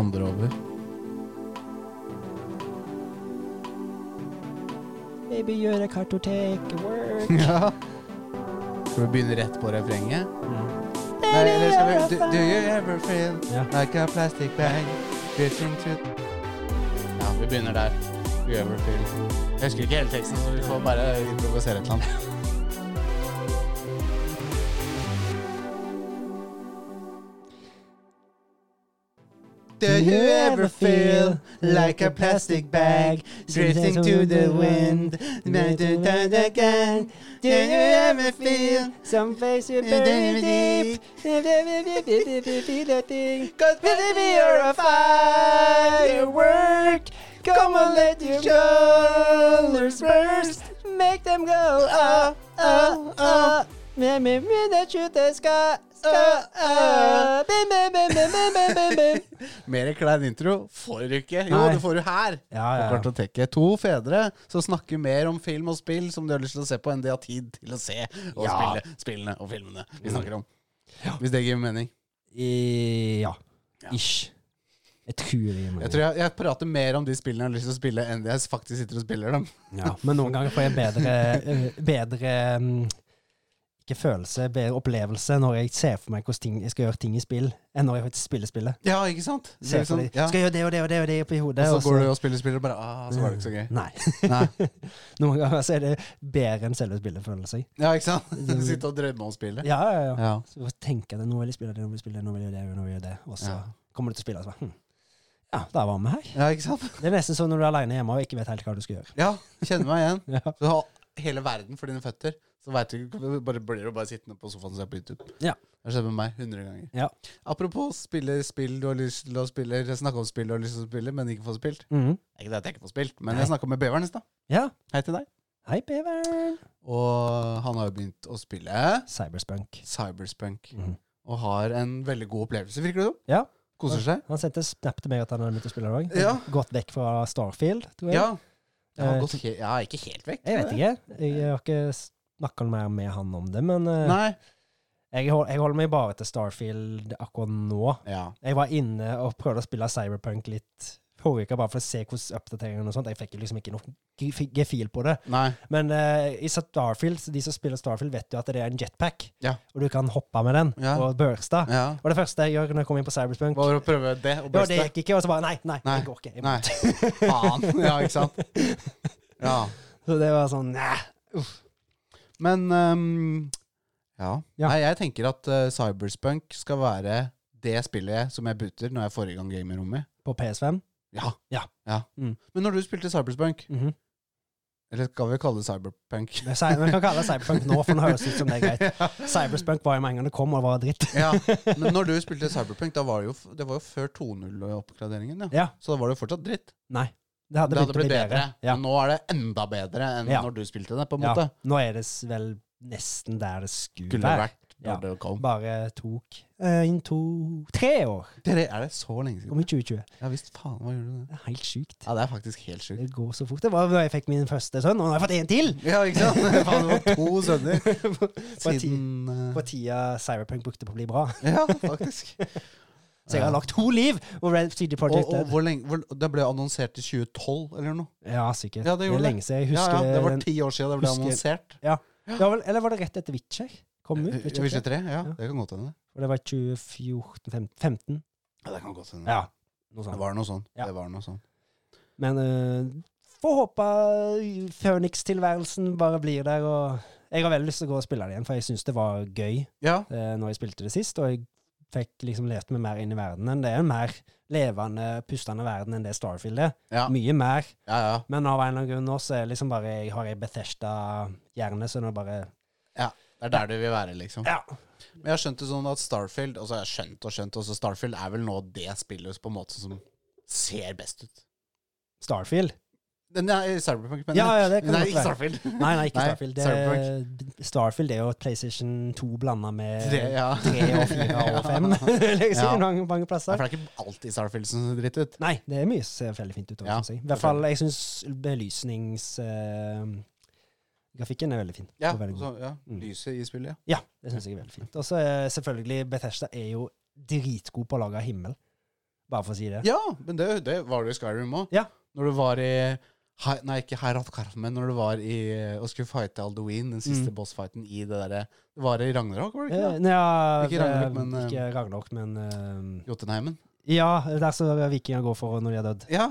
andre over. Baby, gjøre kartotek work. Ja. Skal vi begynne rett på refrenget? Nei, eller skal vi do, do you ever feel Ja. like a plastic bag drifting to Ja, vi begynner der. Do you ever feel Jeg husker ikke hele teksten, så vi får bare improvisere et eller annet. Do you ever feel like a plastic bag drifting to the wind? Da, da, da, da, da. Do you ever feel some face you bury deep? Feel a thing. Cause baby you're a firework Come and let your shoulders burst Make them go ah ah ah. Make me feel that you the sky Uh, sky ah. Bim bim bim bim bim bim bim bim. Mer klein intro får du ikke Jo, Nei. det får du her Ja, ja, På ja. kartoteket To fedre som snakker mer om film og spill Som du har lyst til å se på enn de har tid til å se Og Ja. spille spillene og filmene vi snakker om Hvis det gir mening I, ja. Ish. Jeg tror det gir meg Jeg tror jeg, jeg prater mer om de spillene jeg har lyst til å spille Enn de jeg faktisk sitter og spiller dem Ja, men noen ganger får jeg bedre, øh, bedre mm, Ikke følelse, bedre opplevelse når jeg ser for meg hvordan ting, jeg skal gjøre ting i spill, enn når jeg faktisk spiller spillet. Ja, ikke sant? Det Ser er jeg for sånn, meg, ja. Skal jeg gjøre det og det og det altså? Mm. og det oppi hodet? Og så går du og spiller spiller og bare Ah, så var det ikke så gøy Nei. Nei Noen ganger så er det bedre enn selve spillet, føler jeg. Ja, ikke sant? Sitte og drømme om spillet. Ja, ja, ja. Ja. Så bare tenker jeg at nå vil jeg spille det, nå vil jeg spille det, nå vil jeg gjøre det, nå vil jeg gjøre det. Og så Ja. kommer du til å spille, og så bare hm. Ja, da var vi her. ja, ikke sant? Det er nesten sånn når du er aleine hjemme og ikke vet helt hva du skal gjøre. Ja, kjenner meg igjen. Ja. Du har hele verden for dine føtter. Så vet du, ikke- bare blir du bare sittende på sofaen og se på YouTube. Ja. Det har skjedd med meg 100 ganger. Ja. Apropos spille spill du har lyst til å spille, eller snakke om spill du har lyst til å spille, men ikke få spilt. Mhm. Det er Ikke det at jeg ikke får spilt, men Nei. jeg snakka med Beveren i stad. ja. Hei til deg. Hei, beveren. Og han har jo begynt å spille Cyberspunk. Cyberspunk. Mhm. Og har en veldig god opplevelse, virker det som. Ja. Koser seg. Han sendte snap til meg at han hadde begynt å spille òg. Ja. Gått vekk fra Starfield, tror jeg. Ja. Jeg har Eh, gått he ja, ikke helt vekk. Jeg vet ikke. Jeg har ikke snakka mer med han om det, men eh, Nei. jeg, hold, jeg holder meg bare til Starfield akkurat nå. Ja. Jeg var inne og prøvde å spille Cyberpunk litt forrige uke, bare for å se hvordan oppdateringene og sånt. Jeg fikk jo liksom ikke noe ge- gefil på det. Nei. Men eh, i Starfield, så de som spiller Starfield, vet jo at det er en jetpack, Ja. og du kan hoppe med den Ja. og børste. Ja. Og det første jeg gjør når jeg kommer inn på Cyberpunk Bare å prøve det og Ja, det beste. gikk ikke, og så bare Nei, nei, Nei. det går ikke. Jeg må Nei. Faen. Ja, ikke sant? Ja. Så det var sånn Nei. Men ehm, ja. Ja. Nei, jeg tenker at eh, Cyberspunk skal være det spillet som jeg booter når jeg får i gang gamerrommet. På PS5? Ja. Ja. Mm. Men når du spilte Cyberspunk, Mhm. eller skal vi kalle det Cyberpunk? Det er cy- Vi kan kalle det Cyberpunk nå, for nå høres det ut som det er greit. ja. Cyberspunk var jo med en gang det kom, og var dritt. ja. Men når du spilte Cyberpunk, da var det jo, f- det var jo før 2.0-oppgraderingen, ja. Ja. Så da var det jo fortsatt dritt. Nei. Det hadde, Det hadde blitt bedre. Ja. Men nå er det enda bedre enn Ja. når du spilte det, på en Ja. måte. Nå er det s- vel nesten der det skulle Skulle det være. vært når Ja. det kom. Bare tok én, to, tre år. Dere, er det så lenge siden? Om i 2020. Ja visst, faen, hva gjør du det? Det er helt sjukt. Ja, det er faktisk helt sjukt. Det går så fort. Det var da jeg fikk min første sønn, og nå har jeg fått en til! Ja, ikke sant? Faen, du har to sønner På ti- siden eh, På tida Cyberpunk brukte på å bli bra. Ja, faktisk. Så jeg har lagt to liv! Og Red City Og, Project og hvor lenge hvor, Det ble annonsert i 2012 eller noe? Ja, sikkert. Ja, det det, gjorde er det. lenge siden. Jeg Ja, husker ja, det var den- ti år siden det ble husker- annonsert. Det var vel, eller var det rett etter Witcher? Kom ut? Witcher Witcher 3? 3? Ja, Ja. det kan godt hende. Og det var 2014-2015? Ja, det kan godt hende. Ja. Noe Det sånt. var noe sånn. Ja. Det var noe sånn. Men uh, får håpe Phoenix-tilværelsen bare blir der. Og jeg har veldig lyst til å gå og spille det igjen, for jeg syns det var gøy Ja, eh, når jeg spilte det sist. Og jeg fikk liksom lest meg mer inn i verden enn det. er En mer levende, pustende verden enn det Starfield er. ja, Mye mer. ja. ja. Men av en eller annen grunn nå så er det liksom bare Jeg har ei Bethesda-hjerne, så nå bare Det er der du vil være, liksom. Ja. Men jeg har skjønt det sånn at Starfield Altså, jeg har skjønt og skjønt også Starfield er vel nå det spillet på en måte som ser best ut. Starfield? Den er i Cyberpunk, mener Ja, jeg. ja, det kan Nei, godt ikke være. Starfield. Nei, nei, ikke Nei, Starfield. Det, Starfield er jo et PlayStation 2 blanda med Tre, ja. tre og fire og fem, liksom, Ja. mange, mange Ja, plasser. for det er ikke alltid Starfield som ser dritt ut. Nei, det er mye som ser veldig fint ut. Ja, Ja, jeg. I hvert fall, jeg syns belysnings... eh, grafikken er veldig fin. Ja, og veldig god. så, ja. Mm. Lyset i spillet, ja. Ja, eh, det syns jeg er veldig fint. Og så er selvfølgelig Bethesda er jo dritgod på å lage himmel. Bare for å si det. Ja, men det, det var det i Skyrim òg. Ja. Når du var i Hi- Nei, ikke Herat men når du var i og skulle fighte Alduin, den siste Mm. bossfighten i det derre Det var i Ragnarok, var det ikke Eh, det? nei, ja, Ikke Ragnarok, eh, men, eh, Ikke Ragnarok, men eh, Jotunheimen. Ja, der som vikinger går for når de er dødd. Ja,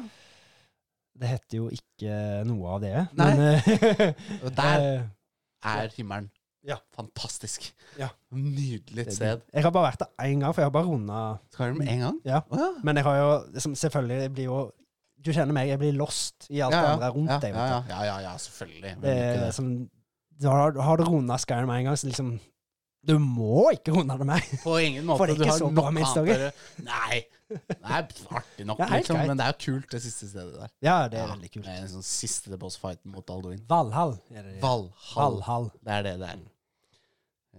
Det heter jo ikke noe av det. Nei. Men, og der eh, er himmelen. Ja. Fantastisk. Ja. Nydelig det- sted. Eh, Jeg har bare vært der én gang, for jeg har bare runda Skyrim én gang? Ja. Å, ja. Men jeg har jo liksom, Selvfølgelig jeg blir jo Du kjenner meg, jeg blir lost i alt det andre rundt ja, deg. Ja, vet ja, ja, ja, ja selvfølgelig. Hvem du. Det gjør ikke det? er liksom da Har, har du runda Skyrim en gang, så liksom Du må ikke runde det mer. På ingen måte. For det er du ikke har så bra nok annet med å historier. gjøre. Nei. Det er artig nok, Det er helt liksom, greit. men det er jo kult, det siste stedet der. Ja, det er Ja, veldig Det kult. er en sånn siste bossfighten mot Alduin. Valhall er det. Valhall. Valhall. Det er det det er.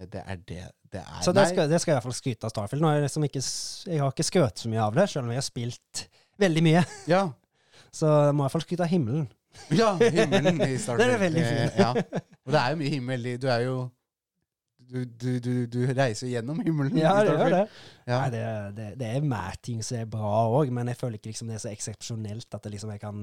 Det er det det er. Så det Nei, skal, det skal jeg i hvert fall skryte av Starfield. Nå har jeg, liksom ikke, s- jeg har ikke skrøt så mye av det, selv om jeg har spilt veldig mye. ja. Så jeg må i hvert fall skryte av himmelen. ja, himmelen i Star Den er Trek. veldig fin. Eh, Ja. Og det er jo mye himmel i Du er jo du, du, du, du reiser jo gjennom himmelen. Ja, i det Star gjør Trek. det. Ja. Nei, det, det, det er mer ting som er bra òg, men jeg føler ikke liksom det er så eksepsjonelt at det liksom jeg kan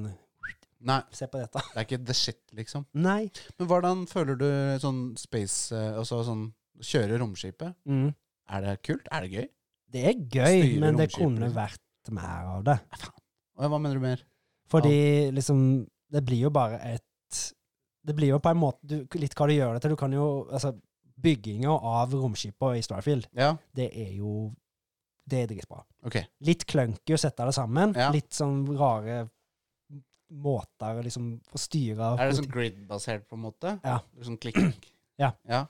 Nei, se på dette. det er ikke the shit, liksom. Nei. Men hvordan føler du sånn space eh, Altså sånn kjøre romskipet? Mm. Er det kult? Er det gøy? Det er gøy, Styre men det romskipet, kunne liksom. vært mer av det. Og hva mener du mer? Fordi liksom Det blir jo bare et Det blir jo på en måte du, litt hva du gjør det til. Du kan jo Altså, bygginga av romskipa i Starfield, Ja, det er jo Det er dritbra. ok. Litt clunky å sette det sammen. Ja. Litt sånn rare måter å liksom å styre Er det sånn grid-basert, på en måte? Ja. Sånn klikk? Ja. ja.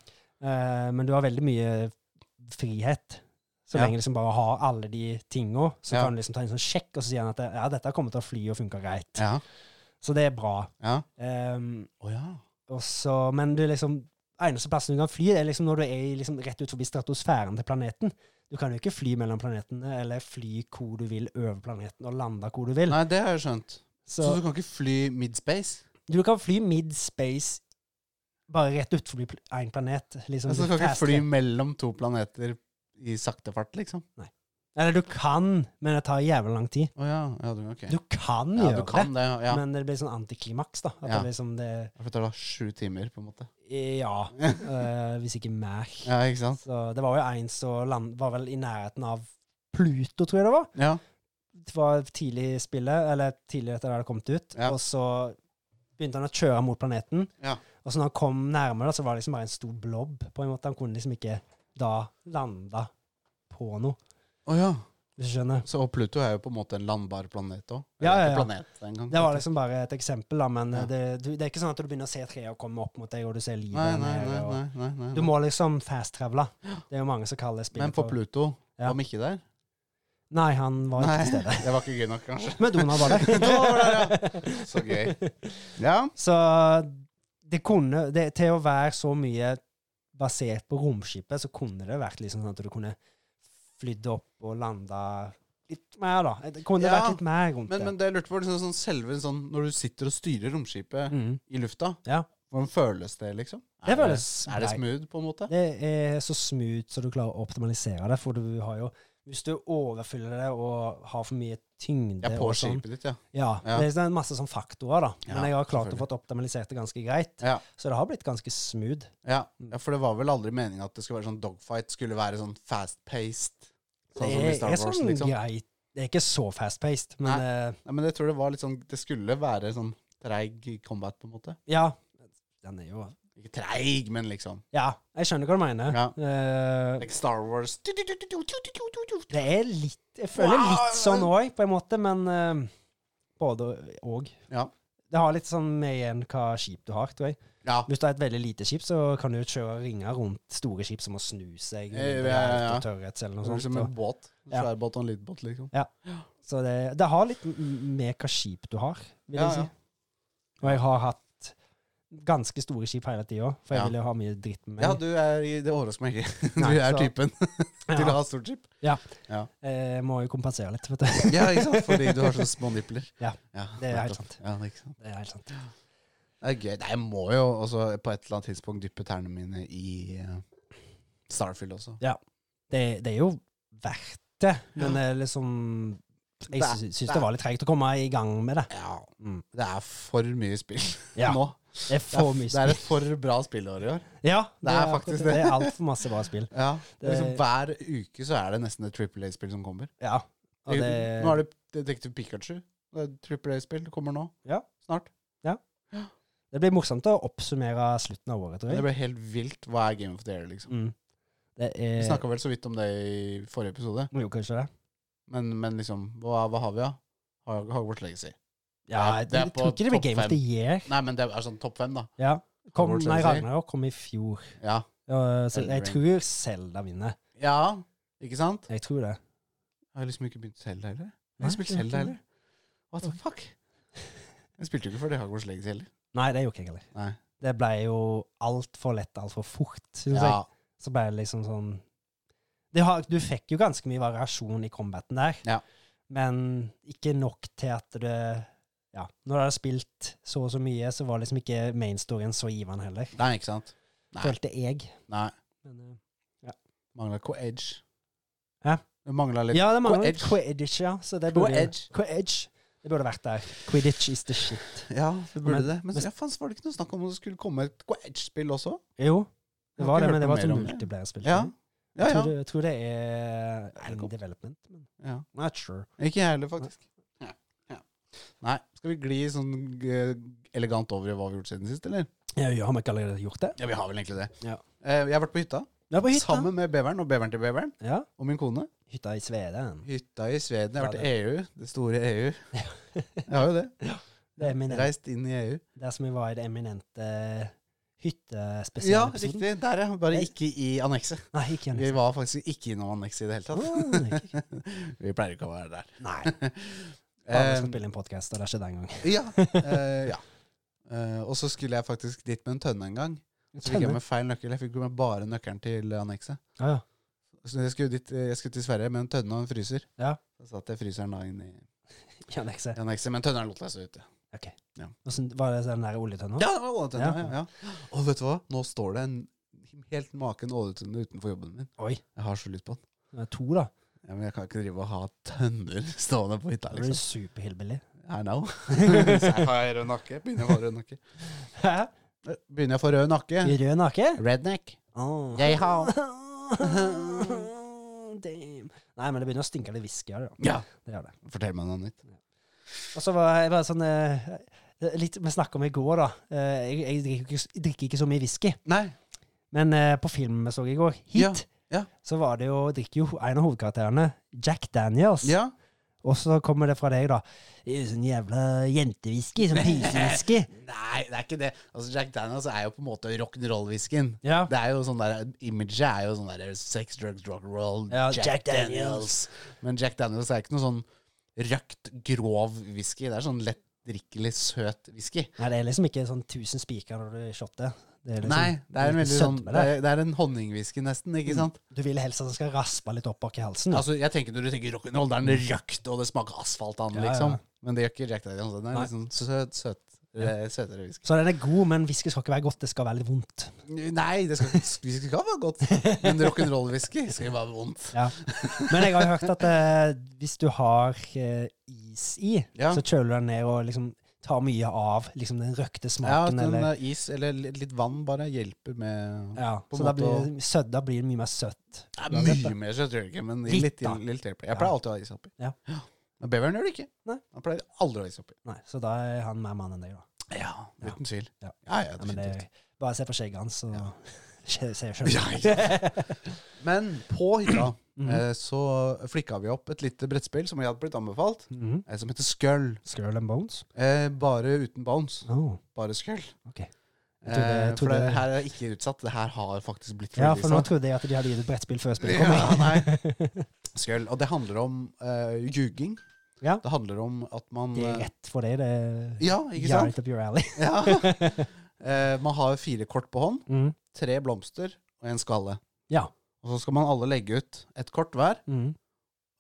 Eh, men du har veldig mye frihet. Så Ja. lenge du liksom bare har alle de tinga, så Ja. kan du liksom ta en sånn sjekk, og så sier han at ja, dette kommer til å fly og funke greit. Ja. Så det er bra. Ja. Ehm, Å ja. og så, men du liksom eneste plassen du kan fly, er liksom når du er i liksom rett ut forbi stratosfæren til planeten. Du kan jo ikke fly mellom planetene, eller fly hvor du vil over planeten, og lande hvor du vil. Nei, det har jeg skjønt. Så, Så du kan ikke fly midspace? du kan fly mid-space bare rett ut forbi én planet. Liksom, Altså, du kan ikke fast- fly mellom to planeter i sakte fart, liksom? Eller du kan, men det tar jævlig lang tid. Å ja. ja du, ok. Du kan ja, gjøre du kan det, det. ja. men det blir sånn antiklimaks, da. At Ja. det blir som det For det tar da sju timer, på en måte. Ja, eh, hvis ikke mer. Ja, ikke sant? Så det var jo en som land- var vel i nærheten av Pluto, tror jeg det var. Ja. Det var tidlig i spillet, eller tidlig etter at det hadde kommet ut. Ja. Og så begynte han å kjøre mot planeten. Ja. Og så når han kom nærmere, da, så var det liksom bare en stor blobb. på en måte. Han kunne liksom ikke da landa på noe, Å ja. hvis du skjønner. Så og Pluto er jo på en måte en landbar planet òg. Ja, ja, ja. Planet, engang. Det var liksom bare et eksempel, da, men Ja. det, du, det er ikke sånn at du begynner å se treet og komme opp mot deg, og du ser livet Nei, nei, nede, nei. og- nei, nei, nei. Du må liksom fast-travele. Det er jo mange som kaller spillet Men på Pluto Ja. var Mikke der? Nei, han var ikke til stede. det var ikke gøy nok, kanskje. Men Donald var der. Donald var Så gøy. Ja. Så det kunne det, Til å være så mye basert på romskipet, så kunne det vært liksom sånn at du kunne flydd opp og landa litt mer, da. Det kunne Ja, vært litt mer rundt Men, men det jeg lurte på, liksom, sånn selve sånn, når du sitter og styrer romskipet det. Mm. i lufta, Ja. hvordan føles det, liksom? Det Er føles Er det grei. smooth, på en måte? Det er så smooth så du klarer å optimalisere det, for du har jo Hvis du overfyller det og har for mye tyngde Ja, på og sånn, skipet ditt, ja. Ja, Ja. det er en masse sånn faktorer, da. Ja, Men jeg har klart å selvfølgelig. få optimalisert det ganske greit. Ja. Så det har blitt ganske smooth. ja. Ja, for det var vel aldri meninga at det skulle være sånn dogfight, skulle være sånn fast-paced. Sånn som det i Star er Wars, sånn liksom. greit. Det er ikke så fast-paced, men eh, Nei, men jeg tror det var litt sånn Det skulle være sånn treig combat, på en måte. ja. Den er jo Ikke treig, men liksom. Ja, jeg skjønner hva du mener. Ja. Eh, Like Star Wars det er litt Jeg føler Wow, litt sånn men- òg, på en måte, men eh, både og. Ja. Det har litt sånn med igjen hva skip du har, tror jeg. Ja. Hvis du har et veldig lite skip, så kan du kjøre ringer rundt store skip som må snu seg. Ja, ja, ja. og Tørrhets eller Det noe var sånt. Liksom og- en båt. Ja. Svær båt og en liten båt, liksom. Så det, det har litt m- med hva skip du har, vil Ja, jeg si. ja. Og jeg har hatt ganske store skip hele tida, for jeg Ja. ville jo ha mye dritt med meg. Ja, du er i- Det overrasker meg ikke. Du Nei, er så- typen til å Ja. ha stort skip. Eh, må jo kompensere litt, vet du. Ja, ikke sant? Fordi du har sånne små nippler. Ja, det er helt nettopp. sant. Ja, det er ikke sant. Det er helt sant. Det er gøy. Nei, jeg må jo også på et eller annet tidspunkt dyppe tærne mine i eh, Starfield også. Det, det er jo verdt det, men det er liksom Jeg sy- syns det var litt tregt å komme i gang med det. Ja, Mm. det er for mye spill Ja, nå. det Det er er, for det mye er spill. et for bra spillår i år. Ja, det er akkurat faktisk det. Det er altfor masse bra spill. Ja, Det- liksom, hver uke så er det nesten et Triple A-spill som kommer. Ja. Og det, Nå er det Detektiv Pikachu. Det er et Triple A-spill kommer nå. Ja. Snart. det blir morsomt å oppsummere slutten av året, tror Det jeg. ble helt vilt. Hva er Game of the Year, liksom? Mm. Det Vi er snakka vel så vidt om det i forrige episode, Jo, kanskje det. men, men liksom, hva, hva har vi, da? Hag- Hogwarts Legacy. Ja, Ja, jeg det er jeg på tror ikke det blir topp Game of fem. the Year. Nei, men det er sånn topp fem, da. Ja. Kom, Hogwarts nei, Legacy. Ragnarok kom i fjor. Ja. Ja, så Elden jeg Ring. tror Selda vinner. ja, ikke sant? Jeg tror det. Jeg har liksom ikke begynt Zelda heller. Jeg Nei, har spilt det er ikke Zelda heller. det. What the fuck? Jeg spilte jo ikke for det Hogwarts Legacy heller. Nei, det gjorde jeg ikke heller. Nei. Det ble jo altfor lett, altfor fort, syns Ja, jeg. Så ble det liksom sånn det har, Du fikk jo ganske mye variasjon i combaten der, Ja. men ikke nok til at det ja, Når du har spilt så og så mye, så var liksom ikke mainstoryen så givende heller, nei, ikke sant? Nei. følte jeg. Nei. Men, eh, Mangla co-edge. Hæ? Det mangla litt ja, det mangler Quidditch. Quidditch, ja. Så det burde, Quidditch. Quidditch. Det burde vært der. Quidditch is the shit. Ja, det burde Men- det. Men men- ja, faen, så var det ikke noe snakk om at det skulle komme et co-edge-spill også? Jo, det Jeg har var ikke hørt det, men noe det var et mer om det. multiplayer-spill. Ja, Ja, sånn. ja. Jeg, tror det- jeg tror det er det in kom- development. Men ja. not sure. Ikke jeg heller, faktisk. Ja. Ja. Nei. Skal vi gli sånn eh, elegant over i hva vi har gjort siden sist, eller? Ja, ja, har vi ikke allerede gjort det? Ja, vi har vel egentlig det. Ja. Eh, jeg har vært på hytta, Vi er på hytta. sammen med beveren og beveren til beveren Ja, og min kone. hytta i Sveden. Hytta i Sveden. Jeg har vært Ja, i EU, det store EU. Jeg har jo det. Det, E eminente, Reist inn i E EU. der som vi var i det eminente Ja, hyttespesialepisoden. riktig. Der, ja. Bare Nei. ikke i annekset. Nei, ikke Vi igjen. var faktisk ikke innom annekset i det hele tatt. Nei, Vi pleier ikke å være der. Nei. bare vi Eh, skal spille en podkast, og det skjedde en gang. ja. Eh, ja. Eh, og så skulle jeg faktisk dit med en tønne en gang. Så fikk jeg med feil nøkkel. Jeg fikk med bare nøkkelen til annekset. Ja, ja. Så jeg skulle, dit, jeg skulle til Sverige med en tønne og en fryser. Ja. Så satt jeg fryseren da inn i Ja, det er ikke så- annekset, men tønneren lot jeg stå ute. Hvordan- Var det den der oljetønna? Ja, det var åletønna. Ja. Ja, ja. Og vet du hva? Nå står det en helt maken åletønne utenfor jobben min. Oi, Jeg har så lyst på den. det er to, da. Ja, men jeg kan ikke drive og ha tønner stående på hytta, Det blir liksom. superhillbilly. I know. Så jeg har rød nakke. Begynner jeg å få rød nakke? Hæ? Begynner jeg å få rød nakke? I rød nakke? Redneck. Åh. Jeg har Damn. Nei, men det begynner å stinke litt whisky her, ja. Ja. Det gjør det. Fortell meg noe nytt. Og så var jeg bare sånn eh, Litt vi snakka om i går, da. Eh, jeg, jeg, drikker ikke, s- jeg drikker ikke så mye whisky. Nei. Men eh, på filmen vi så i går, Heat, Ja, ja. så var det jo drikker jo en av hovedkarakterene Jack Daniels. Ja. Og så kommer det fra deg, da. Det er jo Sånn jævla jentewhisky. Sånn pysewhisky. Nei, det er ikke det. Altså, Jack Daniels er jo på en måte rock'n'roll-whiskyen. Ja. Det er jo sånn der, Imaget er jo sånn der sex, drugs, rock and roll, Ja, Jack, Jack Daniels. Men Jack Daniels er ikke noe sånn røkt, grov whisky. Det er sånn lettdrikkelig, søt whisky. Nei, det er liksom ikke sånn tusen spiker når du shotter. Det er liksom, Nei, det er en veldig sånn sødme Det der. er, det er en honningwhisky, nesten, ikke sant? Du vil helst at den skal raspe litt opp bak i halsen. da. Altså, jeg tenker Når du tenker rock'n'roll, det er den røkt, og det smaker asfalt av den, Ja, ja, liksom. ja. Men det gjør ikke Jack Daniels. Den er Nei. litt sånn søt, søt, eh, søtere whisky. Så den er god, men whisky skal ikke være godt, det skal være litt vondt. Nei, det skal, vi skal være godt. Men rock'n'roll-whisky skal jo være vondt. Ja. Men jeg har jo hørt at eh, hvis du har eh, is i, Ja. så kjøler du den ned og liksom tar mye av liksom den røkte Ja, at smaken. en eller, eh, is eller li- litt vann bare hjelper med ja. på en Så da måte blir, det sødd, da blir det mye mer søtt. Det er mye mer søtt, gjør det ikke, men Litt, litt, da. litt hjelper. Jeg Ja. pleier alltid å ha is oppi. Ja. Men beveren gjør det ikke. Nei. Han pleier aldri å ha is oppi. Nei, så da er han mer mann enn deg, da. Ja, Ja. Uten tvil. Ja. Ja, ja, Ja, men det, definitivt. bare se på skjegget hans, så Ja. skje- ser jeg selv. Ja, Men på hytta Mhm. eh, så flikka vi opp et lite brettspill som jeg hadde blitt anbefalt, Mhm. eh, som heter Skull. Skull and bones? Eh, bare uten bounce. Oh. Bare Skull. Ok. Jeg trodde- Eh, jeg for trodde- det her er ikke utsatt. Det her har faktisk blitt Ja, for nå releaset. trodde jeg at de hadde gitt et brettspill før spillet kom. Ja, nei. Skull. Og det handler om eh, ljuging. Ja. Det handler om at man Det er eh, rett for deg, det Ja, ikke sant? Right up your alley. Ja. Eh, man har fire kort på hånd. Mm. Tre blomster og en skalle. Ja. Og så skal man alle legge ut et kort hver, Mm.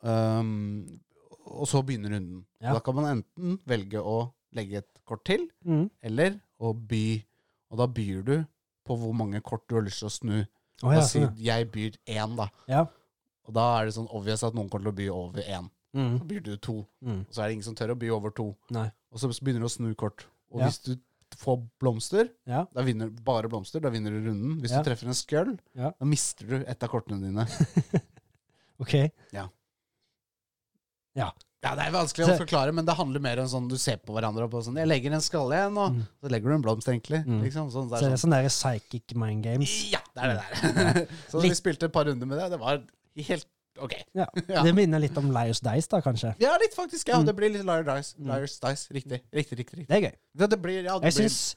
ehm, og så begynner runden. Ja. Da kan man enten velge å legge et kort til, Mm. eller å by. Og da byr du på hvor mange kort du har lyst til å snu. Å, Da ja, sånn, sier jeg byr én, da. ja. Og da er det sånn obvious at noen kommer til å by over én. Mm. så byr du to. Mm. Og så er det ingen som tør å by over to. Nei. Og så begynner du å snu kort. Og Ja. hvis du får blomster, Ja. da vinner bare blomster, da vinner du runden. Hvis Ja. du treffer en skjøll, Ja. da mister du et av kortene dine. OK. Ja, Det er vanskelig å forklare, men det handler mer om sånn du ser på hverandre og på sånn Jeg legger en skalle igjen, og Mm. så legger du en blomst, egentlig. Mm. Liksom, sånn, Så det det er er sånn. sånn der psychic mind games. Mm. Ja, det er det der. så vi Litt- spilte et par runder med det, og det var helt ok. Ja. Ja. Det minner litt om Liars Dice, da, kanskje. Ja, litt faktisk. Ja, Mm. det blir litt Liar Dice. Mm. Liar's Dice. Riktig. Riktig, riktig. riktig. Det er gøy. Det, det blir, ja, det blir, Jeg syns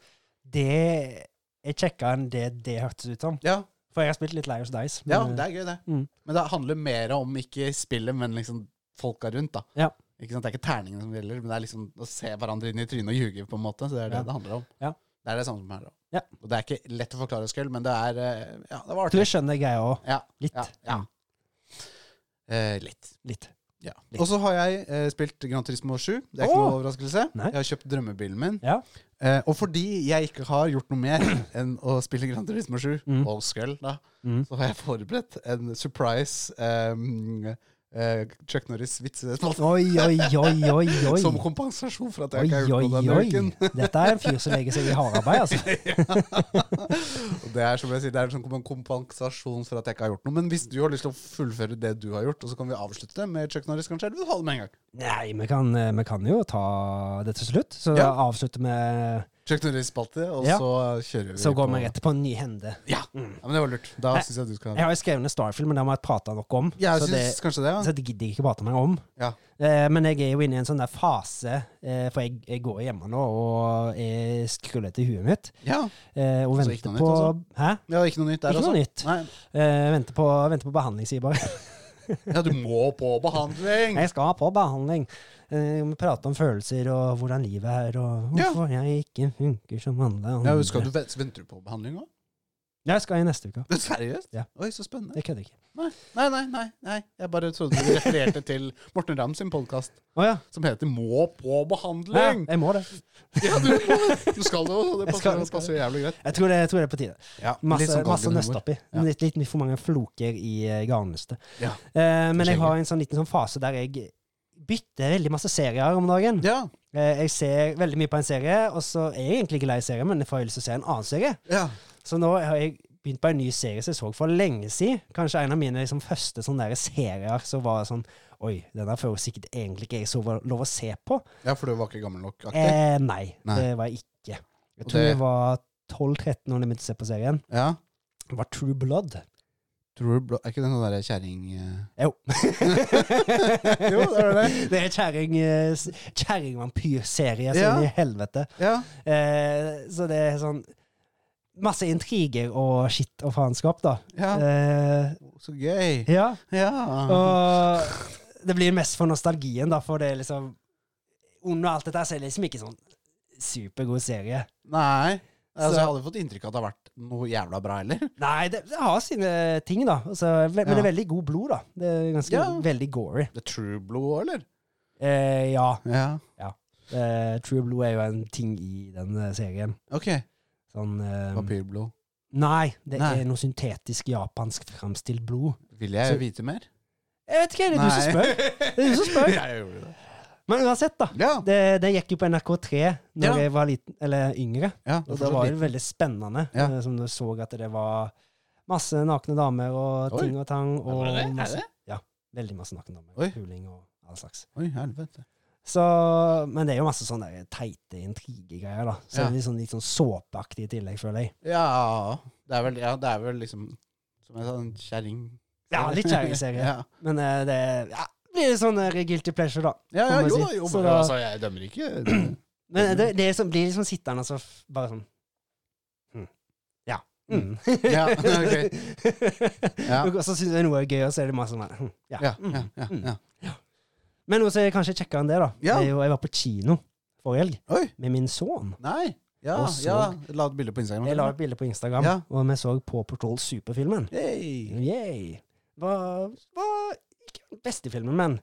det Jeg sjekka enn det det hørtes ut som. ja, For jeg har spilt litt Liars Dice. ja, men, det er gøy, det. Mm. Men det handler mer om ikke spillet, men liksom folka rundt, da. Ja. Ikke sant? Det er ikke terningene som gjelder, men det er liksom å se hverandre inn i trynet og ljuge, på en måte. Så det er det Ja. det handler om. Ja. Det er det samme som her. Da. Ja. Og det er ikke lett å forklare skøll, men det er eh, Ja, det var Du artig. skjønner greia òg. Ja, Litt. ja, ja. Eh, litt. Litt. Ja. Litt. Og så har jeg eh, spilt Gran Turismo 7. Det er ikke Åh! noe overraskelse. Nei. Jeg har kjøpt drømmebilen min. Ja. Eh, og fordi jeg ikke har gjort noe mer enn å spille Gran Turismo 7, Mm. og Skull, da, Mm. så har jeg forberedt en surprise eh, eh, Chuck Norris-vits i det spalten, Oi, oi, oi, oi, oi. som kompensasjon for at Oi, jeg ikke har oi, gjort noe denne oi. uken. Dette er en fyr som legger seg i hardarbeid, altså. Og det er som jeg sier, det er som en sånn kompensasjon for at jeg ikke har gjort noe. Men hvis du har lyst til å fullføre det du har gjort, og så kan vi avslutte det med Chuck Norris, kanskje, eller vil du ha det med en gang? Nei, vi kan, eh, vi kan jo ta det til slutt. Så Ja. avslutter vi Chuck Norris-spalte, og Ja. så kjører vi Så går på- vi rett på en ny hende. Ja. ja, men det var lurt. Da Nei. syns jeg du skal Jeg har jo skrevet ned Starfield, men det har vi prata nok om. Jeg så, det, syns kanskje det, ja. så det gidder jeg ikke prate mer om. ja. Eh, men jeg er jo inne i en sånn der fase, eh, for jeg, jeg går hjemme nå og er skrullete i huet mitt. Ja, Eh, og Altså, venter ikke noe på nytt, Hæ? ja ikke noe nytt der, Ikke noe altså. nytt. Nei. Eh, venter på, venter på behandling, sier jeg bare. Ja, du må på behandling! Jeg skal på behandling. Eh, vi prater om følelser og hvordan livet er, og Ja. hvorfor jeg ikke funker som alle andre. Ja, skal du, venter du på behandling òg? Jeg skal i neste uke. Seriøst? Ja. Oi, så spennende. Jeg kødder ikke. Nei, nei, nei. nei, nei. Jeg bare trodde du refererte til Morten Ramm sin podkast Å ja. som heter Må på ja. behandling! Jeg må det. Ja, du, du skal det òg. Det Jeg skal, passer, jeg skal. passer jævlig greit. Jeg tror det, jeg tror det er på tide. Ja, Masse, masse nøst oppi. sånn Ja. Litt, litt for mange floker i eh, garnnøstet. Ja. Eh, men jeg Skjegget. har en sånn liten sånn fase der jeg bytter veldig masse serier om dagen. Ja, Eh, jeg ser veldig mye på en serie, og så er jeg egentlig ikke lei serien, men jeg får lyst til å se en annen serie. ja. Så nå har jeg begynt på en ny serie som jeg så for lenge siden. Kanskje en av mine liksom, første sånne der serier som var sånn Oi, denne får jo sikkert egentlig ikke jeg så lov å se på. ja, for du var ikke gammel nok? aktig. Eh, nei, Nei. det var jeg ikke. Jeg Og tror det- jeg var 12-13 år da jeg begynte å se på serien. Ja. Det var True Blood. Tror du, blå- er ikke det noe derre kjerring... eh? Jo. Jo, det var det. Det er kjerring, eh, s- kjerringvampyrserie Ja. som i helvete. Ja. Eh, så det er sånn Masse intriger og skitt og faenskap, da. ja. Eh, Så gøy. ja. Ja. Og det blir mest for nostalgien, da, for det er liksom Under alt dette så er det liksom ikke sånn supergod serie. Nei. Altså, Så- jeg hadde fått inntrykk av at det har vært noe jævla bra, eller? Nei, det, det har sine ting, da. Altså, ve- Men det er Ja. veldig god blod, da. Det er ganske Ja. veldig gory. Det er True Blue òg, eller? Eh, ja. Ja. Eh, True Blue er jo en ting i den eh, serien. Ok. Sånn eh, Papirblod. Nei, det Nei. er noe syntetisk japansk fremstilt blod. Vil jeg Så- vite mer? Jeg vet ikke, det er du som spør. Det er du som spør. jeg gjorde det. Men uansett, da. Ja. Det, det gikk jo på NRK3 når Ja. jeg var liten, eller yngre. ja Og fortsatt det var litt. jo veldig spennende, Ja. eh, som du så at det var masse nakne damer og Oi. ting og tang. Ja, Og var det det? Er Masse, det? veldig masse nakne damer. Oi. Puling og all slags. Oi, helvete. Så, men det er jo masse sånne der teite intrigegreier, da. Så Ja. det er litt sånn, litt sånn såpeaktig i tillegg, føler jeg. Ja. Det er vel, ja, det er vel liksom Som jeg sa, en kjerring. Ja, litt kjerringserie. ja. Men eh, det ja, blir litt sånn eh, guilty pleasure, da. Ja, ja, kan man jo si. da, jo, Så men da- altså, jeg dømmer ikke. Men det, det er liksom, blir liksom sittende og så f- bare sånn hm. Ja. Mm. Ja, ok. Ja. Og så syns jeg noe er gøy, og så er det masse sånn her, hm. ja. Ja, mm. ja, ja, ja. Men noe som er kanskje kjekkere enn det, da, Ja. det er jo jeg var på kino forrige helg Oi, med min sønn. nei. Ja, Og så- ja. La et bilde på Instagram. Jeg la et bilde på Instagram, Ja. og vi så på Patrol Super-filmen. Hey. Eh. Yay. Var, var ikke den beste filmen, men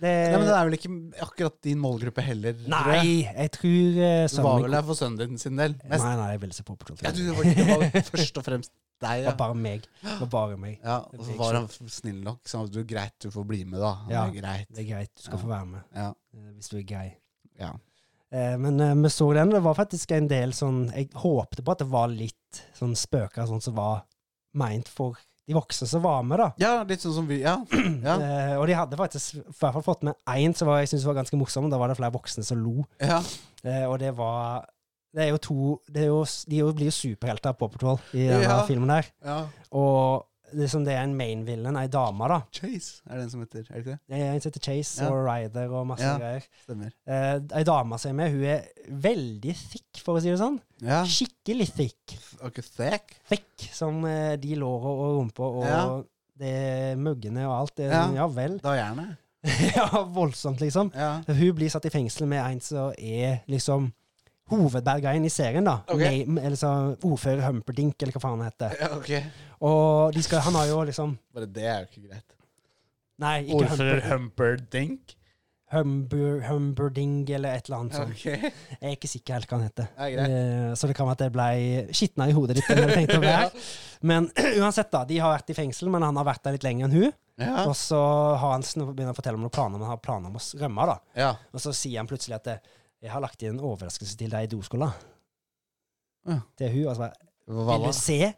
det, Ja, men det er vel ikke akkurat din målgruppe heller? tror jeg. Nei, jeg tror eh, Du var sønnen vel min der for sønnen din sin del? Nei, Mest. nei, jeg ville se på Patrol. Ja, du var, det var først og fremst Deg, Det ja. var bare meg. Det var bare meg. ja. Og så var han snill nok. Så han, du, greit, du får bli med, da. Han Ja. er greit. Det er greit, du skal Ja. få være med Ja. eh, hvis du er grei. ja. Eh, Men eh, vi så den, og det var faktisk en del sånn Jeg håpte på at det var litt sånn spøker sånn som var meint for de voksne som var med, da. ja, litt sånn som vi Ja. Ja. Eh, og de hadde faktisk i hvert fall fått med én som var, jeg syntes var ganske morsom. og Da var det flere voksne som lo. ja. Eh, og det var Det er jo to det er jo, De er jo- blir jo superhelter på Patrol i denne Ja. filmen der. ja. Og liksom det er en main villain, ei dame, da. Chase er den som heter, er det ikke det? Det er En som heter Chase Ja. og Ryder og masse Ja. greier. Stemmer. Eh, ei dame som er med, hun er veldig thick, for å si det sånn. Ja. Skikkelig thick. Ok, thick. Thick som eh, de låra og rumpa og Ja. det muggene og alt. Det, Ja. ja vel. Da gjerne. ja, voldsomt, liksom. Ja. Hun blir satt i fengsel med en som er liksom hovedbergeren i serien, da. Ok. Name, eller så ordfører Humperdink, eller hva faen han heter. ja, ok. Og de skal, han har jo liksom Bare det er jo ikke greit. Nei, ikke Humper, Humperdink. Humber, Humperding eller et eller annet sånt. Ok. Det Jeg er ikke sikker helt hva han heter. er greit. Eh, Så det kan være at det ble skitna i hodet ditt. enn jeg tenkte å være. Men uansett, da. De har vært i fengsel, men han har vært der litt lenger enn hun. Ja. Og så har han sn- begynner han å fortelle om noen planer, men har planer om å s- rømme, da. ja. Og så sier han plutselig at eh, 'Jeg har lagt inn en overraskelse til deg i doskola'. Ja. Til hun. Og så bare Hva 'Vil da? du se?'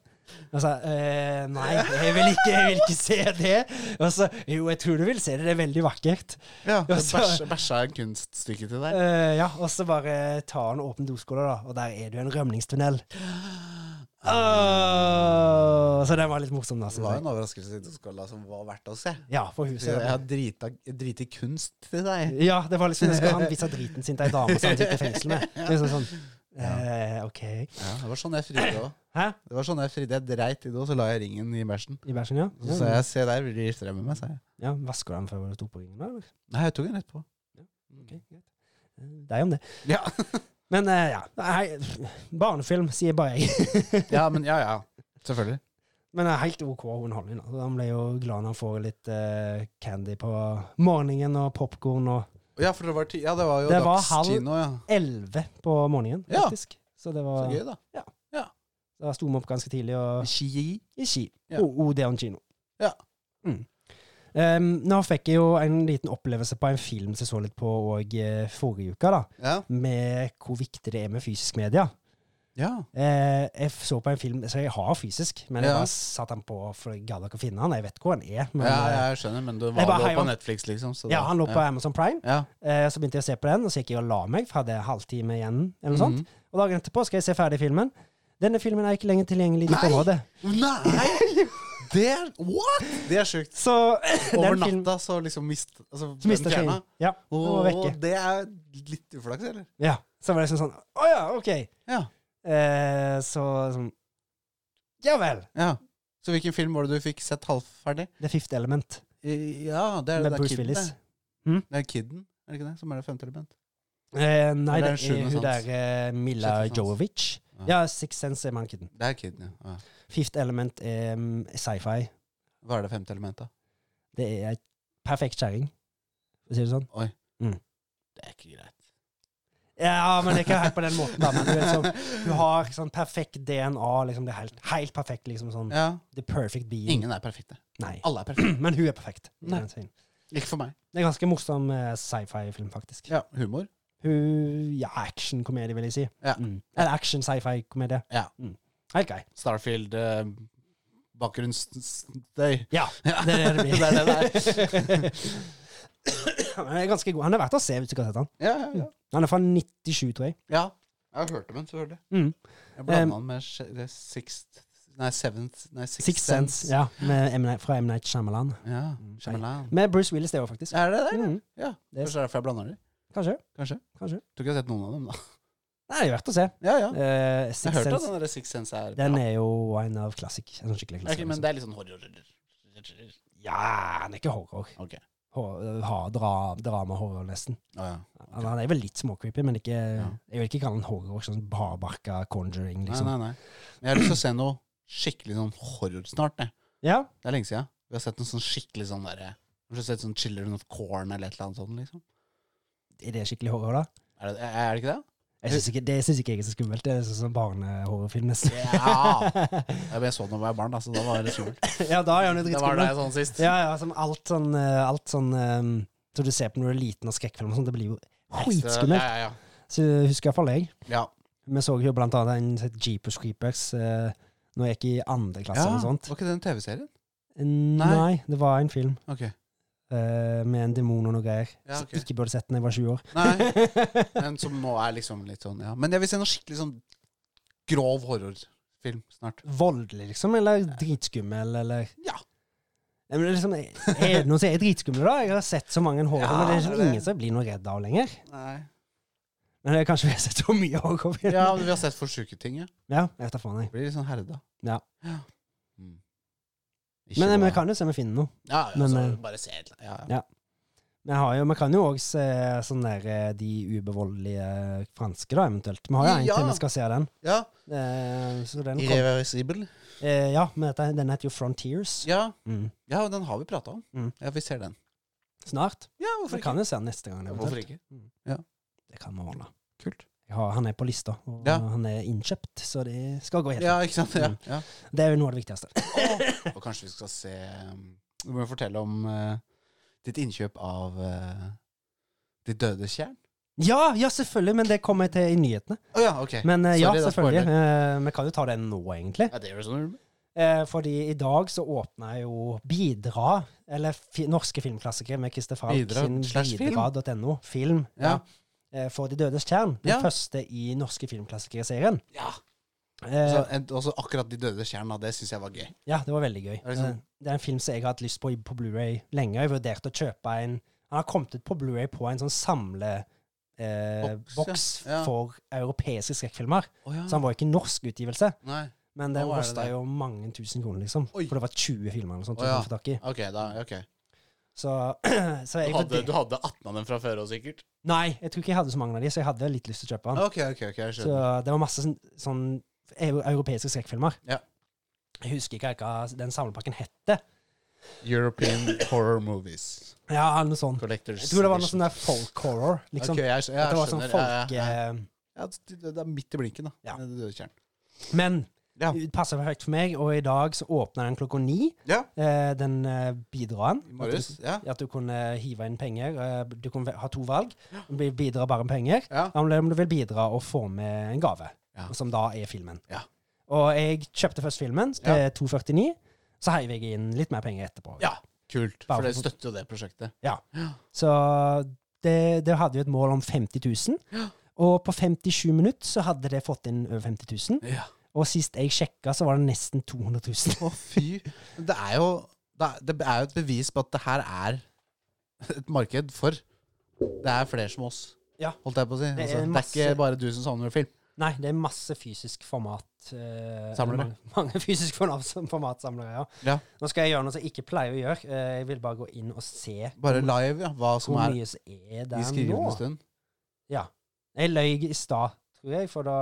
Og så eh, 'Nei, jeg vil ikke, jeg vil ikke se det'. Og så 'Jo, jeg tror du vil se det. Det er veldig vakkert'. Ja, Og så- bæsja- Bæsja en kunststykke til deg. Eh, ja, Og så bare tar han og åpner doskola, da, og der er det jo en rømningstunnel. Åh, Ah, så den var litt morsom, da. Det synes var jeg. en overraskelse i Doskolla som var verdt å se. Ja, for huset. Jeg har drita, driti kunst til deg. Ja, det var liksom skal han vise driten sin til ei dame som han sitter i fengsel med. Det er sånn, sånn. Eh, ok. Ja, det var sånn jeg fridde òg. Hæ? Det var sånn jeg fridde. Jeg dreit i det, og så la jeg ringen i bæsjen. I bæsjen, ja? Så sa jeg 'se der, vil du gifte deg med meg', sa jeg. ja Vasker du den før du tok på ringen, eller? Nei, jeg tok den rett på. Ok, greit. Eh, Deg om det. Ja. Men eh, ja. Nei, barnefilm, sier bare jeg. ja, men ja, ja. Selvfølgelig. Men det er helt OK underholdning. da. Han ble jo glad når han får litt eh, candy på morgenen, og popkorn, og Ja, for det var, ti ja, det var jo Det var halv- dagskino, ja. elleve på morgenen, Ja. faktisk. Så det Så var gøy, da. Da sto vi opp ganske tidlig og Ski. i Ski. Ja. Og Odeon kino. Ja. Mm. Um, nå fikk jeg jo en liten opplevelse på en film som jeg så litt på og, eh, forrige uke, da, Ja. med hvor viktig det er med fysisk media. ja. Eh, jeg så på en film Så jeg har fysisk, men jeg Ja. bare satte den på, for jeg gadd ikke å finne den. Jeg vet hvor den er. Men, ja, eh, jeg skjønner, men det Jeg var bare jo heiv på han- Netflix, liksom. Så ja, da- han lå på ja. Amazon Prime. Ja. Eh, så begynte jeg å se på den, og så gikk jeg og la meg, for hadde halvtime igjen. Eller noe sånt. Mm. Og dagen etterpå skal jeg se ferdig filmen. Denne filmen er ikke lenger tilgjengelig i ditt Nei! område. Mhm. Nei! Det er What?! Det er sjukt. Så Over den film- natta så liksom mist, altså, Så mister den fjerna. skjermen. Ja, den var Og vekke. det er litt uflaks, eller? Ja. Så var det liksom sånn Å ja, OK. Ja. Eh, så sånn Ja vel. ja. Så hvilken film var det du fikk sett halvferdig? The Fifth Element I- Ja, det er, med det er Bruce Kidden, Willis. Det. Hm? det er Kidden, er det ikke det? Som er det femte element? Eh, nei, Eller det er det er sjuende hun sans? der eh, Milla Sjette sans. Jovovic. Ja, Six Sense er mankiden. Det er Kidden, ja. ja. Fifth Element er mm, sci-fi. Hva er det femte elementet? Det er ei perfekt kjerring, for å si det sånn. Det er ikke greit. Ja, men ikke helt på den måten, da. Men du, er liksom, du har sånn perfekt DNA. Liksom, det er helt, helt perfekt. Liksom, sånn, Ja. The perfect being. Ingen er perfekte. Nei. Alle er perfekte. Men hun er perfekt. i Nei. den serien. Ikke for meg. Det er en ganske morsom eh, sci-fi-film, faktisk. Ja, humor. Hun Ja, actionkomedie, vil jeg si. Ja. Mm. Eller action-sci-fi-komedie. Ja. Mm. Helt grei. Starfield, eh, bakgrunnsstøy. Ja, det er det det blir. Det er det Han er ganske god. Han er verdt å se hvis du ikke har sett han. Ja, ja, ja. Han er fra 97, tror jeg. Ja, jeg har hørt om den, selvfølgelig. Mm. Jeg blander Em, han med Sh- det Sixth Nei, Seventh Nei, Sixth, Six Sense, Ja. ja, med M. Night, fra M. Night Shyamalan. Mm, Shyamalan. Med Bruce Willis, det òg, faktisk. Er det det? Mm. Ja. Det er- Kanskje det er derfor jeg blander dem. Kanskje. Kanskje. Kanskje. Tror ikke jeg har sett noen av dem, da. Nei, det er verdt å se. Ja, ja. Eh, Jeg Six har hørt at Sense den der Sixth Sense er den bra. er jo en av klassik, en sånn skikkelig Ok, klassiker. Men det er litt sånn horror. liksom. Ja, han er ikke horror. Ok. Hor- eh, ha, dra, Drama-horror, nesten. Å ja. Han- Han er vel litt småcreepy, men ikke, jeg vil ikke kalle han horror. Sånn barbarka conjuring, Nei, liksom. nei, nei. Men jeg har lyst til å se noe skikkelig sånn horror snart, jeg. Ja, Det er lenge siden. Vi har sett noe sånn skikkelig sånn derre Har du sett sånn Children of Corn eller et eller annet sånt, liksom? er det skikkelig horror, da? Er det, er det ikke det? Jeg synes ikke, det syns ikke jeg er så skummelt. Det er sånn som barnehorrorfilm. nesten. Ja. Ja, men jeg så den da jeg var barn, da, så da var det skummelt. ja, da er han jo Det var da dritskummel. jeg sånn sist. Ja, ja, som alt sånn, eh, alt sånn eh, som du ser på når du er liten og skrekkfilm og sånn, det blir jo Ja, dritskummelt. ja, ja. Så husker iallfall jeg. ja. Vi så jo blant annet en som het Jeepers Creepers eh, når jeg gikk i andre klasse ja eller noe var sånt. ikke det en TV-serien? Nei. det var en film Ok. eh, med en demon og noe greier. Ja, ok. Som ikke burde sett den da jeg var 20 år. Nei, men som nå er liksom litt sånn, ja. Men jeg vil se noe skikkelig sånn grov horrorfilm snart. Voldelig, liksom? Eller dritskummel, eller Ja. Nei, men det er liksom, er det noen som er dritskumle, da? Jeg har sett så mange horror, Ja, men det er det er liksom det. ingen som jeg blir noe redd av lenger. Nei. Men det er kanskje vi har sett så mye horrorfilm. Ja, men vi har sett for sjuke ting, ja. Ja, jeg tar faen, jeg. Blir litt sånn herda. Ja. Mm. Ikke Men eh, bra. vi kan jo se om vi finner noe. Ja, ja, men, så eh, bare se et eller annet. Ja, ja. ja. Vi, har jo, vi kan jo òg se sånn der eh, De ubevoldelige franske, da, eventuelt. Vi har jo en Ja. til vi skal se den. ja. Eh, så den kom. Irreversibel. Eh, ja, men dette- den heter jo Frontiers. Ja. Mm. ja, den har vi prata om. Mm. Ja, vi ser den. Snart. Ja, Vi kan jo se den neste gang. Ja, eventuelt. Mm. Hvorfor ikke? Det kan vi ordne. Kult. Jeg har- han er på lista, og Ja. han er innkjøpt, så det skal gå helt Ja, ikke sant? Ja. Mm. ja. Det er jo noe av det viktigste. Åh, Og kanskje vi skal se um, Du må jo fortelle om eh, ditt innkjøp av eh, De døde tjern. Ja, ja, selvfølgelig, men det kommer jeg til i nyhetene. Å ja, ok. Men eh, ja, Sorry, da, selvfølgelig. spoiler. Eh, Vi kan jo ta den nå, egentlig. ja, det gjør du sånn. Eh, fordi i dag så åpna jo Bidra, eller fi norske filmklassikere med Christer Falk Bidra sin slash film. bidra.no, film, Ja. ja, eh, for De dødes tjern. Den Ja. første i norske filmklassikerserien. Ja. Eh, Så, en, også akkurat De døde tjern, da. Det syns jeg var gøy. ja, det var veldig gøy. det sånn- Eh, Det er en film som jeg har hatt lyst på i- på Blu-ray lenge. Jeg vurderte å kjøpe en Han har kommet ut på Blu-ray på en sånn samle... Eh, Boks, boks ja. Ja. for europeiske skrekkfilmer. Å ja. Så han var ikke en norsk utgivelse, Nei. men den Hva var det kosta der? jo mange tusen kroner, liksom. Oi. For det var 20 filmer eller noe sånt. Å ja. du kunne få tak i. Ok, da. ok. Så, så jeg vurder- 18 av dem fra før òg, sikkert? Nei, jeg tror ikke jeg hadde så mange av de, så jeg hadde litt lyst til å kjøpe den. Ok, ok, ok, jeg Så skjønner. det var masse sånn, sånn eu- europeiske skrekkfilmer. Ja. Jeg husker ikke hva den samlepakken hette. European Horror Movies. Ja, eller noe sånt. Collectors. Jeg tror det var noe edition. sånn der folk horror, liksom. Ok, jeg, skj- jeg At det var sånn skjønner. folk... Ja, ja, ja. eh, Ja, det- det det er midt i blinken, da. Ja. Det døde tjern. Men Ja. det passer perfekt for meg, og i dag så åpner den klokka ni, Ja. eh, den eh, bidraen. I morges. Ja. At du kunne hive inn penger. eh, Du kunne ha to valg. Bi- Bidra bare med penger. Ja. Eller om du vil bidra og få med en gave, Ja. som da er filmen. Ja. Og jeg kjøpte først filmen til 2,49. Så heiv jeg inn litt mer penger etterpå. Ja. Kult. For Bare det for- støtter jo det prosjektet. Så det, det hadde jo et mål om 50 000. Ja. Og på 57 minutter så hadde det fått inn over 50 000. Ja. Og sist jeg sjekka, så var det nesten 200 000. Å, fy. Men Det er jo det er- det er jo et bevis på at det her er et marked for Det er flere som oss, Ja. holdt jeg på å si. Det er Altså, det masse- er ikke bare du som savner film. Nei, det er masse fysisk format. eh, Samlere. Mange, mange fysisk format- formatsamlere, ja. Ja. Nå skal jeg gjøre noe som jeg ikke pleier å gjøre. Eh, Jeg vil bare gå inn og se Bare live, ja. Hva som hvor er mye som er i der skrivende nå. stund. Jeg løy i stad, tror jeg, for da,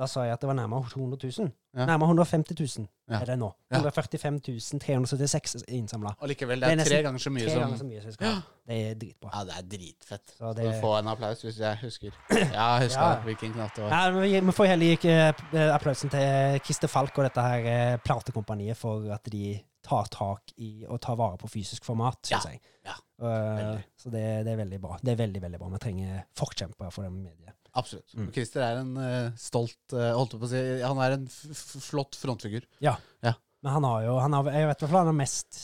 da sa jeg at det var nærmere 200 000. Ja. Nærmere 150 000 Ja. er det nå. Ja. 145 376 er innsamla. Allikevel, Det er det er tre nesten ganger så mye Tre ganger så som mye som vi skal ha. Det er dritbra. Ja, det er dritfett. Så Skal det, du få en applaus hvis jeg husker. Ja, jeg husker Ja. hvilken knapp det var. Nei, men vi, vi får heller gi eh, applausen til Christer Falk og dette her eh, platekompaniet for at de tar tak i og tar vare på fysisk format, syns Ja, jeg. ja, Eh, veldig. så det, det er veldig bra. Det er veldig, veldig bra. Vi trenger forkjempere for det mediet. Absolutt. Mm. Og Christer er en eh, stolt eh, Holdt jeg på å si Han er en f f flott frontfigur. Men han har jo han har, Jeg vet i hvert fall han har mest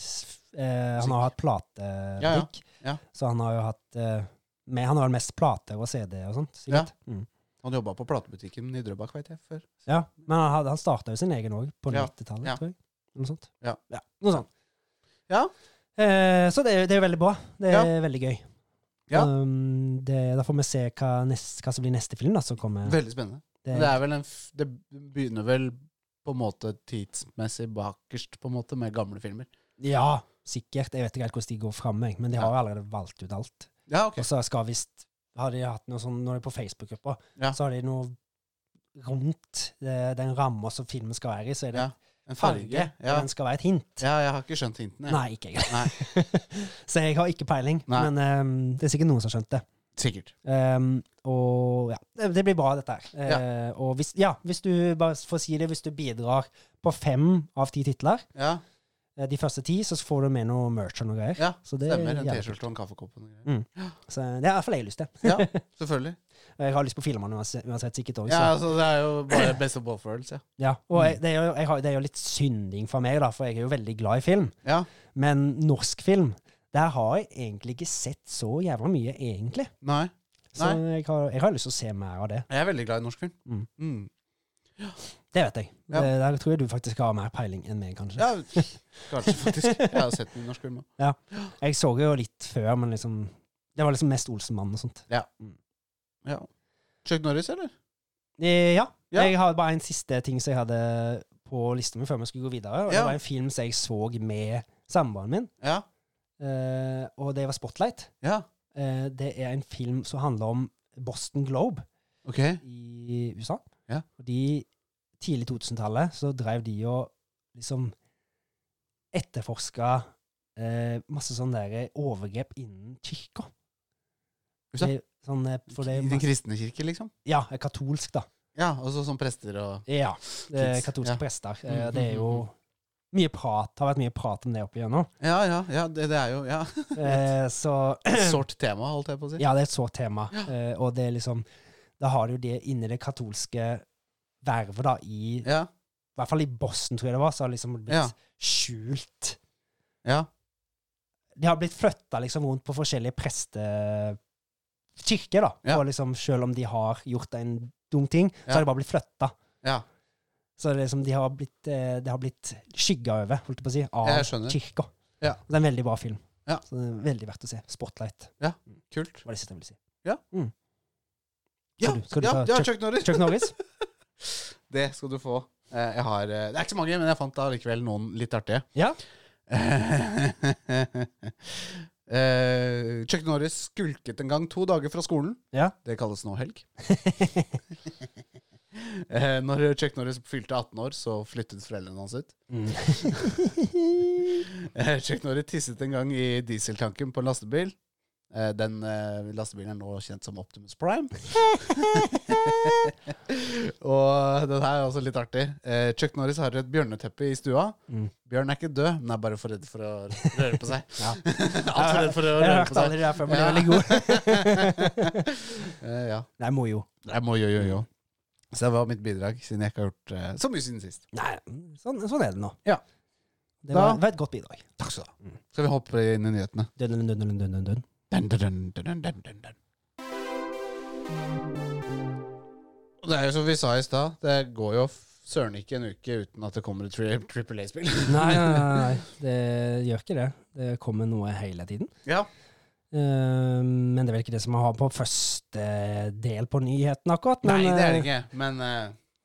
eh, Han har hatt platebutikk, Ja, ja. så han har jo hatt eh, med, Han har vel mest plater og CD og sånt, sikkert. Mm. Han jobba på platebutikken i Drøbak, veit jeg. Før. Ja, men han, hadde- han starta jo sin egen òg, på Ja, 90-tallet, ja. tror jeg. Noe sånt. Ja. noe sånt. Ja. Eh, så det, er- det er jo veldig bra. Det Ja. er veldig gøy. Ja. Um, det, da får vi se hva, nest, hva som blir neste film, da, som kommer. Veldig spennende. Det, Men Det, er vel en, f- det begynner vel på en måte tidsmessig bakerst på en måte med gamle filmer. ja, sikkert. Jeg vet ikke helt hvordan de går fram, jeg, men de har jo allerede valgt ut alt. Ja, ok. Og så skal visst har de hatt noe sånn, Når de er på Facebook-gruppa, Ja. så har de noe rundt eh, den ramma som filmen skal være i, så er det Ja, En en farge. farge. Ja. og Den skal være et hint. ja, jeg har ikke skjønt hintene. jeg. Nei, ikke jeg. så jeg har ikke peiling, Nei. men eh, det er sikkert noen som har skjønt det. Sikkert. Ehm, og ja, det- det blir bra, dette her. Eh, Og hvis, ja, hvis du bare får si det, hvis du bidrar på fem av ti titler, Ja, eh, de første ti, så får du med noe merch og noe greier. ja. Så det er Stemmer. En jævlig T-skjorte og en kaffekopp. og noe greier. Så eh, det har i hvert fall jeg lyst til. Ja, selvfølgelig. Jeg har lyst på filmene uansett, uansett sikkert òg. Ja, altså, det er jo bare best of both worlds, ja. Ja, og Mm. jeg, det, er jo, jeg har, det er jo litt synding for meg, da, for jeg er jo veldig glad i film. ja. Men norsk film, der har jeg egentlig ikke sett så jævla mye, egentlig. Nei. Så jeg har, jeg har lyst til å se mer av det. Jeg er veldig glad i norsk film. Mm. Mm. Det vet jeg. Ja. Det, der tror jeg du faktisk har mer peiling enn meg, kanskje. Ja, kanskje, faktisk. Jeg har sett mye norsk film òg. Jeg så jo litt før, men liksom Det var liksom mest Olsenmannen og sånt. Ja. Chuck Norris, eller? Eh, ja. Ja. Jeg har bare en siste ting som jeg hadde på lista mi før vi skulle gå videre. Og Ja. Det var en film som jeg så med samboeren min, Ja. eh, og det var Spotlight. ja. Eh, det er en film som handler om Boston Globe Ok. i USA. Ja. Og de tidlig 2000-tallet så drev de og liksom etterforska eh, masse sånne der overgrep innen kirka. Usa? Det- Sånn, eh, for det I er den masse, kristne kirke, liksom? ja, eh, katolsk, da. Ja, og så som prester og Ja, eh, Kids, katolske ja. Mm, prester. Eh, det er jo mye prat, har vært mye prat om det opp igjennom. Ja, ja, ja, det, det er jo ja. Eh, så Sårt tema, holdt jeg på å si. Ja, det er et sårt tema. Eh, og det er liksom Da har du det inni det katolske vervet, da, i Ja, I hvert fall i Boston, tror jeg det var, så har det liksom blitt Ja. skjult. ja, De har blitt flytta liksom rundt på forskjellige prestekirker, da. Ja. Og liksom, selv om de har gjort en dum ting, Ja. så har de bare blitt flytta. ja. Så det er liksom, de har blitt, eh, det har blitt skygga over, holdt jeg på å si, av Jeg skjønner. kirka. Ja. Det er en veldig bra film. Ja. Så det er veldig verdt å se. Spotlight, Kult. var det siste jeg ville si. Ja, du- skal du ja, ta ja Chuck- Chuck Norris! Chuck Norris. Det skal du få. Eh, Jeg har, eh, det er ikke så mange, men jeg fant da likevel noen litt artige. Ja. Eh, Chuck Norris skulket en gang to dager fra skolen. Ja. Det kalles nå helg. Eh, Når Chuck Norris fylte 18 år, så flyttet foreldrene hans ut. Mm. Eh, Chuck Norris tisset en gang i dieseltanken på en lastebil. Eh, Den eh, lastebilen er nå kjent som Optimus Prime. og den her er også litt artig. Eh, Chuck Norris har et bjørneteppe i stua. Mm. Bjørn er ikke død, men er bare for redd for å røre på seg. Ja. Altfor redd for å Jeg har røre hørt på seg. aldri det der før, men det er Ja. veldig god. Eh, ja. Nei, må jo. Jeg må jo, jo, jo. Så det var mitt bidrag, siden jeg ikke har gjort eh, så mye siden sist. Nei, sånn, sånn er det nå. Ja. Det var, Da- var et godt bidrag. Takk skal du ha. Skal vi hoppe inn i nyhetene? Dun, dun, dun, dun, dun, dun, dun. Dun, dun, dun, dun, dun, dun, dun, dun. Og Det er jo som vi sa i stad, det går jo f- søren ikke en uke uten at det kommer et tri Triple A-spill. Nei, nei, nei, nei, det gjør ikke det. Det kommer noe hele tiden. Ja. Eh, men det er vel ikke det som jeg har på første del på nyheten akkurat. Nei, Men det er det eh, ikke, men eh,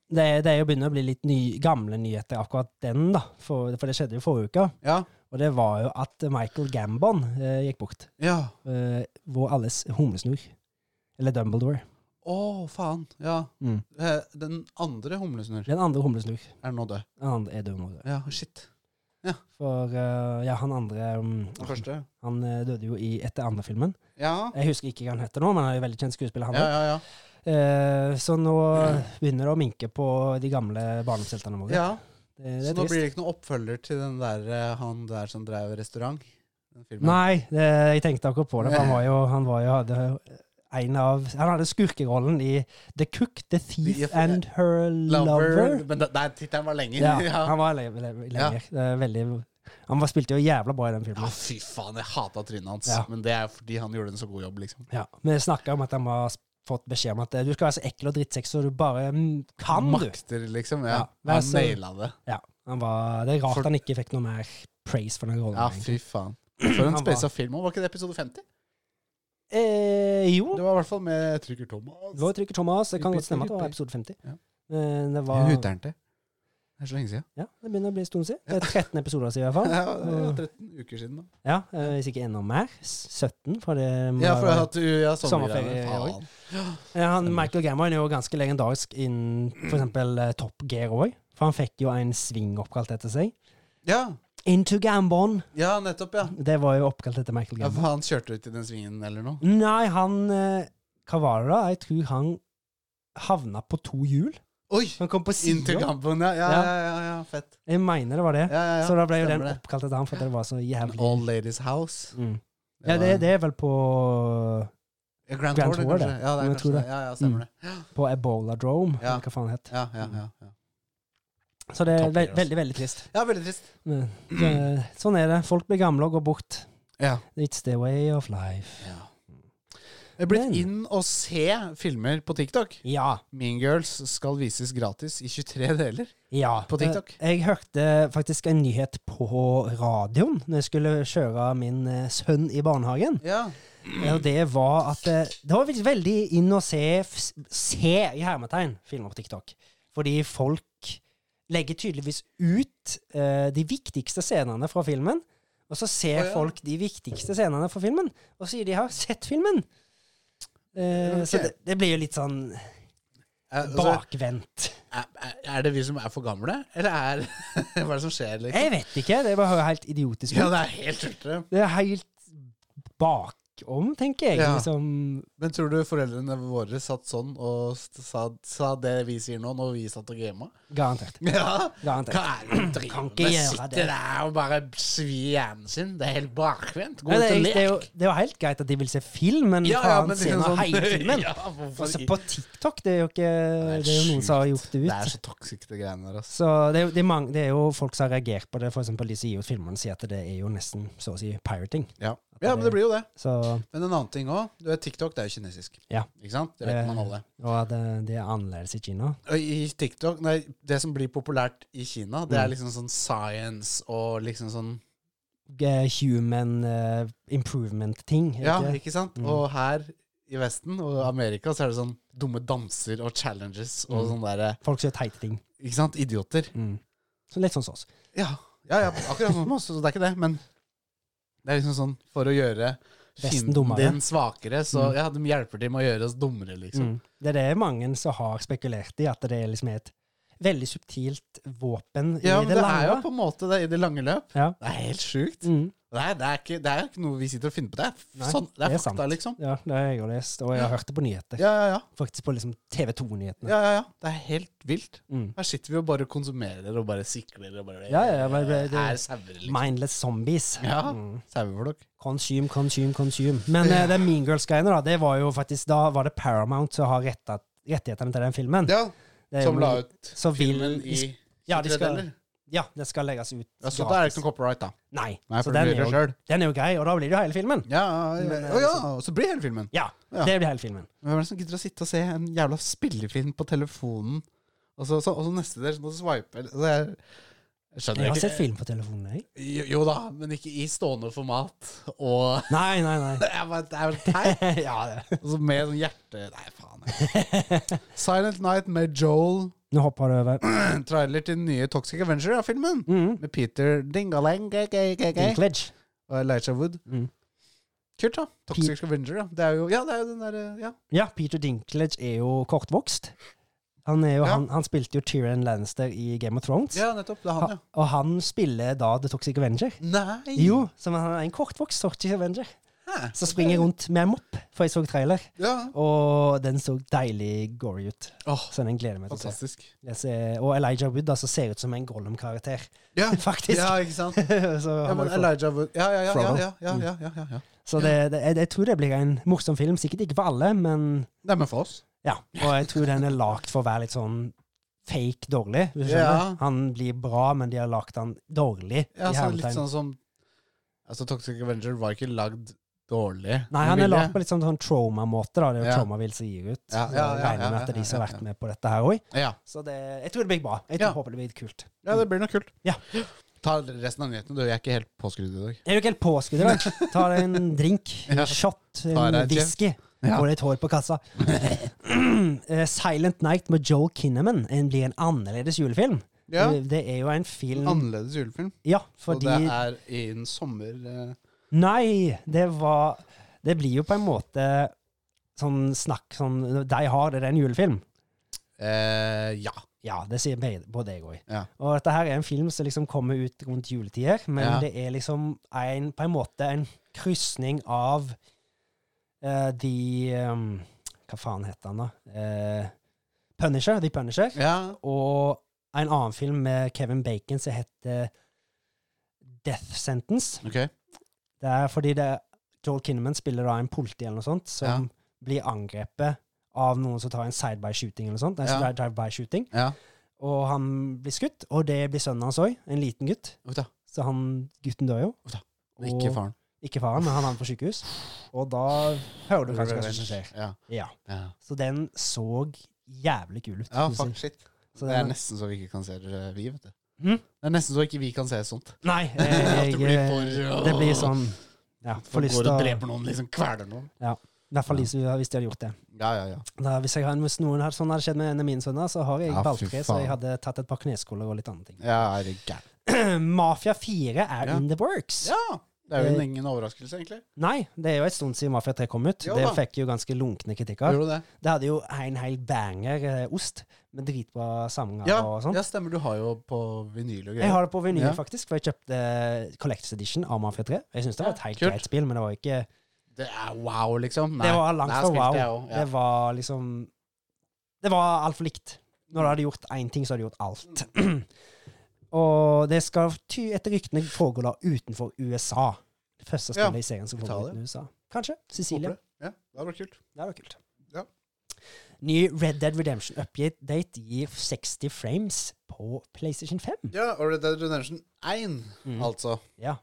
det, det er jo begynner å bli litt ny, gamle nyheter akkurat den, da. For, for det skjedde jo forrige uke. ja. Og det var jo at Michael Gambon eh, gikk bort. Ja. Eh, vår alles humlesnurr. Eller Dumbledore. Å, faen. Ja. Mm. Eh, Den andre humlesnurr Den andre humlesnurr. er nå død. Den andre er død nå. Ja, shit. For eh, ja, han andre mm, Den første. Han eh, døde jo i etter andre filmen. Ja. Jeg husker ikke hva han heter nå, men han er jo veldig kjent skuespiller. han Ja, også. ja, ja. Eh, Så nå begynner det å minke på de gamle barndomsheltene våre. ja. Det, det Så er nå trist. blir det ikke noen oppfølger til den der eh, han der som drev restaurant? Den filmen. Nei, det, jeg tenkte akkurat på det. For han var jo, han var jo hadde en av, han hadde skurkerollen i The Cook, The Thief The- and Her Lover. Lover. Men da- der tittelen var lenger. Ja, ja. han var le- le- Ja. lenger. Det er Veldig, han var, spilte jo jævla bra i den Ja, filmen. Ah, fy faen, jeg hata trynet hans. Ja. Men det er fordi han gjorde en så god jobb, liksom. Ja. Vi snakka om at han var fått beskjed om at eh, du skal være så ekkel og drittsekk så du bare mm, kan, du. Makter, liksom. Ja. Ja, vær han så- naila det. Ja, han var, det er rart For- han ikke fikk noe mer praise for den rollen. Ja, egentlig. fy faen. For en var- space of film. Var ikke det episode 50? eh, jo, Det var i hvert fall med jeg Trykker Thomas. det var Trykker Thomas. Det kan godt stemme at det var Jippi, episode 50. Ja. Men det var Jeg huter den til. Det er så lenge siden. Ja, det begynner å bli en stund siden. Det er 13 episoder siden, i hvert fall. Ja, det var 13 uker siden, da. Ja, eh, Hvis ikke enda mer. s- 17, for det må Ja, for være- at du ja, sommerferie. Sommerferie, Faen. Ja, Eh, han, Michael Gammon er jo ganske legendarisk eh, innen f.eks. Top Gear òg. For han fikk jo en sving oppkalt etter seg. Ja. Into Gambon. Ja, nettopp, ja. Det var jo oppkalt etter Michael ja Gambon. for han kjørte ut i den svingen eller noe. Nei, han eh, Hva var det, da? Jeg tror han havna på to hjul. Oi! Han kom på Inn til sida. kampen, ja. Ja, Ja. ja, ja, ja. Fett. Jeg mener det var det. Ja, ja, ja. Så da ble jo den Stemmer det. oppkalt etter han, for det var så jævlig Old Ladies House. mm. Ja, det, det er vel på, Ja, Grand, Tour, Grand det, Tour, kanskje. Ja, det. det er Jeg kanskje tror det. det. Ja, ja, stemmer Mm. det. på Ebola Drome, Ja. eller hva faen det het. Ja, ja, ja, ja. Så det er Topp, ve det, altså. veldig, veldig trist. ja, veldig trist. Men, det, sånn er det. Folk blir gamle og går bort. Ja. It's the way of life. ja. Jeg er blitt Men- inn og se filmer på TikTok. Ja. Mean Girls skal vises gratis i 23 deler. Ja. På TikTok? Eh, Jeg hørte faktisk en nyhet på radioen når jeg skulle kjøre min eh, sønn i barnehagen. Ja. Mm. Eh, Og det var at eh, Det var faktisk veldig inn å se f- Se i hermetegn filmer på TikTok. Fordi folk legger tydeligvis ut eh, de viktigste scenene fra filmen. Og så ser Å, ja. folk de viktigste scenene fra filmen, og sier de har sett filmen. Eh, Så Ok. det, det blir jo litt sånn Eh, Altså, bakvendt. er, er- er det vi som er for gamle, eller er Hva er det som skjer, liksom? Jeg vet ikke. Det var jo helt idiotisk. ut. Ja, det er helt tullete. Det er helt bakom, tenker jeg. Ja. Liksom. Men tror du foreldrene våre satt sånn og st- sa, sa det vi sier nå, når vi satt og gama? Garantert. Ja! Garantert. Hva er det du driver Kan med? ikke gjøre Sitter det. der og bare svir hjernen sin? Det er helt bakvendt. Gå Nei, ut det, er, og det, er jo, lek. det er jo helt greit at de vil se film, men faen, se nå hele liksom filmen. sånn- ja, hvorfor Altså, i- på TikTok det er jo ikke er Det er jo noen som har gjort det Det er ut. så toxic, de greiene der. Altså. Så det er, jo- det, er mange, det er jo folk som har reagert på det. For eksempel de som gir ut filmene, sier at det er jo nesten så å si pirating. Ja. ja, men det blir jo det. Så, Men en annen ting òg. TikTok det er jo kinesisk. Ja. Ikke sant? Det vet Eh. man alle. og at eh, det er annerledes i Kina. Og I TikTok, nei, Det som blir populært i Kina, det er Mm. liksom sånn science og liksom sånn Eh, Human eh, improvement-ting. er det Ja, ikke det? ikke sant? Mm. Og her i Vesten og Amerika så er det sånn dumme danser og challenges og Mm. sånne derre Folk som gjør teite ting. Ikke sant? Idioter. Mm. Så litt sånn som oss. Ja, ja, ja akkurat sånn som oss, så det er ikke det. Men det er liksom sånn for å gjøre Vesten fienden dummere. din svakere, så Mm. ja, de hjelper til med å gjøre oss dummere, liksom. Mm. Det er det mange som har spekulert i, at det er liksom et veldig subtilt våpen Ja, i men det det er jo lange. på en måte det i det lange løp. Ja. Det er helt sjukt. Mm. Det er, det, er ikke, det er ikke noe vi sitter og finner på. Det er, f- Nei, sånn, det er, det er fakta, sant. liksom. ja, det har jeg jo lest, og jeg har hørt det på nyheter. Ja, ja, ja. Faktisk på liksom TV 2-nyhetene. ja, ja, ja. Det er helt vilt. Mm. Her sitter vi og bare konsumerer og bare sikler og bare Ja, ja, ja, men det- det- Er sauer, liksom. Mindless zombies. Ja. Mm. Saueflokk. Consume, consume, consume. Men eh, den Mean Girls-greiene, da, det var jo faktisk Da var det Paramount som har retta rettighetene til den filmen. Ja, Det er som jo- la ut Eh, så vil- filmen i Ja, de 23 skal- deler. Ja, det skal legges ut. Ja, så da er det gratis. ikke noe copyright, da. Nei, Nei, så for den du er, gjør det jo, sjøl. den er jo grei, og da blir det jo hele filmen. Ja, Men, ja, eh, Å ja, og så blir hele filmen. Ja, Ja. det blir hele filmen. Hvem er det som gidder å sitte og se en jævla spillefilm på telefonen, og så, så, og så neste del, så må du swipe eller- altså, jeg, jeg skjønner Jeg har ikke. sett film på telefonen, jeg. Jo, jo da, men ikke i stående format. Og Nei, nei, nei. det er bare det er bare teit. ja, det. Og så med sånn hjerte Nei, faen. jeg. Silent Night med Joel. Nå hopper du over. En trailer til den nye Toxic Avenger-filmen. Mm. Med Peter Dingaleng gay, gay, gay, gay, Dinklage. og Elijah Wood. Mm. Kult, da. Toxic Avenger, ja. Det er jo, ja, det er jo den derre ja. Ja, Peter Dinklage er jo kortvokst. Han, er jo, Ja. han, han spilte jo Tyrion Lannister i Game of Thrones. ja, nettopp. Det er Ha, han, ja. og han spiller da The Toxic Avenger. Nei! Jo, som han er en kortvokst Toxic Avenger. Hæ? Så springer jeg rundt med en mopp, for jeg så trailer. Ja. Og den så deilig gory ut. Åh, Så den gleder jeg meg til å se. fantastisk. Jeg ser- Og Elijah Wood altså, ser ut som en Gollum-karakter, Ja, faktisk. ja ikke sant? så, Ja, han men var jo flott. Elijah Wood Ja, ja, ja. ja, Frodo. ja, ja, ja, ja, ja, ja. så det, det, jeg, jeg tror det blir en morsom film. Sikkert ikke for alle, men Nei, men for oss. Ja, og jeg tror den er lagd for å være litt sånn fake dårlig. Hvis du Ja. skjønner. Han blir bra, men de har lagd han dårlig. Ja, i så hermetegn. litt sånn som Altså, Toxic Avenger var ikke lagd dårlig. Nei, med han er vilje. lagd på litt sånn, sånn trauma-måte. da, Det er jo Ja. trauma vil si ut. Ja, ja, Så jeg ja, regner ja, med at det er ja, de som har ja, vært med på dette her òg. Ja. Så det, jeg tror det blir bra. Jeg tror, Ja. håper det blir kult. ja, det blir noe kult. Ja. Ta resten av nyhetene, du. Jeg er ikke helt påskrudd i dag. Er du ikke helt påskudd i dag? Ta deg en drink, en Ja. shot, Ta en deg en whisky. Ja. Og litt hår på kassa. Eh, Silent Night med Joel Kinnaman en- blir en annerledes julefilm. Ja. Eh, Det er jo en film Annerledes julefilm. Ja, Og fordi det er innen sommer eh, Nei, det var Det blir jo på en måte sånn snakk sånn De har det, det er en julefilm. eh, Ja. Ja, det sier meg- både jeg òg. Ja. Og dette her er en film som liksom kommer ut rundt juletider, men Ja. det er liksom en, på en måte en krysning av eh, de ehm, Hva faen heter han, da? Eh, Punisher. The Punisher. Ja. Og en annen film med Kevin Bacon som heter Death Sentence. OK. Det er fordi det Joel Kinnaman spiller da en politi eller noe sånt, som Ja. blir angrepet av noen som tar en side-by-shooting eller noe sånt. Nei, Ja. drive-by-shooting. Ja. Og han blir skutt, og det blir sønnen hans òg, en liten gutt. Uff da. Så han gutten dør jo. Uff da. Ikke faren. Ikke faren, men han havner på sykehus. Og da hører du kanskje hva som skjer. Ja. Ja. Ja. Så den så jævlig kul ut. ja, synes jeg. fuck shit. Så Det er den- nesten så vi ikke kan se det, vi, vet du. Mm? Det er nesten så ikke vi kan se sånt. Nei, eh, At jeg, det blir for- det blir sånn Ja, får Folk lyst går til å og I dreper noen, liksom kveler noen. hvert fall hvis hvis de hadde gjort det. Ja, ja, ja. Da, hvis, jeg, hadde- hvis noen hadde, sånn hadde skjedd med en av mine sønner, så har jeg Ja, fy valgfri, så faen. jeg hadde tatt et par kneskoler og litt andre ting. Ja, er det gærent? Mafia 4 er Ja. in the works. Ja! Det er jo ingen overraskelse, egentlig. Nei, det er jo en stund siden Mafia 3 kom ut. Jo det da. fikk jo ganske lunkne kritikker. Gjorde du det? Det hadde jo en hel banger eh, ost, med dritbra sanger Ja, og sånn. ja, stemmer. Du har jo på vinyl og greier. Jeg har det på vinyl, Ja. faktisk, for jeg kjøpte eh, Collectors Edition av Mafia 3. Jeg syns det var et helt kult. greit spill, men det var ikke Det er wow, liksom. Det var langt der fra spilte jeg wow. også, Det var liksom Det var altfor likt. Når du hadde gjort én ting, så hadde du gjort alt. Og det skal ty etter ryktene foregå da utenfor USA. Det første Ja. spillet i serien som foregår Italia. utenfor USA. Kanskje. Sicilia. Håper det. Ja, det hadde vært kult. Det var kult. Ja. Ny Red Dead Redemption update gir 60 frames på PlayStation 5. Ja, og Red Dead Redemption 1, Mm. altså. Ja.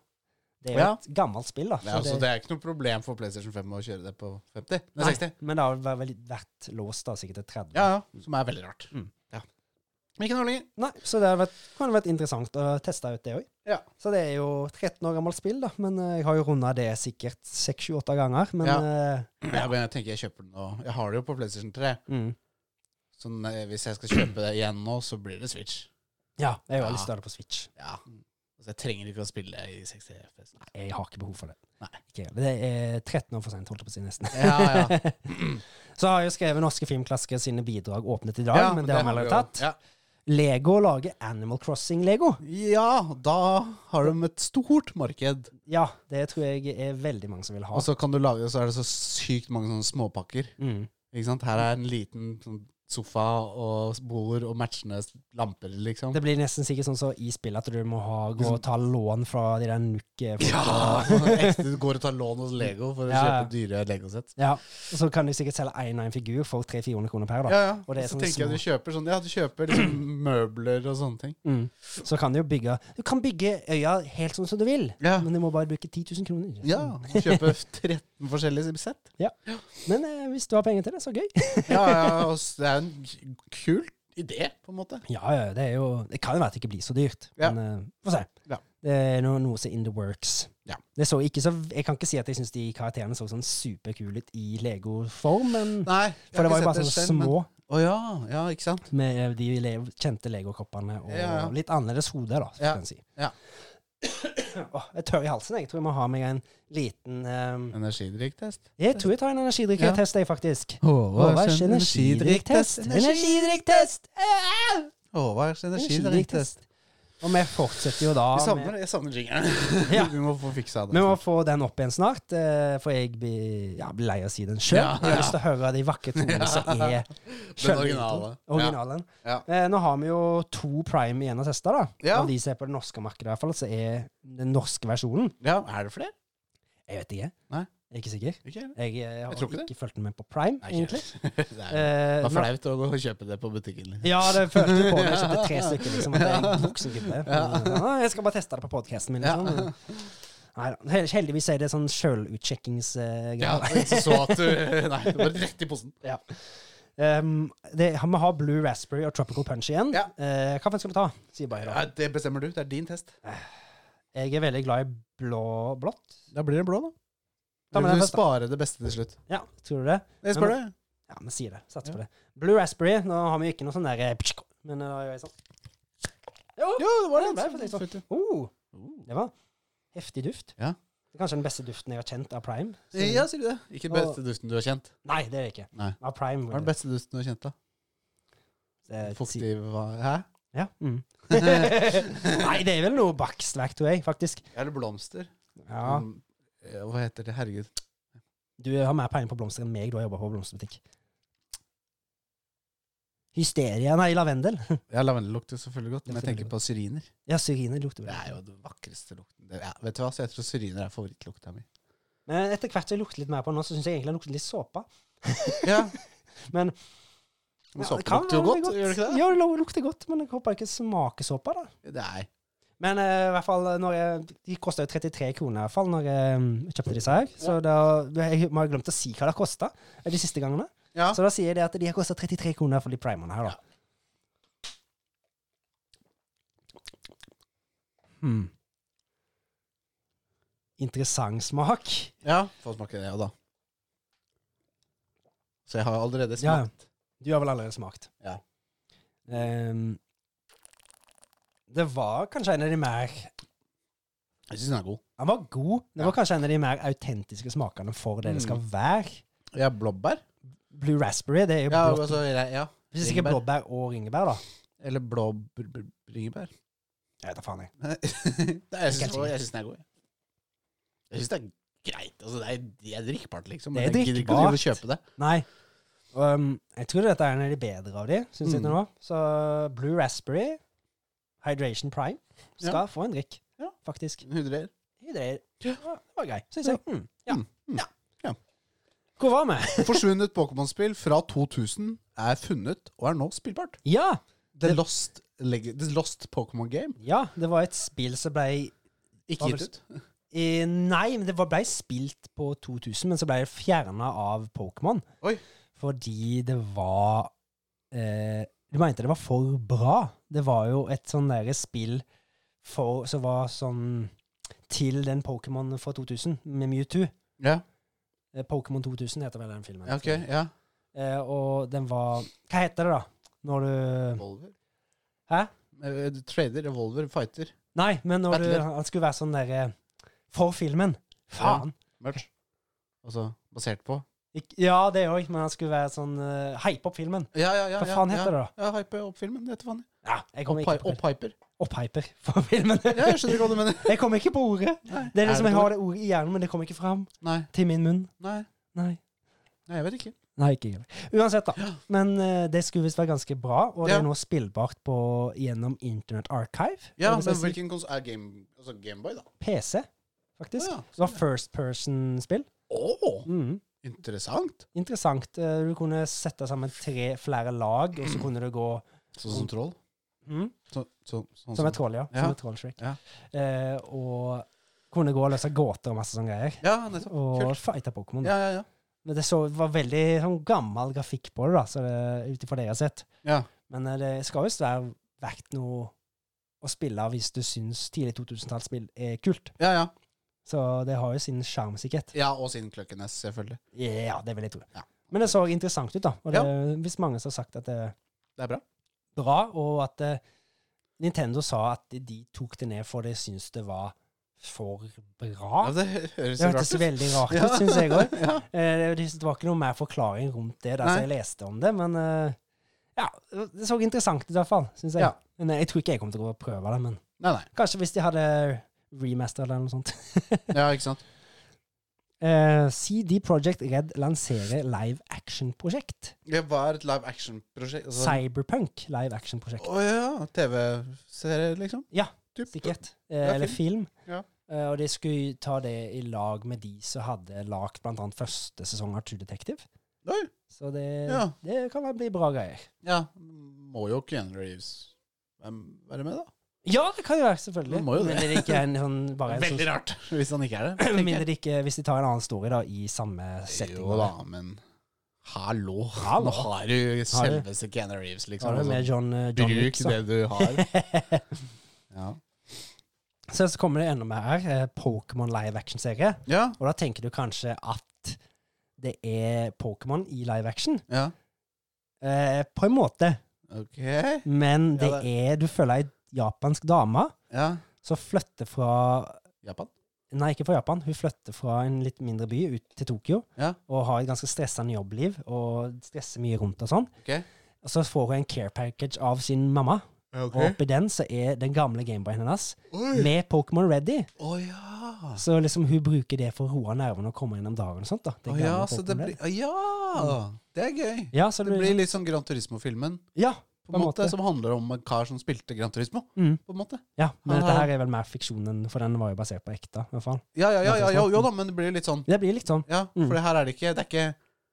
Det er jo Ja. et gammelt spill, da. Det er, altså. Det er ikke noe problem for PlayStation 5 å kjøre det på 50. Nei, 60. Men det har vel vært- vært låst da, sikkert til 30. Ja, ja. Som er veldig rart. Mm. Ja. Men ikke noe lenger. Nei, så det har vært, kan vært interessant å teste ut det òg. Ja. Så det er jo 13 år gammelt spill, da. Men eh, jeg har jo runda det sikkert 6-7-8 ganger. Men Ja. eh, Jeg, men jeg tenker jeg kjøper den nå. Jeg har det jo på PlayStation 3. mm. Så når- hvis jeg skal kjøpe det igjen nå, så blir det Switch. ja, jeg har Ja. lyst til å ha det på Switch. Ja. Altså, jeg trenger ikke å spille i 60 FPS. Nei. Jeg har ikke behov for det. Nei. Ikke, jeg. det er 13 år for sent, holdt jeg på å si, nesten. Ja, ja. Så har jeg jo skrevet norske filmklassikere sine bidrag åpnet i dag, ja, men det har vi allerede tatt. Ja. Lego lager Animal Crossing-lego. ja, da har de et stort marked. Ja, det tror jeg er veldig mange som vil ha. Og så kan du lage, så er det så sykt mange sånne småpakker. Mm. Ikke sant? Her er en liten sånn sofa og bord og matchende lamper, liksom. Det blir nesten sikkert sånn så i spillet at du må ha, gå og ta lån fra de der eh, nukke Ja! Ekte, du går og tar lån hos Lego for å Ja, ja. kjøpe dyre Lego-sett. Ja, og så kan du sikkert selge én og én figur for 300-400 kroner per. da. Ja, ja. Og det er så sånne tenker jeg små- du kjøper sånn Ja, du kjøper liksom møbler og sånne ting. Mm. Så kan du jo bygge Du kan bygge øya helt sånn som du vil, Ja. men du må bare bruke 10 000 kroner. ja. du Kjøper 13 forskjellige sett. Men eh, hvis du har penger til det, så gøy. Ja, ja, og s- det er en k- kul idé, på en måte. Ja, ja, det er jo Det kan jo være at det ikke blir så dyrt, Ja. men eh, få se. Ja. Det er noe, noe som er in the works. Ja. Det så ikke så, jeg kan ikke si at jeg syns de karakterene så sånn superkule ut i Lego-form, men Nei, jeg For har det var ikke jo bare sett sånn selv, men- små Å ja, ja, ikke sant? med de le kjente legokoppene og Ja, ja. litt annerledes hode, da, skal Ja, en si. ja. Åh, jeg er tørr i halsen. Jeg tror jeg må ha meg en liten eh, Energidrikktest. Jeg tror jeg tar en energidrikktest, jeg, faktisk. Håvards Håvards energidrikktest. Energidrikktest! Ah! Håvards energidrikktest. Energidrikktest. Og vi fortsetter jo da Jeg med savner, jeg savner jingeren. Ja. Vi må få fiksa det. vi må få den opp igjen snart, eh, for jeg blir, ja, blir lei av å si den sjøl. Ja, Jeg har lyst til å høre de vakre tonene som er Den skjønne originale. originalen. Ja. Eh, nå har vi jo to prime igjen å teste, da. Ja. Av de som er på det norske markedet, i hvert fall, så er den norske versjonen Ja, er det flere? Jeg vet ikke. Nei. Jeg er ikke sikker. Ikke? Jeg, eh, har tror ikke ikke, det. fulgt med på prime, Nei, ikke. egentlig. Det er Eh, det var nå- flaut å gå og kjøpe det på butikken. liksom. ja, det følte du på når jeg kjøpte tre stykker. liksom, at Jeg er en voksen gubbe. eh, Ja, jeg skal bare teste det på podkasten min. Ja. liksom. Neida. Hel- heldigvis er det sånn sjølutsjekkingsgreier. Ja, så så at du Nei, det var rett i posen. um, det, vi har Blue Raspberry og Tropical Punch igjen. Ja. Eh, hva faen skal vi ta? Sier bare da. Ja, det bestemmer du. Det er din test. Jeg er veldig glad i blå blått. Da blir det blå, da. Ta med vil den du først, da. spare det beste til slutt. Ja, tror du det? Jeg spør deg. Ja, vi sier det. Satser Ja. på det. Blue Raspberry. Nå har vi jo ikke noe sånn der eh, psk, Men eh, da gjør jeg sånn. Jo! Jo, det var Ja, det det. ble faktisk Fint, Oh, ja. det var heftig duft. Ja. Det er kanskje den beste duften jeg har kjent av Prime. Så- Ja, sier du det? Ikke den beste dusten du har kjent. Nei, det er det ikke. Nei. Av Prime. Hva er den beste dusten du har kjent, da? Eh, Det er si- Fuktig var Hæ? Ja. Mm. Nei, det er vel noe bakstverk, tror jeg, faktisk. Eller blomster. Ja. Mm, eh, Hva heter det? Herregud. Du har mer peiling på blomster enn meg, du har jobba på blomsterbutikk. Hysteria Nei, lavendel. Ja, Lavendel lukter selvfølgelig godt, men jeg Selvfølgelig tenker på syriner. Ja, syriner lukter Det vel. er jo den vakreste lukten. Det- Ja, vet du hva, så jeg tror syriner er favorittlukta mi. Men etter hvert som jeg lukter litt mer på den, nå, så syns jeg egentlig den lukter litt såpe. Ja, Men men Ja, Såpe det kan lukter jo være godt, gjør det ikke det? Ja, det lu- lukter godt, men jeg håper ikke smaker såpe, da. Nei. Men eh, i hvert fall, når jeg, de kosta jo 33 kroner i hvert fall når jeg mm, kjøpte disse her. Så da, jeg må ha glemt å si hva det kosta de siste gangene. Ja. Så da sier jeg det at de har kosta 33 kroner for de primerne her, da. Hmm. Interessant smak. ja, få smake det, ja da. Så jeg har allerede Ja, smakt. Du har vel allerede smakt? Ja. Ehm, det var kanskje en av de mer Jeg syns den er god. Den var god. Det var kanskje en av de mer autentiske smakene for det det skal Mm. være. Ja, blåbær? Blue raspberry, det er jo Ja, blått. altså, ja, ja. Hvis ikke ringebær. blåbær og ringebær, da. Eller blå br- br- bringebær. Jeg vet da faen, jeg. Nei, jeg Ikke helt syns sikkert. jeg syns den er god. jeg. Jeg syns det er greit. Altså, det er, det er drikkbart, liksom. Det Men er jeg gidder ikke å drive og drikkbart. kjøpe det. Nei. Um, jeg tror dette er en av de bedre av de, syns jeg Mm. nå. Så Blue Raspberry, Hydration Prime, skal Ja. få en drikk, Ja. faktisk. Hydrer. Hydrer. Det var det var grei, syns jeg. Mm. Ja. Mm. Mm. ja. Ja. Hvor var vi? Forsvunnet Pokémon-spill fra 2000 er funnet og er nå spillbart. Ja. The Det- Lost, Leg The Lost Pokémon Game. ja! Det var et spill som ble Ikke Hva gitt ut. Eh, nei, men det var- ble spilt på 2000, men så ble det fjerna av Pokémon. Oi. Fordi det var eh, De mente det var for bra. Det var jo et sånn derre spill for, som var sånn til den Pokémon fra 2000, med Mewtwo. Ja, Eh, Pokémon 2000 heter vel den filmen. ja, ok. Ja. eh, og den var Hva heter det, da? Når du Revolver. Hæ? Eh, du Trader, revolver, fighter. Nei, men når du, Battler. han skulle være sånn derre For filmen. Ja. Faen! Merch. Altså basert på Ik ja, det òg, men han skulle være sånn uh, Hype opp filmen. Ja, ja, ja. Hva faen heter det da? Ja, hype opp filmen. Det heter faen. Ja, jeg kommer ikke Opphyper. på ordet. Opphyper for filmen. Ja, jeg skjønner hva du mener. Jeg kommer ikke på ordet. Nei. Det er Er det liksom, Jeg et har det ordet i hjernen, men det kommer ikke fram Nei, til min munn. nei, Nei. nei, jeg vet ikke. Nei, ikke heller. Uansett, da. Men eh, det skulle visst være ganske bra, og det Ja. er nå spillbart på, gjennom Internet Archive. Ja, Det men vil si hvilken konsol er Game, altså Gameboy, da? PC, faktisk. Å, Det var first person-spill. Å, Mm. interessant. Interessant. Eh, Du kunne sette sammen tre, flere lag, og så kunne du gå Sånn som troll? mm, Så, så, sånn Som som et troll, ja. Ja. Som et trollshrek. Ja. Eh, og kunne gå og løse gåter og masse sånne greier. Ja, nettopp. Og Kult. fighte Pokémon. da. Ja, ja, ja. Men det så, var veldig sånn, gammel grafikk på det, da, så det, ut ifra det jeg har sett. ja. Men eh, det skal visst være verdt noe å spille av hvis du syns tidlig 2000-tallsspill er kult. Ja, ja. Så det har jo sin sjarm, sikkert. ja og siden Kløkkenes, selvfølgelig. Ja, det vil jeg tro. Ja. Men det så interessant ut, da. Og det, hvis mange som har sagt at det er Det er bra. bra, og at eh, Nintendo sa at de, de tok det ned for de syntes det var for bra. Ja, det høres Det jo hørtes rart ut. veldig rart Ja. ut, syns jeg òg. Ja. Eh, Det det var ikke noe mer forklaring rundt det der Nei. jeg leste om det, men eh, ja, det så interessant ut i hvert fall, syns jeg. Ja. Men eh, jeg tror ikke jeg kommer til å gå og prøve det, men Nei, nei. kanskje hvis de hadde remasteret eller noe sånt. Ja, ikke sant. Eh, CD Project Red lanserer live action-prosjekt. Det var et live action-prosjekt. altså- Cyberpunk live action-prosjekt. Å ja. TV-serie, liksom? Ja, Typ. Sikkert. Eh, Ja, eller film. Ja. Eh, og de skulle ta det i lag med de som hadde lagd blant annet første sesong av True Detective. Oi. Så det, Ja. det kan vel bli bra greier. Ja. Må jo Keanu Reeves um, være med, da? Ja, det kan jo være, selvfølgelig. Det må jo det. Men det er ikke en sånn bare en sånn, rart hvis han ikke er det. Med tenker mindre jeg. de ikke Hvis de tar en annen story da i samme setting. Jo da, men hallo. Hallo. Nå har du selveste Keanu Reeves, Så liksom. er det med Altså, John, eh, John Bruk Wick, så. det du har. Ja, så så kommer det enda mer her. eh, Pokémon live action-serie. ja. Og da tenker du kanskje at det er Pokémon i live action. ja. Eh, på en måte. Ok. Men det Ja, er Du følger ei japansk dame Ja. som flytter fra Japan? Nei, ikke fra Japan. Hun flytter fra en litt mindre by ut til Tokyo. Ja. Og har et ganske stressende jobbliv og stresser mye rundt og sånn. Ok. Og så får hun en care package av sin mamma. Ok. Og oppi den så er den gamle Gameboyen hennes Oi. med Pokémon Ready. Å ja. Så liksom hun bruker det for å roe nervene og komme gjennom dagen og sånt. da. Det Å gamle ja, så det Pokémon blir Red. Å ja! Det er gøy. Ja, så liksom- Det blir litt sånn Gran Turismo-filmen, Ja, på en måte, som handler om en kar som spilte Gran Turismo. Mm. På en måte. Ja, men Han dette har- her er vel mer fiksjon enn For den var jo basert på ekte, i hvert fall. Ja, ja, ja, ja, ja, Turismo. jo da, men det blir litt sånn Det blir litt sånn Ja, Mm. for det her er det ikke Det er ikke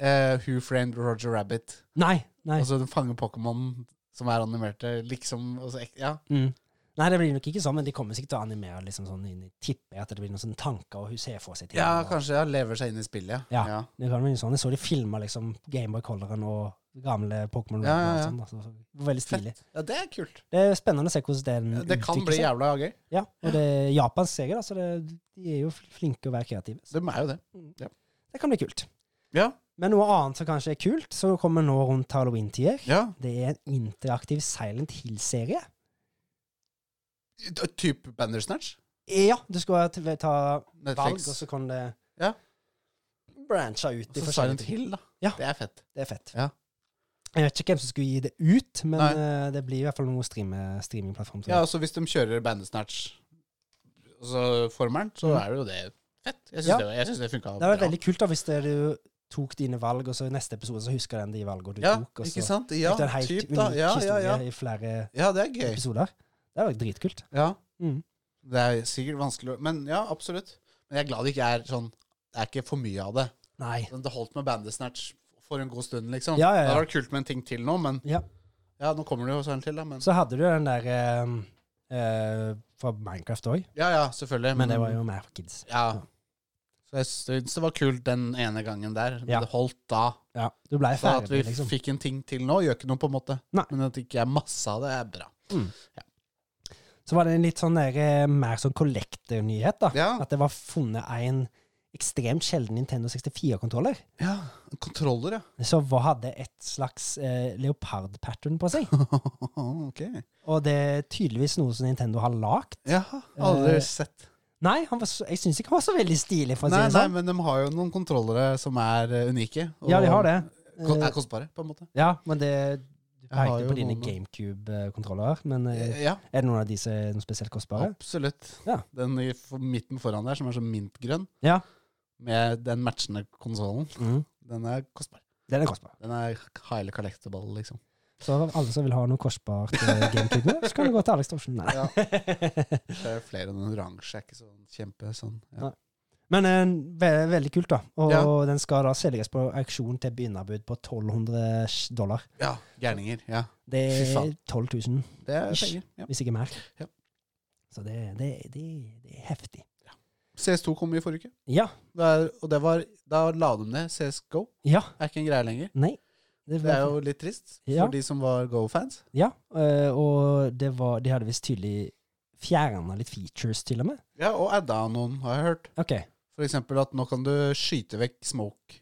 eh, Who Framed Roger Rabbit. Nei! Nei, Altså den fanger Pokémon som er animerte, liksom. og så ek- ja. mm. nei det blir nok ikke sånn, men de kommer sikkert til å animere liksom sånn inn i Tipper jeg at det blir sånn noen sånne tanker, og hun ser for seg ting. ja, og- kanskje ja, lever seg inn i spillet. Ja. ja. Det kan bli sånn. Jeg så de filma liksom Gameboy Color'en og gamle Pokémon Red Ja, ja, ja. og sånn. Altså, så det var veldig stilig. Fett. Ja, det er kult. Det er spennende å se hvordan den Ja, Det kan utvikler bli seg. jævla gøy. Ja, og det er japansk seger, da, så det, de er jo flinke å være kreative. Så De er jo det. det kan bli kult. Ja. Men noe annet som kanskje er kult, som kommer nå rundt halloween-tider, ja. det er en interaktiv Silent Hill-serie. T- Typ Bandersnatch? Ja, du skulle ha t- ta valg, Netflix. og så kan det Ja. branche ut i Så Silent forskjellige ting. Hill, da. Ja. Det er fett. Det er fett. Ja. Jeg vet ikke hvem som skulle gi det ut, men Nei. eh, det blir i hvert fall noe streame, streamingplattform. tror jeg. Ja, altså hvis de kjører Bandersnatch-formelen, så Mm. er jo det fett. Jeg syns Ja. det, jeg synes det funka Det hadde vært veldig kult da hvis det- du tok dine valg, og så i neste episode så husker den de valgene du Ja, tok. Og så ikke sant? Ja, fikk du en helt typ, da. unik Ja, ja, historie ja. i flere ja, det er gøy. episoder. Det hadde vært dritkult. Ja. Mm. Det er sikkert vanskelig å Men ja, absolutt. Men jeg er glad det ikke er sånn Det er ikke for mye av det. Nei. Sånn, Det holdt med Bandersnatch for en god stund, liksom. Ja, ja, Det ja. hadde vært kult med en ting til nå, men Ja. Ja, nå kommer det jo sånn til, da, men Så hadde du den der eh, eh, fra Minecraft òg, Ja, ja, selvfølgelig. men det var jo mer for kids. Ja. Så jeg syns det var kult den ene gangen der, men Ja. det holdt da. Ja, Du blei Så at vi ferdig, liksom. fikk en ting til nå, gjør ikke noe, på en måte. Nei. Men at det ikke er masse av det, er bra. Så var det en litt sånn der, eh, mer sånn collector-nyhet, da. Ja. At det var funnet en ekstremt sjelden Nintendo 64-kontroller. ja. Kontroller, ja. Så hva hadde et slags eh, leopard-pattern på seg. ok. Og det er tydeligvis noe som Nintendo har lagd. Ja, aldri Eh, sett. Nei, han var så, jeg syns ikke han var så veldig stilig, for å si Nei, det nei, sånn. men de har jo noen kontrollere som er eh, unike. ja, de har det. ko- Eh, Er kostbare, på en måte. ja, men det Du Jeg har pekte jo på dine noen- GameCube-kontroller, men eh, Eh, Ja, er det noen av de som er noe spesielt kostbare? absolutt. Ja. Den i f- midten foran der, som er sånn mintgrønn, Ja. med den matchende konsollen, Mm. den er kostbar. Den er kostbar. Den er highly collectable, liksom. Så alle som vil ha noe korsbart eh, GameCube, så kan du gå til Alex Thorsen. Nei. Ja. Det er flere enn oransje, er ikke sånn kjempe sånn. Ja. Nei. Men eh, ve veldig kult, da. Og Ja. den skal da selges på auksjon til begynnerbud på 1200 dollar. ja, gærninger. Ja. Det Fy er faen. 12 000. Det er Ish. penger. Ja. hvis ikke mer. Ja. Så det, det, det, det er heftig. CS2 kom i forrige uke, Ja. det er, og det var, da la de ned CSGO. Ja. Er ikke en greie lenger. Nei. Det Det er jo litt trist for Ja. de som var Go-fans. Ja, eh, og det var, de hadde visst tydelig fjerna litt features, til og med. Ja, og adda noen, har jeg hørt. OK. For eksempel at nå kan du skyte vekk smoke.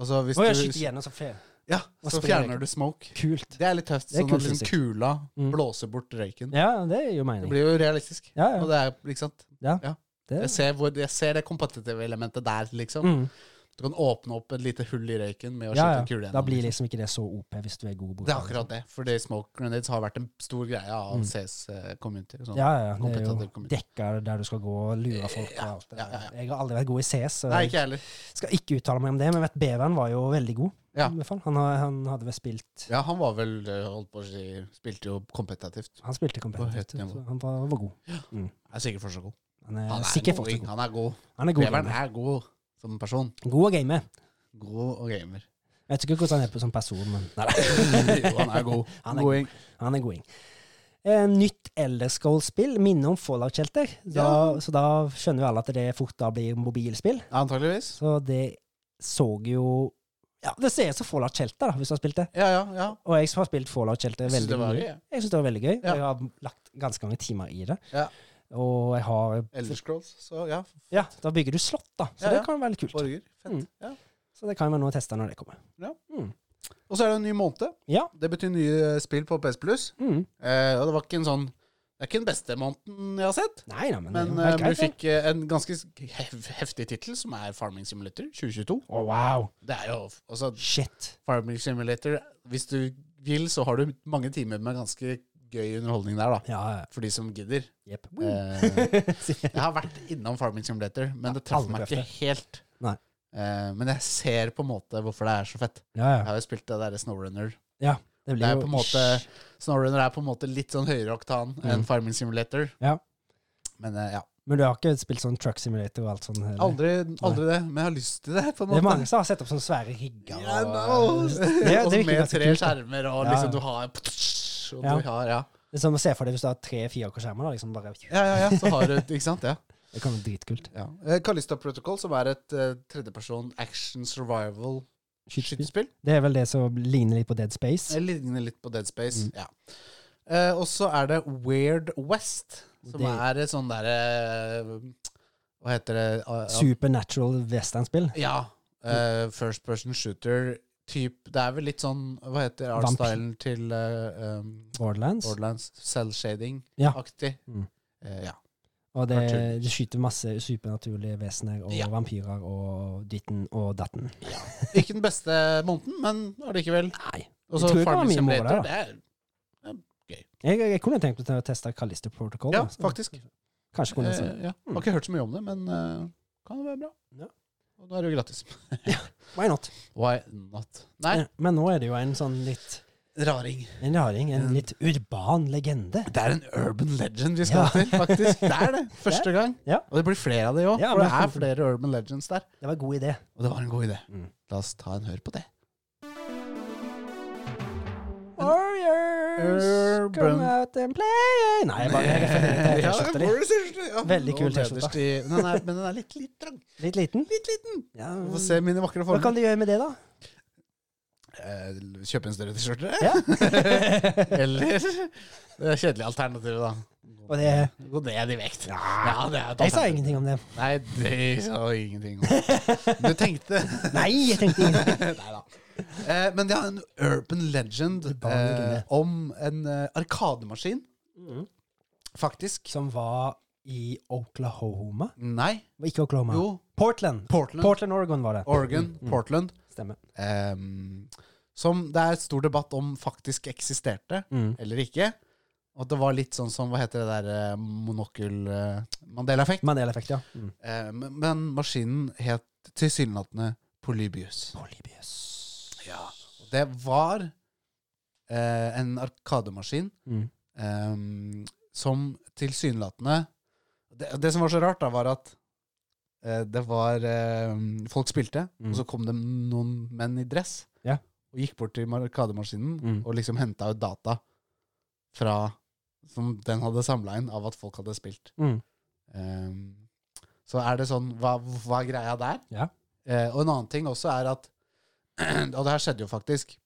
Altså hvis Å, jeg du skyter igjen, og så fer. Ja, Og så sprer fjerner røyken. du smoke. Kult. Det er litt tøft. Det er Sånn kul at liksom fysikk. kula Mm. blåser bort røyken. Ja, det gir jo Det mening. blir jo realistisk. Ja, Og ja. det er, ikke sant? Det, Jeg ser, hvor, jeg ser det kompetitive elementet der, liksom. mm. Du kan åpne opp et lite hull i røyken med å ja, skyte en kule ja. gjennom. Da blir liksom. liksom ikke det så OP hvis du er god Det bruker. er akkurat det. Fordi smoke grenades har vært en stor greie av Mm. CS community. og sånn. Ja, ja. Det er Kompetitive jo community. dekka der du skal gå og lure folk og Ja, alt det ja, ja, der. Jeg har aldri vært god i CS, så Nei, jeg ikke jeg heller. skal ikke uttale meg om det, men jeg vet Beveren var jo veldig god. Ja. i hvert fall. Han, har- han hadde vel spilt Ja, han var vel eh, holdt på å si Spilte jo kompetitivt. Han spilte høyt kompetitivt. nivå. så Han var, var god. Er sikkert fortsatt god. Han er, Han er, sikkert god, fortsatt god. Han er god. Han er god, Beveren gamer. er god som person. god å game. God og gamer. Jeg vet ikke hvordan han er på som person, men nei, nei, jo, han er god. Han er Goding. han er goding. Eh, nytt Elder Scrolls-spill minner om Fallout Shelter. Da, Ja. Så da skjønner jo alle at det fort da blir mobilspill. Antakeligvis. Så det så jo Ja, det ser ut som Fallout Shelter, da, hvis du har spilt det. Ja, ja, ja. Og jeg har spilt Fallout Shelter Jeg synes veldig det var mye. gøy. ja. Jeg syns det var veldig gøy. og Ja. Jeg har lagt ganske mange timer i det. Ja. Og jeg har Elder Scrolls. Så ja, Ja, da bygger du slott, da. Så Ja, ja. det kan være litt kult. borger. Fett. Mm. Ja. Så det kan være noe å teste når det kommer. Og så er det en ny måned. Ja. Det betyr nye spill på PS Plus. Mm. Eh, og det var ikke en sånn Det er ikke den beste måneden jeg har sett, Nei, nei, men, men det er eh, vi greit, det. fikk eh, en ganske hef heftig tittel, som er Farming Simulator 2022. Å, wow. Det er jo altså, Shit. Farming Simulator Hvis du vil, så har du mange timer med ganske gøy underholdning der, da. Ja, ja. For de som gidder. Jepp. Eh, jeg har vært innom Farming Simulator, men det traff aldri meg prøvd ikke helt. Nei. Eh, men jeg ser på en måte hvorfor det er så fett. ja, Jeg ja. har jo spilt det derre Snowrunner. Det det er jo- på en måte- Snowrunner er på en måte litt sånn høyere oktan enn Farming Simulator. Mm. Ja. Men eh, ja, Men du har ikke spilt sånn truck simulator og alt sånt? heller? aldri, aldri det. Men jeg har lyst til det, på en Det er måte. mange som har sett opp sånne svære rigger. og- Ja, no. Det- det Og virker med ganske tre kult, da. skjermer, og Ja, ja. liksom du har Og Ja. du har, ja. Det er som å se for deg hvis du har tre-fire skjermer. da, liksom bare... Ja, ja, ja, så har du Ikke sant? Ja. Det kan være dritkult. ja. Eh, Callisto Protocol, som er et eh, tredjeperson action survival Skytespill. skytespill. Det er vel det som ligner litt på Dead Space. Det ligner litt på Dead Space. Mm. ja. Eh, og så er det Weird West, som Det- er et sånn derre eh, Hva heter det? Ah, ah, Supernatural westernspill. Ja. eh, first person shooter. Typ, det er vel litt sånn Hva heter Vampyr. artstylen til eh, um, Borderlands. Borderlands? Ja. Cell-shading-aktig. Mm. Eh, ja. Og det, Cartoon. det skyter masse supernaturlige vesener og Ja. vampyrer og ditten og datten. Ikke den beste måneden, men allikevel. Nei. Og så tror ikke det var Farming mye mål Simulator. der, Det er, Jeg, jeg, jeg kunne tenkt meg til å teste Callisto Protocol. ja, da, så faktisk. Kanskje kunne jeg Eh, se. ja. Har ikke hørt så mye om det, men eh, kan det være bra. Ja. Og da er det jo gratis. Why not? Why not? Nei, Ja, Men nå er det jo en sånn litt raring. En raring, en litt urban legende. Det er en urban legend vi Ja. skal til, faktisk. Det er det. Første gang. Ja. Og det blir flere av det òg, Ja, for men- det er flere urban legends der. Det var en god idé. Og det var en god idé. Mm. La oss ta en hør på det. Warriors, Urban- come out and play Nei, jeg bare refererer til Ja, T-skjorta di. Warriors t-skjorte, ja. Veldig kul Og nederst t-skjorte. i- Den er- Men den er litt, litt trang. Litt liten? Litt liten. Ja, Du får se mine vakre hva kan former. du gjøre med det, da? Eh, Kjøpe en større T-skjorte. Ja. Eller det er kjedelige alternativet, da. Og det- Gå ned i vekt. Ja, det er et Jeg sa alternativ. ingenting om det. Nei, det sa jeg ingenting om. Du tenkte Nei, jeg tenkte ingenting. Neida. Eh, men det er en urban legend Urban eh, legende. Mm. om en eh, arkademaskin, faktisk. Som var i Oklahoma? Nei. Var Ikke Oklahoma. Jo. Portland. Portland. Portland, Oregon var det. Mm, Oregon. Portland. Stemmer. Ehm, som det er stor debatt om faktisk eksisterte Mm. eller ikke. Og at det var litt sånn som hva heter det der eh, monokkel... eh, Mandela-effekt. Mandela-effekt, ja. Mm. Eh, men, men maskinen het tilsynelatende Polybius. Ja. Og Det var eh, en arkademaskin Mm. eh, som tilsynelatende det, det som var så rart, da, var at eh, det var eh, Folk spilte, Mm. og så kom det noen menn i dress Ja. og gikk bort til arkademaskinen Mm. og liksom henta ut data fra som den hadde samla inn av at folk hadde spilt. Mm. Ehm, så er det sånn Hva, hva er greia der? Ja. Eh, og en annen ting også er at Og det her skjedde jo faktisk.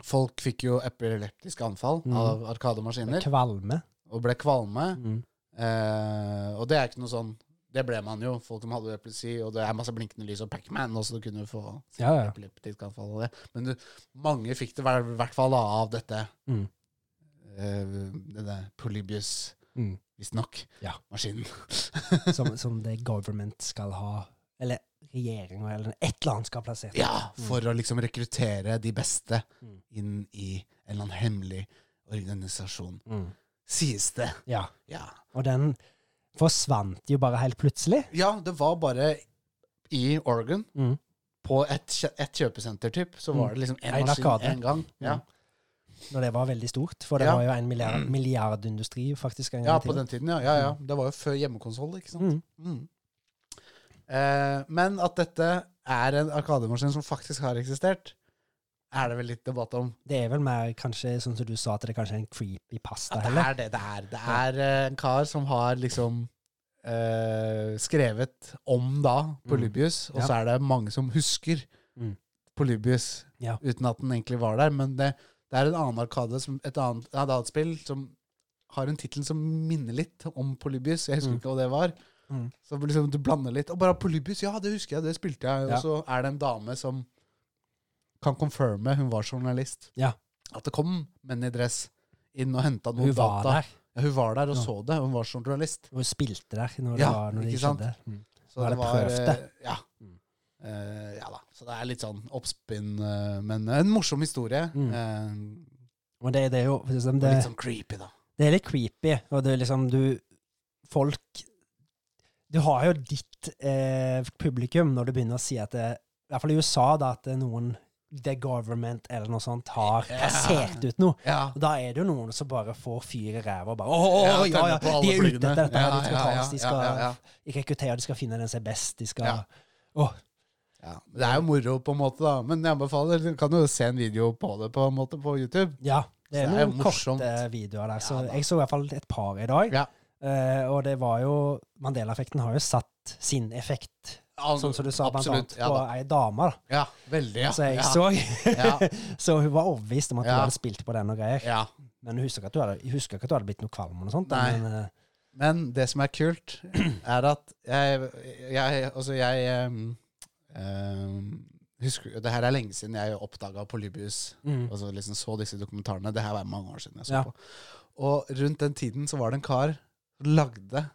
Folk fikk jo epileptiske anfall Mm. av arkademaskiner Kvalme. og ble kvalme. Mm. Eh, og det er ikke noe sånn Det ble man jo, folk som hadde epilepsi, og det er masse blinkende lys og Pac-Man også, du kunne få Ja, ja. epileptisk anfall av det. Men du, mange fikk det i hver- hvert fall av dette. Mm. Eh, det der Polybius, Mm. visstnok, Ja. maskinen. Som, som det government skal ha. Eller regjeringa, eller et eller annet skal ha plassert. Ja, for å liksom rekruttere de beste Mm. inn i en eller annen hemmelig organisasjon, Mm. sies det. ja. Ja. Og den forsvant jo bare helt plutselig. ja, det var bare i Oregon, Mm. på et, kjø- et kjøpesenter, typ, så Mm. var det liksom en, En maskin arkade. en gang. Ja, Når det var veldig stort. For det Ja. var jo en milliard, milliardindustri faktisk. en gang ja i på tiden. den tiden, ja. ja, ja. Det var jo før hjemmekonsoll, ikke sant? Mm. Mm. Eh, men at dette er en arkademaskin som faktisk har eksistert, er det vel litt debatt om. Det er vel mer kanskje sånn som du sa, at det er kanskje en creepy pasta, At det heller. er det det er. Det er eh, en kar som har liksom eh, skrevet om da Polybius, og Mm. Ja. så er det mange som husker Mm. Polybius Ja. uten at den egentlig var der. Men det, det er en annen arkade, som, et, annet, et annet spill, som har en tittel som minner litt om Polybius. Jeg husker Mm. ikke hva det var. Mm. Så liksom du blander litt. Og bare Polybius, ja, det husker jeg, det spilte jeg. Ja. Og så er det en dame som kan confirme, hun var journalist, Ja. at det kom menn i dress inn og henta noen Hun var data. der. Ja, hun var der og Ja. så det. Hun var som journalist. Og spilte der når det, Ja, var, når det ikke sant? skjedde. Mm. Så Bare prøvde. eh, Ja. Eh, ja da. Så det er litt sånn oppspinn, eh, men en morsom historie. Mm. Eh, Og det, det er jo liksom, og det, litt sånn creepy, da. det er litt creepy. Og det er liksom du Folk Du har jo ditt eh, publikum når du begynner å si at det, I hvert fall i USA, da, at det er noen The government eller noe sånt har Ja. plassert ut noe. Ja. Og da er det jo noen som bare får fyr i ræva og bare Å, å, å, ja, tenner ja, på alle de er ute pluggene. etter dette. her, de Ja, skal ja, ta oss, de ja, skal ja, ja. rekruttere, de skal finne den som er best, de skal Ja. Ja, det er jo moro, på en måte, da. Men jeg anbefaler, du kan jo se en video på det på en måte på YouTube. Ja, det er Så det er jo noen morsomt. korte videoer der. Så Ja, da. jeg så i hvert fall et par i dag. Ja. Eh, og det var jo Mandela-effekten har jo satt sin effekt, sånn som du sa, blant annet Ja, på da. ei dame. da. ja, veldig. Ja. så jeg ja. så, Ja, så hun var overbevist om at Ja. hun hadde spilt på den og greier. ja. Men hun husker ikke at du hadde, hun husker ikke at du hadde blitt noe kvalm eller noe sånt. da, Nei. Men, eh, Men det som er kult, er at jeg, jeg Altså, jeg ehm, ehm, husker, Det her er lenge siden jeg oppdaga Polybius. mm, Altså liksom så disse dokumentarene. Det her var mange år siden jeg så Ja. på. Og rundt den tiden så var det en kar som lagde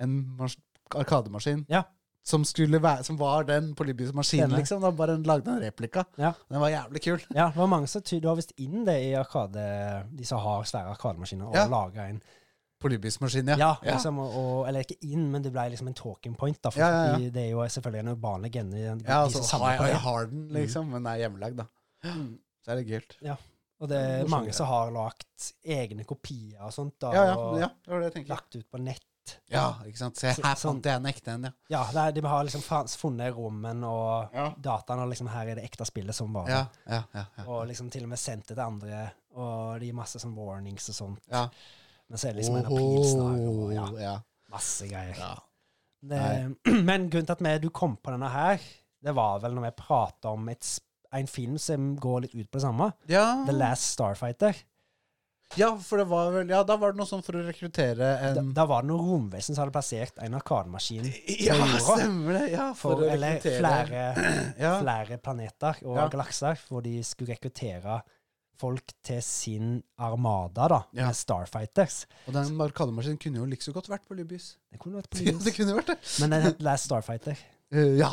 en mas- arkademaskin Ja. som, skulle være, som var den Polybius-maskinen, Stemmer. liksom. Han bare lagde en replika. Ja. Den var jævlig kul. ja, det var mange som ty- Du har visst inn det i arkade, de som har svære arkademaskiner, og Ja. laget laga en Polybius-maskin, ja. Ja, Ja. liksom, og, og, eller ikke inn, men det ble liksom en talking point. da, for Ja, ja, ja. fordi Det er jo selvfølgelig en urban legende. de- de Ja, altså, som har jeg, samler på det. Mm. jeg har den, liksom, men er hjemmelagd, da. Mm. Så er det kult. Og det er Morsomt, mange ja. som har lagt egne kopier og sånt, da, Ja, ja, og ja, det var det jeg tenkte. lagt ut på nett. Ja, ikke sant. Se, Så- her sånn- fant jeg en ekte en, ja. Ja, det er, de har liksom fa- funnet rommen og Ja. dataen, og liksom her er det ekte spillet som var. Ja, ja, ja. ja. Og liksom til og med sendt det til andre, og det gir masse sånn warnings og sånt. Ja. Men så er det liksom en aprilsnarr og Oho, ja, ja. masse greier. ja. Det, Eh, men grunnen til at vi- du kom på denne her, det var vel når vi prata om et, sp- en film som går litt ut på det samme. The Ja, Last Starfighter. ja, for det var vel Ja, da var det noe sånn for å rekruttere Da, en da var det noe romvesen som hadde plassert en arkademaskin Ja, jorda. stemmer det. Ja, for, for, å eller rekruttere flere, ja. flere planeter og Ja. galakser, hvor de skulle rekruttere folk til sin armada da, Ja. med Starfighters. Og den arkademaskinen kunne jo like så godt vært på Libyus. Det kunne vært Ja, det politisk. kunne vært det. Men den het Last Starfighter. Eh, ja.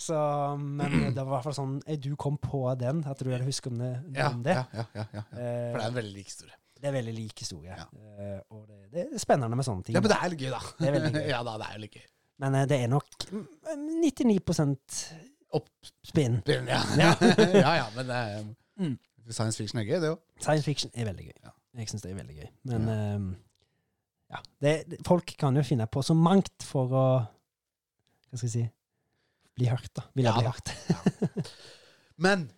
Så, mm, men det var i hvert fall sånn eh, Du kom på den, at du husker om det. Ja, Om det. ja, ja, ja, ja. Eh, For det er en veldig lik historie. det er veldig lik historie. Ja. Eh, og det, det er spennende med sånne ting. Ja, men det er litt gøy, da. Det er veldig gøy. ja, da, det er jo litt gøy. Men eh, det er nok mm, 99 Opp- spinn. Ja, ja, Ja. ja, ja men eh, Mm. science fiction er gøy, det òg. Science fiction er veldig gøy. Ja. Jeg syns det er veldig gøy. Men ehm, ja, det, det- folk kan jo finne på så mangt for å Hva skal jeg si bli hørt, da. Ville Ja, bli da. hørt. Men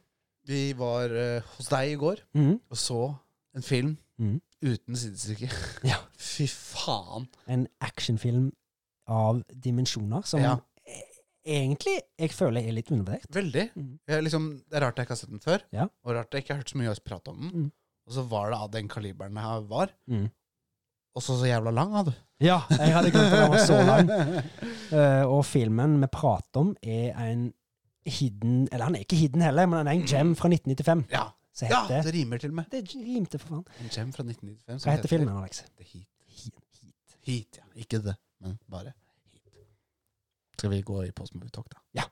vi var eh, hos deg i går Mhm. og så en film Mhm. uten sidestykke. Ja. Fy faen. En actionfilm av dimensjoner som Ja. e- egentlig jeg føler er litt undervurdert. Veldig. Mhm. Jeg, liksom, det er rart jeg ikke har sett den før, Ja. og rart jeg ikke har hørt så mye av oss prate om den. Mhm. Og så var det av den kaliberen jeg var, Mhm. og så så jævla lang, da, du. Ja, jeg hadde glemt at den var så lang. Eh, og filmen vi prater om, er en hidden Eller han er ikke hidden heller, men han er en gem fra 1995. Mm. Ja. Så ja, heter det rimer til og med. Det rimte, for faen. En gem fra 1995. som Hva heter filmen, Alex? The Heat. He- Heat. Heat, ja. Ikke det, men bare heat. Skal vi gå i postmovitalk, da? Ja.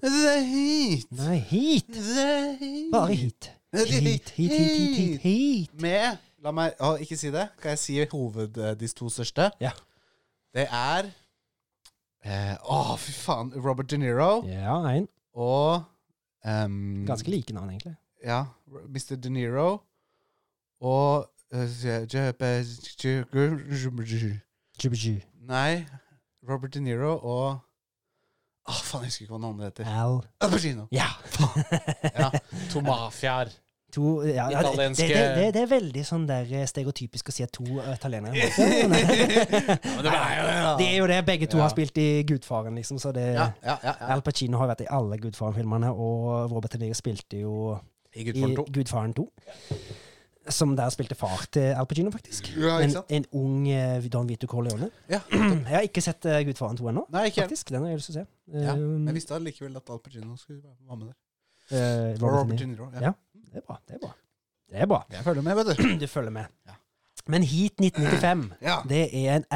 The heat. Nei, Heat! The heat. Bare Heat. Heat, heat, heat, heat, heat, heat. Med La meg å, ikke si det. Skal jeg si hoved, eh, de to største? Ja. Det er eh, Å, fy faen. Robert De Niro Ja, en. og ehm, Ganske like navn, egentlig. Ja. Mr. De Niro og eh, Jubuju. Nei, Robert De Niro og Åh, faen, jeg husker ikke hva den andre heter. Al. Al Pacino. Ja. Ja. To mafiaer. To ja, ja, det, Italienske- det, det, det, det er veldig sånn der eh, stereotypisk å si at to eh, italienere er mafiaer, men- men det er jo det, da. Det er jo det. Begge to Ja. har spilt i Gudfaren, liksom, så det Ja, ja, ja. ja. Al Pacino har vært i alle Gudfaren-filmene, og Robert De Niro spilte jo I i Gudfaren 2. Gudfaren 2. Som der spilte far til Al Pacino, faktisk. Ja, ikke En, sant? en ung eh, Don Vito Corleone. Ja. Jeg har ikke sett eh, Gudfaren 2 ennå, Nei, ikke helt. faktisk. Den har jeg lyst til å se. Ja, Um, Jeg visste allikevel at Al Pacino skulle være med der. eh, Robert De Robert De Niro. Niro. Ja. Ja. Det er bra. Det er bra. Det er bra. Jeg følger med, vet du. Du følger med. Ja. Men Heat 1995 Ja. det er en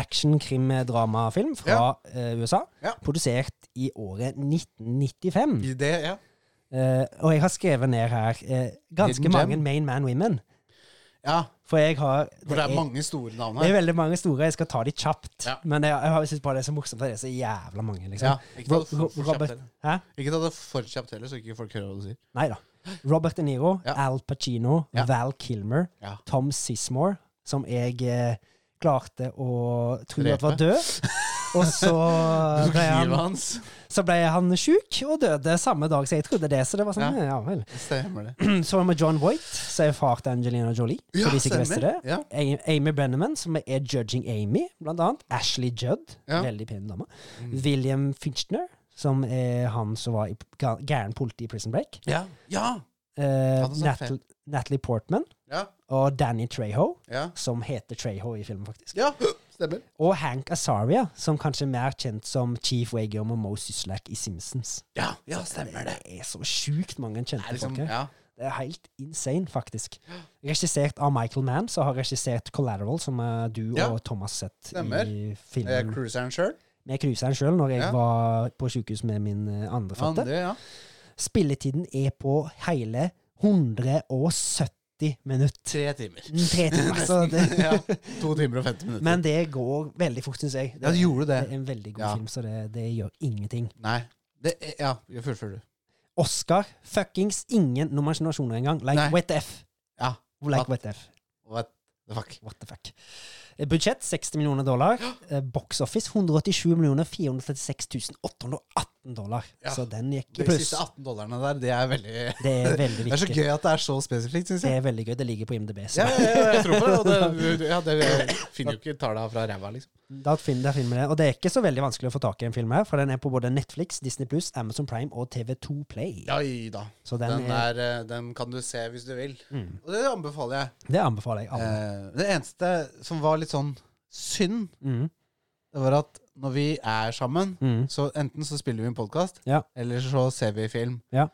action-krim-dramafilm fra eh, USA. Ja. Produsert i året 1995. I Det, ja. Eh, og jeg har skrevet ned her eh, Hidden ganske gem. mange Main Man Women. ja. For jeg har For det er mange store navn det er her. veldig mange store. Jeg skal ta de kjapt. Ja. Men jeg, jeg har synes bare det er så morsomt at det er så jævla mange. Ja, liksom. ikke ta det Ro- for- for kjapt Robert, heller. hæ? Ikke ta det for kjapt heller, så ikke folk hører hva du sier. Nei da. Robert De Niro, Ja. Al Pacino, Ja. Val Kilmer, Ja. Tom Sismore, som jeg eh, klarte å tro at var Drepe. død. Og så ble, Livet han, hans. så ble han sjuk og døde samme dag, så jeg trodde det. Så det var sånn, ja vel. Mm, Stemmer det. Så med John Voight, som er far til Angelina Jolie. Ja, for de som ikke visste det. stemmer. Ja. A- Amy Brenneman, som er Judging Amy, blant annet. Ashley Judd, Ja. Mm. veldig pen dame. William Finchner, som er han som var i p- ga- gæren politi i Prison Break. Ja. Ja. Eh, Han som sa Natal Natalie Portman Ja. og Danny Treho, ja. som heter Treho i filmen, faktisk. ja. Stemmer. Og Hank Azaria, som kanskje er mer kjent som Chief Wager og Mo Syslak i Simpsons. Ja, ja, stemmer det. Det er så sjukt mange Det kjente er liksom, folk her. ja. Det er helt insane, faktisk. Regissert av Michael Mann, som har regissert Collateral, som eh, du Ja. og Thomas sett Stemmer. i Eh, filmen Cruiseren sjøl. med cruiseren sjøl, når jeg Ja. var på sjukehus med min eh, andre fatte. Andre, ja. Spilletiden er på hele 170 minutter. Mm, Tre timer. Tre timer, så det ja. To timer og 50 minutter. Men det går veldig fort, syns jeg. ja, du gjorde det det. er en veldig god Ja. film, så det, det gjør ingenting. Nei. Det, ja, jeg fullfører du. Oscar, fuckings ingen nominasjoner engang. Like Nei. Wet F. Ja. Like At- Wet F. What the fuck? What the fuck. Eh, Budsjett 60 millioner dollar. Eh, Box office 187 millioner 436 818 dollar. Ja, Så den gikk De i pluss. siste 18 dollarene der, det er veldig Det er veldig Det er så viktig. gøy at det er så spesifikt, syns Det jeg. er veldig gøy. Det ligger på IMDb. Så. Ja, ja, ja, jeg tror på det. Og det, ja, det finner jo ikke tallene fra ræva, liksom. Da fin- da finner vi det. Og det er ikke så veldig vanskelig å få tak i en film her, for den er på både Netflix, Disney Pluss, Amazon Prime og TV2 Play. Oi da. Så den, Den, er, er, eh, den kan du se hvis du vil. Mm. Og det anbefaler jeg. det anbefaler jeg alle. Eh, det eneste som var litt sånn synd, Mm. det var at når vi er sammen, Mm. så enten så spiller vi en podkast, Ja. eller så ser vi film. Ja.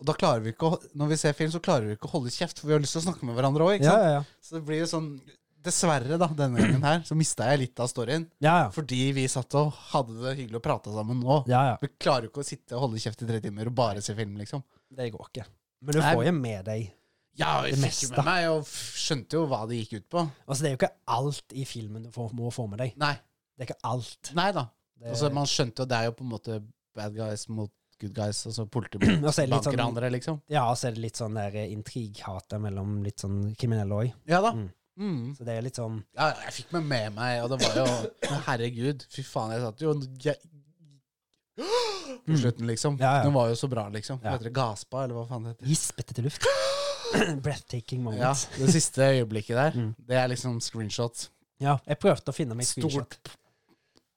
Og da klarer vi ikke å, når vi ser film, så klarer vi ikke å holde kjeft, for vi har lyst til å snakke med hverandre òg. Ja, ja, ja. Så det blir jo sånn Dessverre, da, denne gangen her, så mista jeg litt av storyen. ja, ja. Fordi vi satt og hadde det hyggelig og prata sammen nå. ja, ja. Vi klarer jo ikke å sitte og holde kjeft i tre timer og bare se film, liksom. Det går ikke. Men du Nei. får jo med deg Ja, jeg Det fikk meste. jo med meg, og f- skjønte jo hva det gikk ut på. Altså, det er jo ikke alt i filmen du får, må få med deg. Nei. Det er ikke alt. Nei da. Det- Altså, man skjønte jo det er jo på en måte bad guys mot good guys, altså politi mot Og så er det litt sånn- bankerandere, liksom. Ja, og så er det litt sånn der eh, intrighate mellom litt sånn kriminelle òg. Ja da. Mm. Mm. Så det er litt sånn Ja, jeg fikk meg med meg, og det var jo Men Herregud, fy faen, jeg satt jo jeg, På slutten, liksom. Mm. Ja, ja. Den var jo så bra, liksom. Ja. Hva heter det? Gaspa, eller hva faen det heter? gispete til luft. Breathtaking Ja, moment. det siste øyeblikket der, Mm. det er liksom screenshot. Ja. jeg prøvde å finne meg screenshot. Stort p-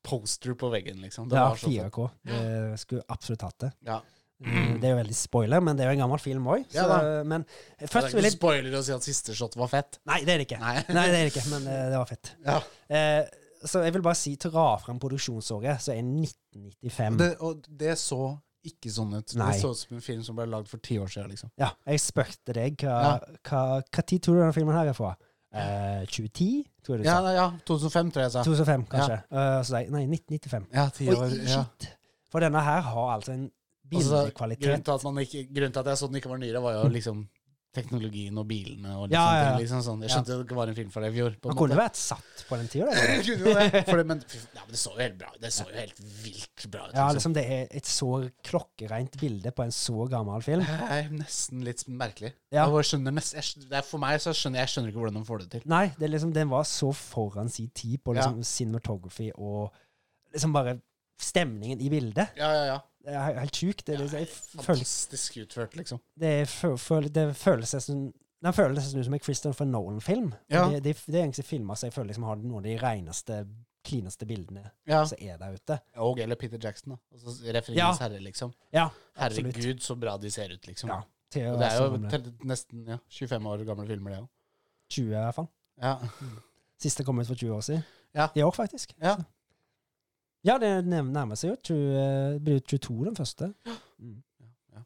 poster på veggen, liksom. Det Ja, var så fett. 4K. Eh, skulle absolutt hatt det. Ja. Eh, Det er jo veldig spoiler, men det er jo en gammel film òg. Mm. Ja da. men Det er først ikke vil noe jeg spoiler å si at siste shot var fett. Nei, det er det ikke. Nei. Nei, det er det ikke, men eh, det var fett. Ja. Eh, så jeg vil bare si til dra fram produksjonsåret, så er 1995. Det, og det så ikke sånn ut. Mm. Nei. Det så ut som en film som ble lagd for ti år siden, liksom. Ja, jeg spurte deg hva, Ja. hva, hva tid tror du denne filmen her er fra? Eh, 2010, tror jeg du Ja, sa. nei, ja, 2005, tror jeg jeg sa. 2005, kanskje. Eh, så sa jeg, nei, 1995. Ja, ti Oi, år. Ja. shit! For denne her har altså en Altså, bildekvalitet. grunnen, til at man ikke, grunnen til at jeg så den ikke var nyere, var jo liksom teknologien og bilene og litt Ja, sånne ja, ja. ting. Liksom sånn. Jeg skjønte jo det ikke var en film for deg i fjor. På Han en kunne måte. vært satt på den tida. det. Kunne jo det. For det, men, fy f- ja, men det så jo helt bra ut. Det så jo helt vilt bra ut. Ja, liksom. liksom det er et så klokkereint bilde på en så gammel film. Det er nesten litt merkelig. Ja. Jeg bare skjønner nest, jeg, skj- det er for meg så skjønner jeg skjønner ikke hvordan de får det til. Nei, det er liksom, den var så foran sin tid på liksom cinematography og liksom bare stemningen i bildet. Ja, ja, ja. Det er he- helt sjukt. Det, er liksom, jeg føler, Fantastisk utført, liksom. det, er fø- føler- det føles nesten den føles nesten ut som en Christopher Nolan-film. Ja. Det, det, det er egentlig filmer som jeg føler liksom har noen av de reneste, klineste bildene Ja. som er der ute. Og eller Peter Jackson, da. Altså, Referens Ja. herre, liksom. Ja, absolutt. Herregud, så bra de ser ut, liksom. Ja, til å Og det er være jo sånn gamle. te- nesten ja, 25 år gamle filmer, det òg. 20, i hvert fall. Ja. Siste kom ut for 20 år siden. Ja. I år, faktisk. Ja. Så. ja, det nærm- nærmer seg jo. 20, eh, det blir jo 22 den første. Ja, ja.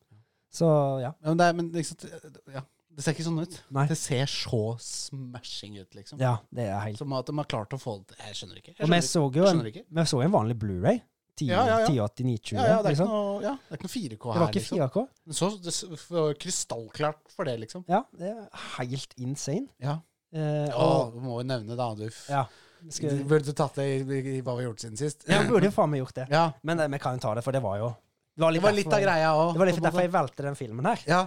Så ja. Ja, men det, er, men, ikke sant, ja, det ser ikke sånn ut. Nei. Det ser så smashing ut, liksom. ja det er helt Som at de har klart å få det Jeg skjønner ikke. Jeg Og skjønner vi ikke. så jo Jeg en, skjønner ikke. vi så jo en vanlig Blu-ray. 10, Ja, ja, ja. 1080-920. Ja, ja, det, er ikke liksom. noe, ja, det er ikke noe 4K det her, var ikke liksom. 4K. Men Så det s- f- krystallklart for det, liksom. Ja, det er helt insane. Ja. Eh, Å, du må jo nevne det, du. f- Ja. og skal, Du Burde tatt det i, i, i hva vi har gjort siden sist. ja, vi burde jo faen meg gjort det. Ja. Men eh, vi kan jo ta det, for det var jo Det var Det var litt av greia òg. Det var litt derfor jeg valgte den filmen her. Ja,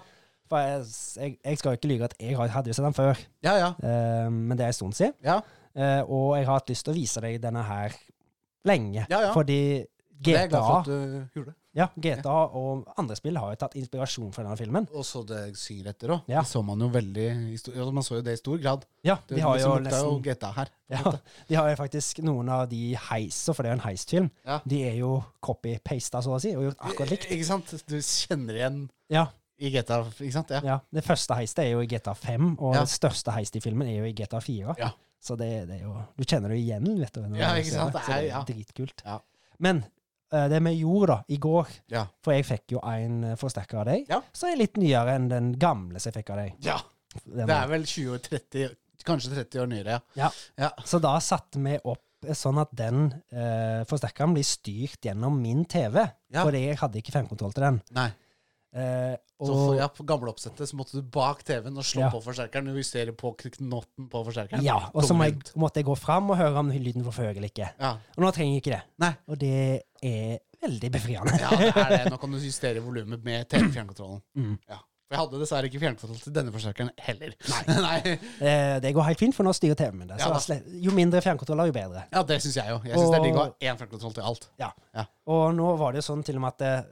For jeg, jeg, jeg skal jo ikke lyve at jeg har- hadde jo sett den før, ja, ja. eh, men det er en stund siden. ja. Eh, og jeg har hatt lyst til å vise deg denne her lenge. Ja, ja. Fordi Det er jeg glad for GTA, at du gjorde. ja, GTA og andre spill har jo tatt inspirasjon fra denne filmen. Og så det jeg synger etter òg. Ja. Det så man jo veldig i stor, ja, Man så jo det i stor grad. Ja, Det, de har det jo lukta jo nesten GTA her. på en ja, måte. De har jo faktisk noen av de heiser, for det er jo en heistfilm, Ja. Eh, de er jo copy-pasta, så å si, og gjort akkurat likt. Ikke sant? Du kjenner igjen Ja, i GTA, ikke sant? Ja. ja. Det første heistet er jo i GTA 5, og Ja. det største heistet i filmen er jo i GTA 4. Ja. Så det, det er jo Du kjenner det jo igjen, vet du. når Ja, du ikke ser sant? Det, så det er Ja, ja. dritkult. Ja. Men eh, det vi gjorde da, i går Ja. For jeg fikk jo en eh, forsterker av deg, Ja. som er litt nyere enn den gamle som jeg fikk av deg. ja. Den Det er vel 20 og 30, kanskje 30 år nyere, ja. Så da satte vi opp eh, sånn at den eh, forsterkeren blir styrt gjennom min TV, Ja. fordi jeg hadde ikke fjernkontroll til den. Nei. Eh, Så og, for, ja, på gamle oppsettet så måtte du bak TV-en og slå Ja. på forsterkeren og justere på knotten på ja. forsterkeren. og så må jeg, Tungvint. måtte jeg gå fram og høre om lyden var for høy eller ikke. ja. Og nå trenger jeg ikke det. Nei. Og det er veldig befriende. ja, det er det. Nå kan du justere volumet med TV-fjernkontrollen. Mm. Ja. For jeg hadde dessverre ikke fjernkontroll til denne forsterkeren heller. Nei. Nei. Eh, det går helt fint, for nå styrer TV-en min det. Så Ja da. slett, jo mindre fjernkontroller, jo bedre. Ja, det syns jeg jo. Jeg syns det er digg å ha Og- én fjernkontroll til alt. Og nå var det jo sånn til og med at eh,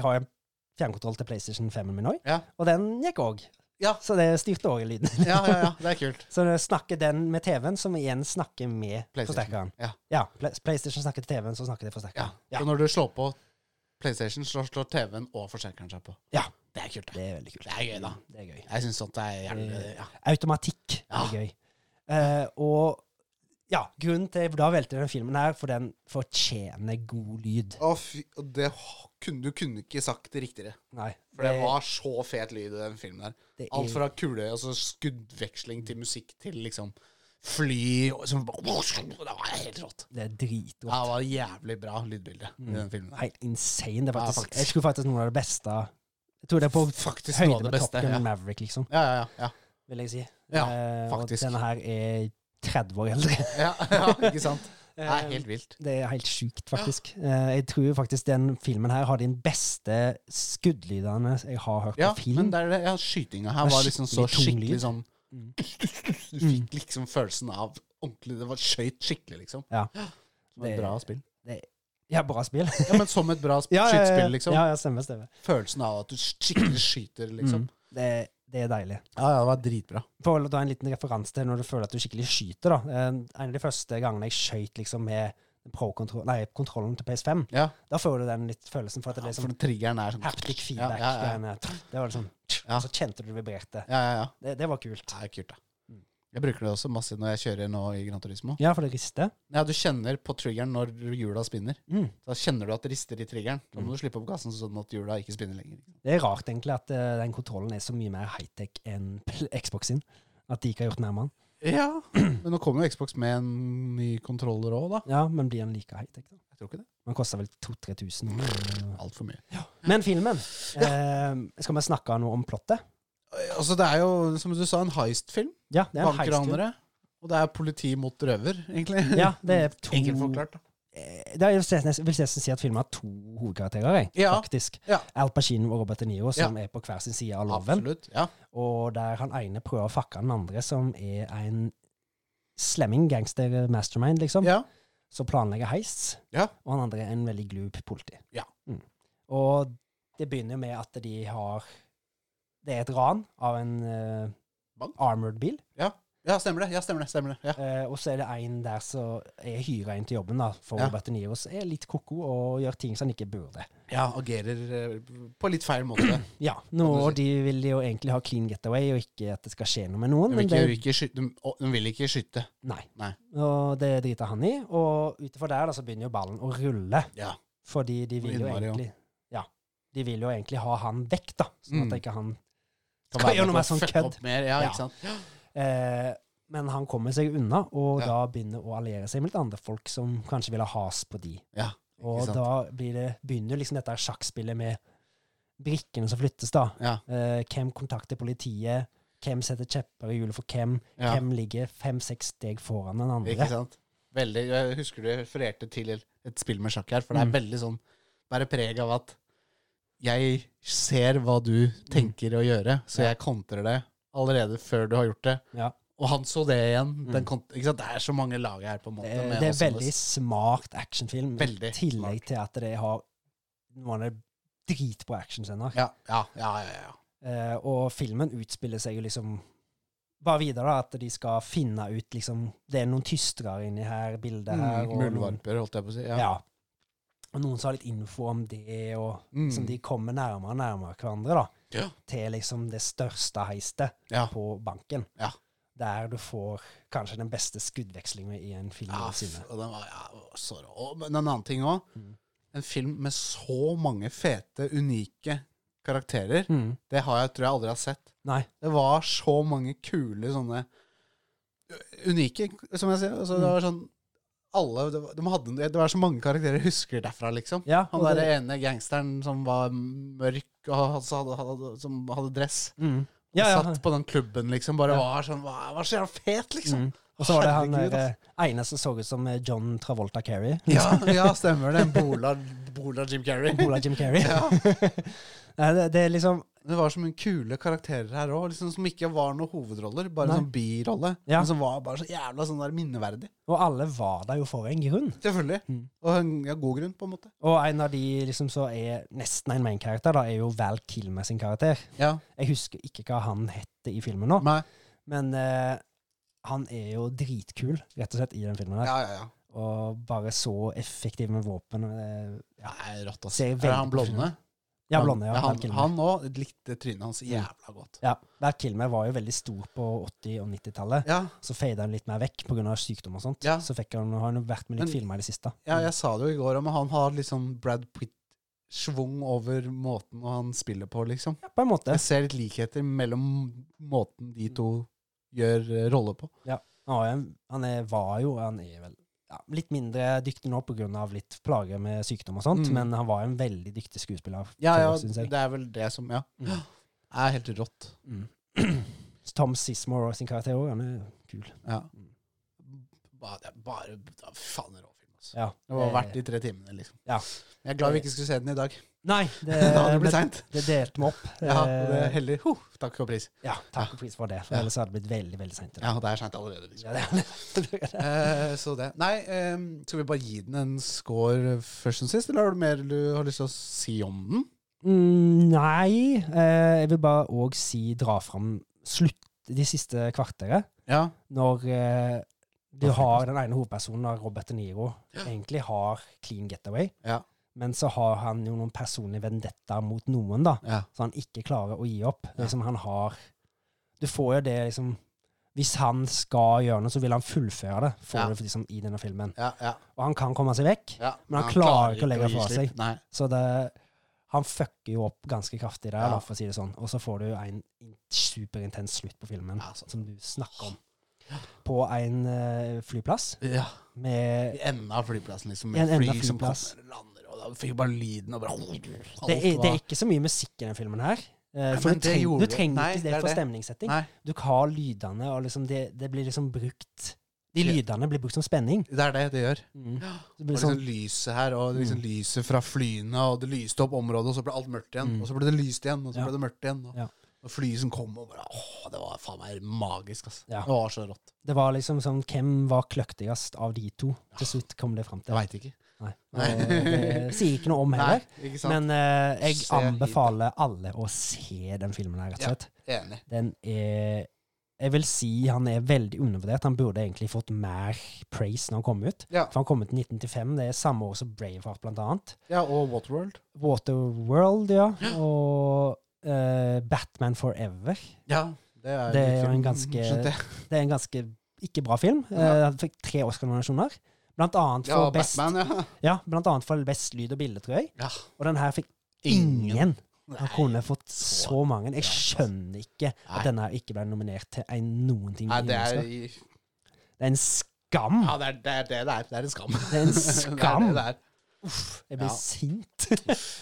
jeg har jo en fjernkontroll til PlayStation 5-en min òg, Ja. og den gikk òg. Ja. Så det styrte òg lyden. Ja, ja, ja. Det er kult. Så når jeg snakker den med TV-en, som igjen snakker med PlayStation. forsterkeren. Ja. Ja, Pla- PlayStation snakker til TV-en, så snakker det Ja. forsterkeren. Så når du slår på PlayStation, så slår TV-en og forsterkeren seg på. Ja. Det er kult. da. Det er veldig kult. Det er gøy, da. Det er gøy. Jeg syns sånt er jævlig ja. Eh, Automatikk Ja. er gøy. Eh, og ja, grunnen til at jeg da valgte den filmen her, for den fortjener god lyd. Å, fy, og det kunne du kunne ikke sagt det riktigere. Nei. For det var så fet lyd i den filmen der. det er- Alt fra kule, altså skuddveksling til musikk til liksom fly og som bare, Det var helt rått. Det er Det dritgodt. var jævlig bra lydbilde i den filmen. der. Helt insane. Det er Ja, faktisk, faktisk. Jeg tror faktisk noe av det beste Jeg tror det er på Faktisk noe høyde av det med Top beste. Gun Ja, Maverick, liksom, ja, ja. ja. vil jeg si. Ja, Eh, faktisk. Og denne her er 30 år eldre. Eh, ja, ja ikke sant? Det er helt vilt. Det er helt sjukt, faktisk. Eh, Jeg tror faktisk den filmen her har de beste skuddlydene jeg har hørt Ja, på men film. det er det, ja, skytinga her Det er var liksom så skikkelig tung skikkelig lyd. sånn Mm. Du fikk liksom følelsen av ordentlig Det var skøyt skikkelig, liksom. Ja. Som et Det- bra spill. Ja, bra spill. Ja, men som et bra sp- skytespill, liksom. Ja, ja, stemmer, stemmer. Følelsen av at du skikkelig skyter, liksom. Mm. Det, det er deilig. Ja, ja, det var dritbra. For å ta en liten referanse til når du føler at du skikkelig skyter, da. Eh, En av de første gangene jeg skøyt liksom med pro-kontroll- nei, kontrollen til PS5, Ja, da får du den litt følelsen for at det ja er for sånn den triggeren er sånn haptic Ja, feedback. ja, ja. greiene. Det var liksom Ja. Og så kjente du det vibrerte. Ja, ja, ja. Det, det var kult. Det er kult, da. Jeg bruker det også masse når jeg kjører nå i Gran Turismo. Ja, for det rister. Ja, du kjenner på triggeren når hjula spinner. Mm. Da kjenner du at det rister i triggeren. Da må du slippe opp gassen sånn at hjula ikke spinner lenger. Det er rart egentlig at eh, den kontrollen er så mye mer high-tech enn pl- Xbox sin. At de ikke har gjort mer med den. Ja. Men nå kommer jo Xbox med en ny kontroller òg, da. Ja, men blir den like high-tech? da? Jeg tror ikke det. Den koster vel 2000-3000. eller- Altfor mye. Men filmen eh, Skal vi snakke noe om plottet? Altså, det er jo, som du sa, en heistfilm. Ja, det er en heistfilm. Bankranere. Og det er politi mot røver, egentlig. Ja, det er to Enkelt forklart. da. Eh, det er, jo- jeg vil nesten si at filmen har to hovedkarakterer, jeg, Ja. faktisk. Ja. Al Pacino og Robert De Niro, som er på hver sin side av loven. Absolutt. Ja. Og der han ene prøver å fucke den andre, som er en slemming gangster mastermind, liksom. ja. som planlegger heists, Ja. og han andre er en veldig glup politi. Ja. Mm. Og det begynner jo med at de har Det er et ran av en eh, Bank? armored bil, Ja, stemmer det. Ja, stemmer det. Stemmer det. Ja. eh, og så er det en der som er hyra inn til jobben da, for Ja. Robert De Niro, som er litt ko-ko og gjør ting som han ikke burde. ja, agerer eh, på litt feil måte. Ja, nå, Kan du og de vil jo egentlig ha clean getaway, og ikke at det skal skje noe med noen. De vil Men ikke, det, ikke skyte, de, å, de vil ikke skyte. nei. Nei. Og det driter han i, og utenfor der da, så begynner jo ballen å rulle. Ja. Fordi de Og vil jo innmari, ja. egentlig ja. De vil jo egentlig ha han vekk, da, sånn Mm. at ikke han Kan skal være gjøre med på noe mer å sånn fucke kødd. opp Mer. Ja, Ja. ikke sant? Eh, men han kommer seg unna, og Ja. da begynner å alliere seg med litt andre folk som kanskje vil ha has på de. Ja, Og sant. da blir det, begynner liksom dette her sjakkspillet med brikkene som flyttes, da. Ja. Eh, hvem kontakter politiet? Hvem setter kjepper i hjulet for hvem? Ja. Hvem ligger fem-seks steg foran den andre? Ikke sant? Veldig, jeg husker du refererte til et spill med sjakk her, for det er Mm. veldig sånn Bærer preg av at jeg ser hva du tenker å gjøre, så Ja. jeg kontrer det allerede før du har gjort det. Ja. Og Og han så det igjen. Den Mm. kont ikke sant? Det er så mange lag her, på en måte. Eh, det, med det er også- veldig smart actionfilm, Veldig i tillegg smart. til at det har noen av de dritbra actionscener. ja, ja, ja, ja, ja. Eh, og filmen utspiller seg jo liksom bare videre, da, at de skal finne ut liksom Det er noen tystere inni her, bildet her. Mm, og noen- Muldvarper, holdt jeg på å si. Ja. Ja. Og noen som har litt info om det, og Mm. som de kommer nærmere og nærmere hverandre, da. Ja. Til liksom det største heistet Ja. på banken. Ja. Der du får kanskje den beste skuddvekslingen i en film Ja, noensinne. Ah, f- og den var, ja, så rå. Og- Men en annen ting òg. Mm. En film med så mange fete, unike karakterer. Mm. Det har jeg, tror jeg aldri har sett. Nei. Det var så mange kule sånne Unike, som jeg sier. Altså, Mm. det var sånn alle, det, var, de hadde, det var så mange karakterer jeg husker derfra, liksom. Ja, Han og der det- ene gangsteren som var mørk og hadde, hadde, hadde, som hadde dress. Mm. Og Ja, ja. satt på den klubben, liksom. Bare Ja. var sånn Hva var så jævla fet, liksom? Mm. Og så var det han Herregud, der, eh, ene som så ut som eh, John Travolta Carey. Ja, ja, stemmer det. Bola, Bola Jim Carrey. Ola Jim Carey. Ja. Nei, det, det er liksom Det var så mye kule karakterer her òg, liksom, som ikke var noen hovedroller. Bare Nei. sånn birolle. Ja. Men som var bare så jævla sånn der minneverdig. Og alle var der jo for en grunn. Selvfølgelig. Mm. Og en ja, god grunn, på en måte. Og en av de liksom som er nesten en main-karakter, da, er jo Val Kilmer sin karakter. Ja. Jeg husker ikke hva han het i filmen nå, Nei. men eh, han er jo dritkul, rett og slett, i den filmen her. Ja, ja, ja. Og bare så effektiv med våpen. og, eh, Ja, det er rått, ass. Ser Er det veldig han blonde? Ja, blonde, ja. Val Han, Kilmer. han òg likte trynet hans Mm. jævla godt. ja. Val Kilmer var jo veldig stor på 80- og 90-tallet. Ja, Så fada han litt mer vekk pga. sykdom og sånt. Ja. Så fikk han, har han jo vært med Men- litt filmer i det siste. ja, jeg sa det jo i går, men han har liksom Brad Pitt-schwung over måten han spiller på, liksom. Ja, på en måte. Jeg ser litt likheter mellom måten de to gjør eh, roller på. Han, er, han er, var jo han er vel ja, litt mindre dyktig nå pga. litt plager med sykdom og sånt, Mm. men han var en veldig dyktig skuespiller. Ja, før, ja, synes jeg. det er vel det som Ja. Mm. Det er helt rått. Mm. Tom Sismore og sin karakter òg, han er kul. Ja. Mm. Bare, det er bare da, faen det er rå film, altså. Ja. Det var verdt de tre timene, liksom. Ja. Jeg er glad vi ikke skulle se den i dag. Nei, det, da hadde det blitt det, seint. det delte vi opp. Ja, og det er Eh, heldig. Huh, takk og pris. ja, takk og pris for det, for Ja. ellers hadde det blitt veldig, veldig seint. Ja, det er seint allerede, liksom. Ja, det er- Eh, så det. Nei, ehm, skal vi bare gi den en score først som sist, eller har du mer du har lyst til å si om den? Mm, nei, eh, jeg vil bare òg si dra fram slutt de siste kvarteret. Ja. når eh, du Når har den ene hovedpersonen av Robert De Niro Ja. egentlig har clean getaway, Ja. men så har han jo noen personlige vendettaer mot noen, da, ja. så han ikke klarer å gi opp. Ja. Liksom han har Du får jo det liksom Hvis han skal gjøre noe, så vil han fullføre det, får Ja. du liksom i denne filmen. Ja, ja, Og han kan komme seg vekk, ja. Men han klarer ikke å legge gi fra slipp. seg. Nei. så det han fucker jo opp ganske kraftig der, Ja. da, for å si det sånn. Og så får du en in- superintens slutt på filmen, Ja, altså. sant. som du snakker om. På en eh, flyplass Ja. med I enden av flyplassen, liksom. I en Med enden av fly som flyplass. kommer og lander, og da fikk jeg bare lyden og bare det Alt er, det var- er ikke så mye musikk i den filmen her. eh, Nei, for men du det trenger, gjorde du det. trenger Nei, ikke det det er for det. stemningssetting. Nei. Du har lydene, og liksom det, det blir liksom brukt De Ja. lydene blir brukt som spenning. Det er det det gjør. Mm. Det Og blir liksom sånn, Mm. lyset her, og liksom lyset fra flyene, og det lyste opp området, og så ble alt mørkt igjen. Mm. Og så ble det lyst igjen, og så Ja. ble det mørkt igjen. Og, Ja. og flyet som kom, og bare Åh, det var faen meg magisk, ass. Ja. Det var så rått. det var liksom sånn Hvem var kløktigast av de to? Til slutt kom det fram til. Jeg veit ikke. Nei. Nei. Og Det sier ikke noe om heller. Nei, ikke sant? Men eh, jeg Se hit. anbefaler alle å se den filmen her, rett Ja. og slett. Enig. Den er Jeg vil si han er veldig undervurdert. Han burde egentlig fått mer praise når han kom ut. Ja. For han kom ut i 1995. Det er samme år som Braveheart, blant annet. ja, og Waterworld. Waterworld, ja. Og eh, Batman Forever. Ja, det er, Det litt er jo en film, ganske- skjønte jeg. Det er en ganske ikke bra film. Eh, Ja. han fikk tre Oscar-nominasjoner. Blant annet Ja, for best, Batman, ja. ja, blant annet for best lyd og bilde, tror jeg. Ja. Og den her fikk ingen har kunnet fått så mange. Jeg Ja. skjønner ikke altså. Nei. at denne her ikke ble nominert til en, noen ting. Nei, i det er, Oscar. det er en skam! ja, det, er, det er det det er. Det er en skam. Det er en skam! det er det det er. Jeg blir Ja. sint. Så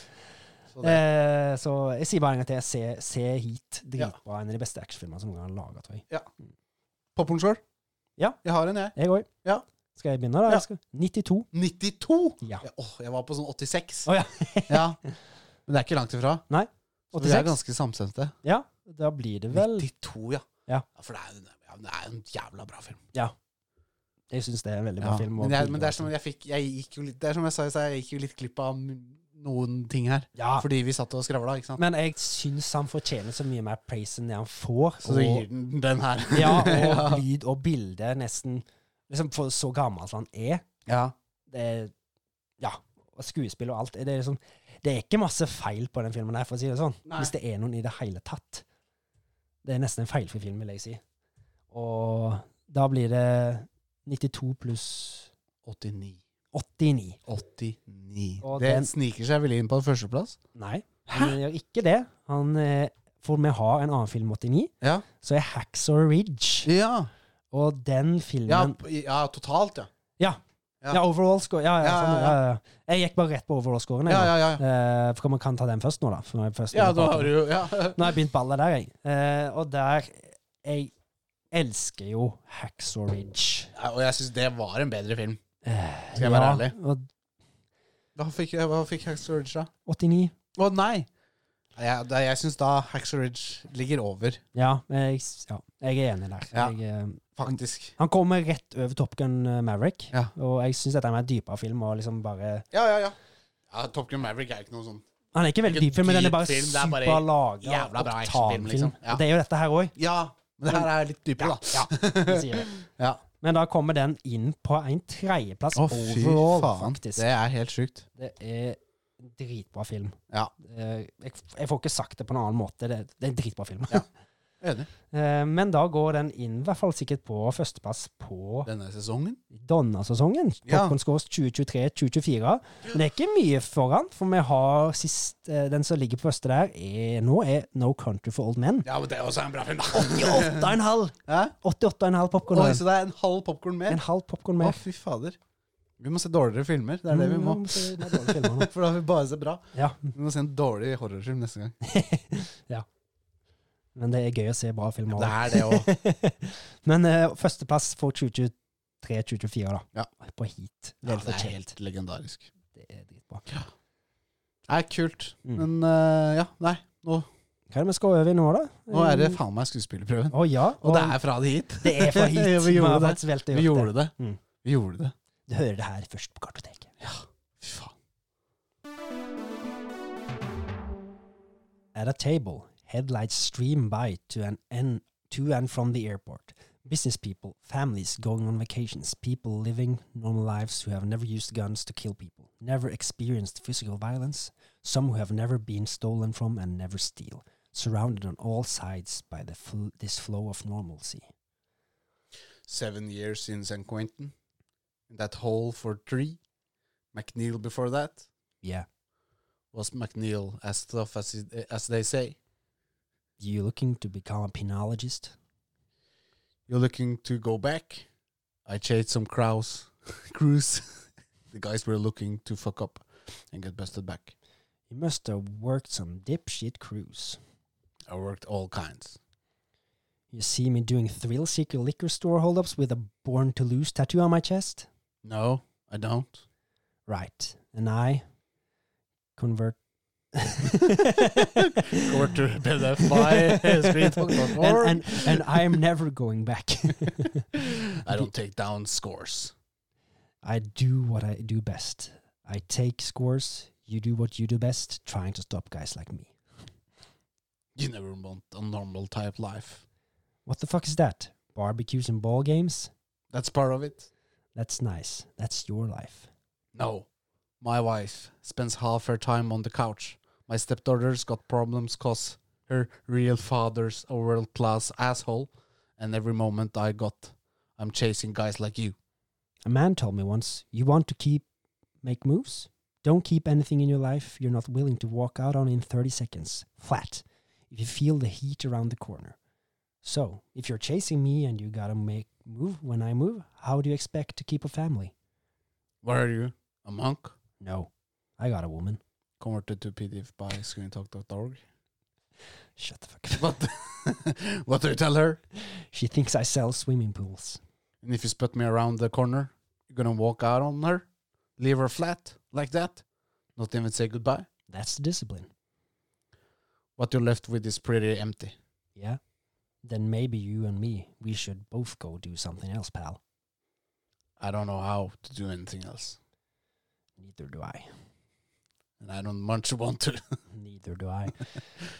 Sånn det, Eh, så jeg sier bare en gang til. Se, se hit. Dritbra. En av de beste actionfilmene som noen gang er laga, tror jeg. Popkorn sjøl? Ja. Jeg har en, jeg. Jeg òg. Ja. Skal jeg begynne, Ja. da? Jeg skal- 92. 92! Ja. Ja, åh, jeg var på sånn 86. Å, ja. Men det er ikke langt ifra. Så vi er 86. ganske samstemte. Ja, da blir det vel 92, ja. Ja. For det er, jo- ja, det er jo en jævla bra film. Jeg syns det er en veldig bra Ja. film. og Men, jeg, men det, er bilder som og jeg fikk, jeg gikk jo litt, det er som jeg sa i stad, jeg gikk jo litt glipp av noen ting her. sånn. ja. Fordi vi satt og skravla, ikke sant. Men jeg syns han fortjener så mye mer praise enn det han får. Så du gir den den her. ja, og lyd og bilde nesten liksom For så gammel som han er. Ja. Det er ja, og skuespill og alt. Det er, liksom, det er ikke masse feil på den filmen her, for å si det sånn. Nei. Hvis det er noen i det hele tatt. Det er nesten en feilfri film, vil jeg si. Og da blir det 92 pluss 89. 89. 89. Og det den- sniker seg vel inn på førsteplass? Nei, han gjør ikke det. Han, eh, for vi har en annen film, 89, Ja. så er Hacksaw Ridge. Ja. Og den Ja, filmen p- ja, totalt, ja. Ja, overall score. Ja, ja, Ja, sånn, ja, ja, ja. Jeg gikk bare rett på overall-scoren. Ja, ja, ja. Eh, for man kan ta den først nå, da. For nå er jeg først Ja, da har du jo ja. Nå har jeg begynt ballet der, jeg. Eh, og der Jeg elsker jo Hacksaw Ridge. Ja, Og jeg syns det var en bedre film. Eh, Skal jeg være ærlig? og Hva fikk, hva fikk Hacksaw Ridge, da? 89. Å nei! Jeg, da- jeg syns da Hacksaw Ridge ligger over, Ja, jeg, ja, jeg er enig der. Ja. Jeg, eh, faktisk. han kommer rett over Top Gun eh, Maverick, Ja. og jeg syns dette er en mer dypere film. og liksom bare... Ja, ja, ja. ja Top Gun Maverick er ikke noe sånn Han er ikke veldig Ikke dyp film, men den er bare dyp film, det er bare superlaga jævla bra actionfilm, liksom. Ja. Det er jo dette her òg. Ja, men det her er litt dypere, da. Ja, vi sier det. Ja. Men da kommer den inn på en tredjeplass Å, fy overall, faen. faktisk. Det er helt sjukt. Det er en dritbra film. Ja. Eh, Jeg, jeg får ikke sagt det på en annen måte. Det, det er en dritbra film. Ja. Enig. Eh, Men da går den inn, i hvert fall sikkert på førsteplass på Denne sesongen? Donna-sesongen. Ja. Popcorn Scores 2023-2024. Men det er ikke mye foran, for vi har sist, eh, den som ligger på første der er, nå, er No Country for Old Men. Ja, men det er også en bra film, da. 88,5! Hæ? 88,5 popkorn. Oi, så det er en halv popkorn mer? En halv popkorn Å, mer. fy fader. Vi må se dårligere filmer. Det er det vi må. Mm, så det er dårlige filmer nå. For da har vi bare sett bra. Ja, Vi må se en dårlig horrorfilm neste gang. men det er gøy å se bra filmer. Det er det òg. Men eh, førsteplass for 2023-2024, da. Ja. På heat. Ja, Vel det er fortjent. helt legendarisk. Det er dritbra. Nei, kult. Mm. Men eh, ja, nei. Nå, Hva er det vi skal over i nå, da? nå er det faen meg skuespillerprøven. Å ja. Og det er fra det hit. Mm. det er fra Ja, heat. vi gjorde har det. faktisk valgt Vi å gjøre gjorde det. Mm. Vi gjorde det. Du hører det her først på kartoteket. Fy faen. At a table, headlights stream by to an end, to and from the airport. Business people, families going on vacations, people living normal lives who have never used guns to kill people, never experienced physical violence, some who have never been stolen from and never steal, surrounded on all sides by the fl- this flow of normalcy. Seven years in San Quentin. In that hole for three. McNeil before that. Yeah, Was McNeil as tough as, it- as they say? you looking to become a penologist? You're looking to go back? I chased some crows. Crews. the guys were looking to fuck up and get busted back. You must have worked some dipshit cruise. I worked all kinds. You see me doing thrill seeker liquor store holdups with a born to lose tattoo on my chest? No, I don't. Right. And I convert Går til PDF by screentalk.org. and, and, and I am never going back. I don't take down scores. I do what I do best. I take scores. You do what you do best, trying to stop guys like me. You never want a normal type life. What the fuck is that? Barbecues and ball games? That's part of it. That's nice. That's your life. No. My wife spends half her time on the couch. My stepdaughter's got problems 'cause her real father's a world class asshole. And every moment I got, I'm chasing guys like you. A man told me once, you want to keep make moves? Don't keep anything in your life you're not willing to walk out on in 30 seconds, flat, if you feel the heat around the corner. So, if you're chasing me and you gotta make move when I move, how do you expect to keep a family? What are you? A monk? No, I got a woman. Converted to PDF by screentalk.org. Shut the fuck up. What, what do you tell her? She thinks I sell swimming pools. And if you spit me around the corner, you're gonna walk out on her, leave her flat like that, not even say goodbye. That's the discipline. What you're left with is pretty empty. Yeah? Then maybe you and me, we should both go do something else, pal. I don't know how to do anything else, Neither do I. and I don't much want to. Neither do I.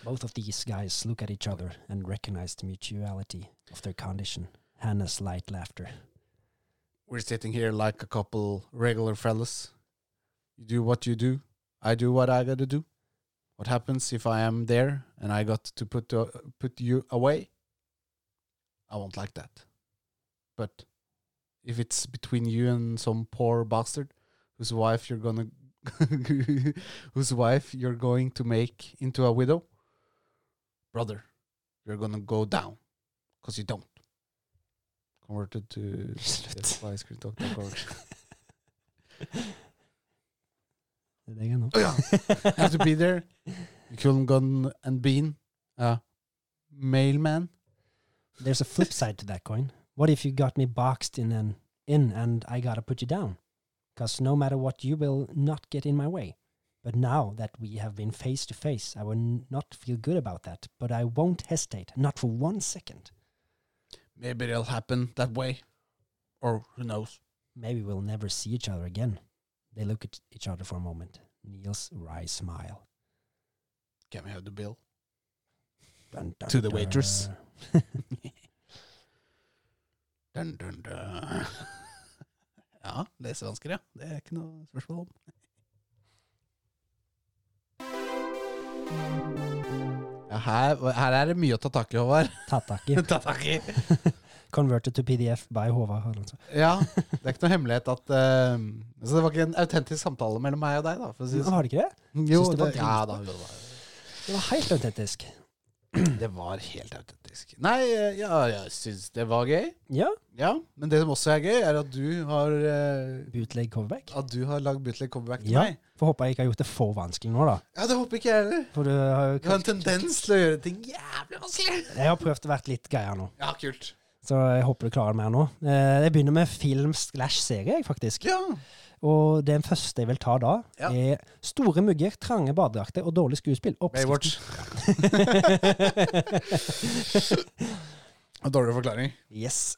Both of these guys look at each other and recognize the mutuality of their condition. Hannah's light laughter. We're sitting here like a couple regular fellas. You do what you do. I do what I gotta do. What happens if I am there and I got to put uh, put you away? I won't like that. But if it's between you and some poor bastard whose wife you're gonna whose wife you're going to make into a widow, brother, you're gonna go down because you don't. Converted to Yes, by screentalk.org. Det er det jeg nå. Å ja. Oh, Have to be there. You couldn't gone and been a mailman. There's a flip side to that coin. What if you got me boxed in and in and I gotta put you down? Because no matter what, you will not get in my way. But now that we have been face to face, I will n- not feel good about that. But I won't hesitate, not for one second. Maybe it'll happen that way. Or who knows? Maybe we'll never see each other again. They look at each other for a moment. Niels wry smile. Can we have the bill? Dun, dun, To the waitress. dun. Dun, dun, dun. ja, lesevansker, ja. Det er ikke noe spørsmål om. Ja, her, her er det mye å ta tak i, Håvard. Tatt tak i. ta tak i. Converted to PDF by Håvard Haraldsen. Ja, det er ikke noe hemmelighet at eh, Så det var ikke en autentisk samtale mellom meg og deg, da. For å si det sånn. Var det ikke det? Jo, Syns det var det, ja, da, jo, det dritbra. var- Det var helt autentisk. Det var helt autentisk. Nei, eh, ja, jeg syns det var gøy. Ja. Ja, Men det som også er gøy, er at du har eh, Bootleg coverback. At du har lagd bootleg comeback til Ja. meg. Får håpe jeg ikke har gjort det for vanskelig nå, da. Ja, Det håper ikke jeg heller. For du har jo Du har en tendens til å gjøre ting jævlig vanskelig. Jeg har prøvd å være litt greia nå, Ja, kult. så jeg håper du klarer mer nå. Eh, Jeg begynner med film slash serie, jeg, faktisk. Ja. Og den første jeg vil ta da, Ja. er store mugger, trange badedrakter og dårlig skuespill. Oppskriften- Baywatch. Dårlig forklaring. yes.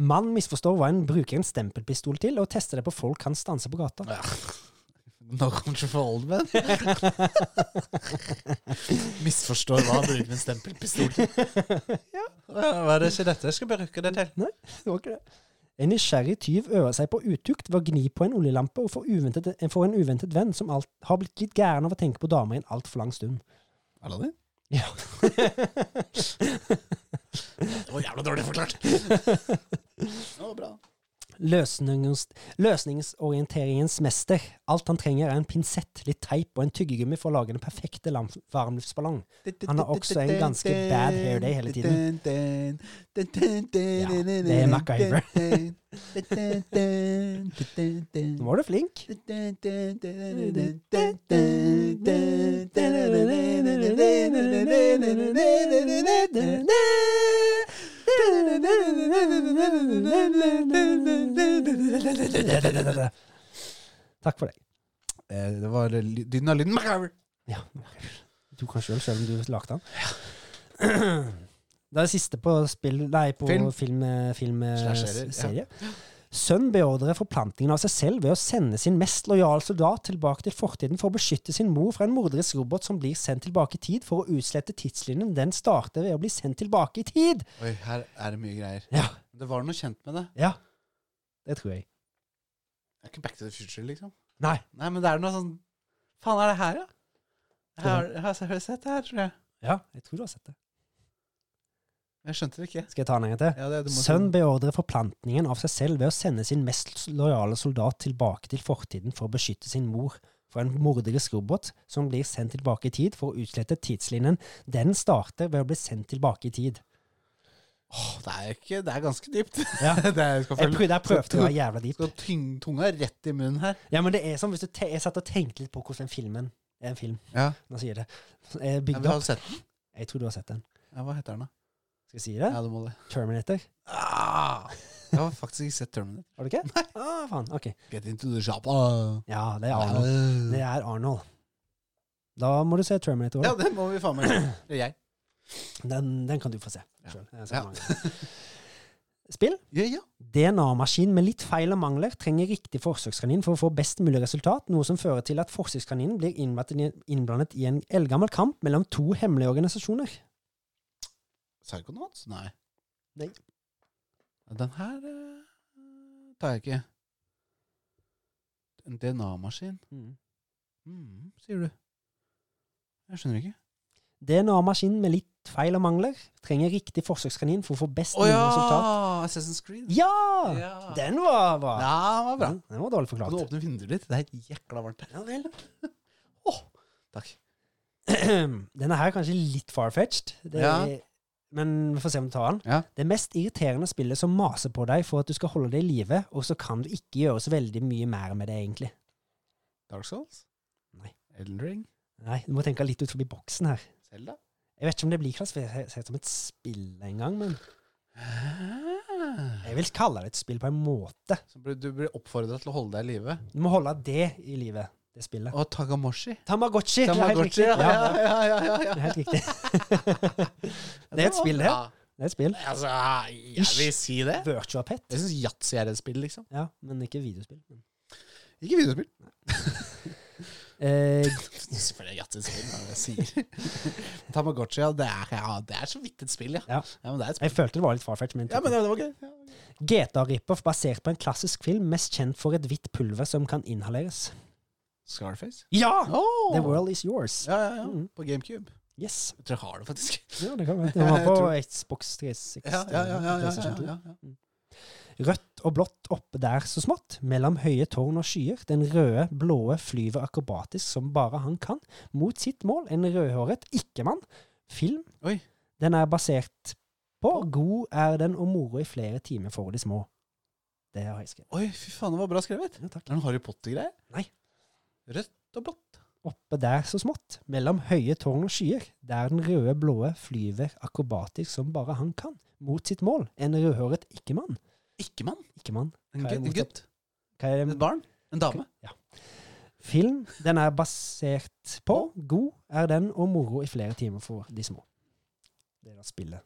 Mann misforstår hva en bruker en stempelpistol til, og tester det på folk han stanser på gata. Ja. No control, men. Misforstår hva han bruker en stempelpistol til. Hva er det ikke dette jeg skal bruke det til? Det var ikke det. En nysgjerrig tyv øver seg på utukt ved å gni på en oljelampe og få, uventet, få en uventet venn som alt, har blitt litt gæren av å tenke på damer i en altfor lang stund. Aladdin? Ja. Det var jævla dårlig forklart. Det var bra. Løsningens, løsningsorienteringens mester. Alt han trenger er en pinsett, litt teip og en tyggegummi for å lage den perfekte lam- varmluftsballong. Han har også en ganske bad hair day hele tiden. Ja, det er MacGyver. Nå var du flink. Takk for deg. Eh, Det var ly- lyden av lyden MacGyver. Ja, du kan sjøl, selv om du lagde den. Det er det siste på spill Nei, på Film. film, film, Slash serie, s- serie. Sønn beordrer forplantningen av seg selv ved å sende sin mest lojale soldat tilbake til fortiden for å beskytte sin mor fra en morderisk robot som blir sendt tilbake i tid for å utslette tidslinjen den starter ved å bli sendt tilbake i tid. Oi, her er det mye greier. Ja, Det var noe kjent med det. ja. Det tror jeg. Det er ikke Back to the Future, liksom. Nei. Nei, men det er noe sånn Faen, er det her, ja? Jeg har, jeg har jeg har sett det her, tror jeg. Ja, jeg tror du har sett det. Jeg skjønte det ikke. Skal jeg ta den en gang til? Ja, det, du må- Sønn beordrer forplantningen av seg selv ved å sende sin mest lojale soldat tilbake til fortiden for å beskytte sin mor fra en morderisk robot som blir sendt tilbake i tid for å utslette tidslinjen. Den starter ved å bli sendt tilbake i tid. Åh, det, er ikke, det er ganske dypt. Ja. det er, skal Jeg følge- prøvde, jeg prøvde å være jævla deep. skal tyng, tunga rett i munnen her. Ja, men det er som hvis du te jeg satt og tenkte litt på hvordan den filmen er en film. Ja. Nå sier jeg det. Jeg Jeg bygde har opp. jo sett den. Jeg tror du har sett den. Ja, hva heter den, da? Skal jeg si det? Ja, du må det. Terminator. Ah, jeg har faktisk ikke sett Terminator. Har du ikke? Nei. Ah, faen. Ok. Get into the shop. ah. Ja, det er Arnold. Det er Arnold. Da må du se Terminator. Ja, også. det må vi faen meg Det er jeg. Den, den kan du få se Ja. sjøl. Ja. Spill? Ja, ja. DNA-maskin med litt feil og mangler trenger riktig forsøkskanin for å få best mulig resultat, noe som fører til at forsøkskaninen blir innblandet i- innblandet i en eldgammel kamp mellom to hemmelige organisasjoner. Psychonauts? Nei. Nei. Den her eh, tar jeg ikke. En DNA-maskin? Mm, sier du. Jeg skjønner ikke. DNA-maskin med litt feil og mangler trenger riktig forsøkskanin for å få best Å mulig ja! resultat. Assassin's Creed. Ja! Den Den var bra. ja, den var bra. Den, den var dårlig Kan du forklart. åpne vinduet litt? Det er jækla varmt her. Ja vel. Takk. Denne her er kanskje litt far-fetched, det, Ja. men vi får se om du tar den. Ja. Det mest irriterende spillet som maser på deg for at du skal holde deg i live, og så kan du ikke gjøre så veldig mye mer med det, egentlig. Dark Souls? Nei. Elden Ring? Nei, du må tenke litt ut forbi boksen her. Selda? Jeg vet ikke om det blir klassifisert som et spill engang, men jeg vil kalle det et spill på en måte. Du Ah. blir oppfordra til å holde deg i live. Du må holde det i livet, det spillet. Og Tagamoshi. Tamagotchi! det er helt Tamagotchi, riktig. ja, Ja, ja, ja, ja, ja, det er ja. helt riktig. Det er et spill, det. Ja. Det er et spill. Altså, jeg vil si det. Virtua Pet. Jeg syns yatzy er et spill, liksom. Ja, men ikke videospill. Ikke videospill. Eh, Selvfølgelig er yatzy et spill, hva er det jeg sier. Tamagotchi, ja det, er, ja, det er så vidt et spill, ja. Ja. men det er et jeg spill. følte det var litt farfetch, men Ja, men det var gøy. Ja. GTA-ripper basert på en klassisk film, mest kjent for et hvitt pulver som kan inhaleres. Scarface. Ja! Oh! The world is yours. Ja, ja, ja. Mm. På GameCube. Yes. Jeg tror jeg har det, faktisk. Ja, det kan være. Ja, Den var jeg på tror- Xbox 360. Ja, ja, ja. ja, ja, PlayStation 2. ja, ja. Rødt og blått oppe der så smått, mellom høye tårn og skyer. Den røde, blåe flyver akrobatisk som bare han kan, mot sitt mål, en rødhåret ikke-mann. Film. Oi. Den er basert på God er den og moro i flere timer for de små. Det har jeg skrevet. Oi, fy faen, det var bra skrevet. Ja, takk. Er det noen Harry Potter-greier? Nei. Rødt og blått. Oppe der så smått, mellom høye tårn og skyer, der den røde blåe flyver akrobatisk som bare han kan, mot sitt mål, en rødhåret ikke-mann. Ikke mann. Ikke-mann. En Hva er gutt. En gutt. motsatt? Hva er det Et barn. En dame. Film den er basert på. God er den, og moro i flere timer for de små. Det er da spillet.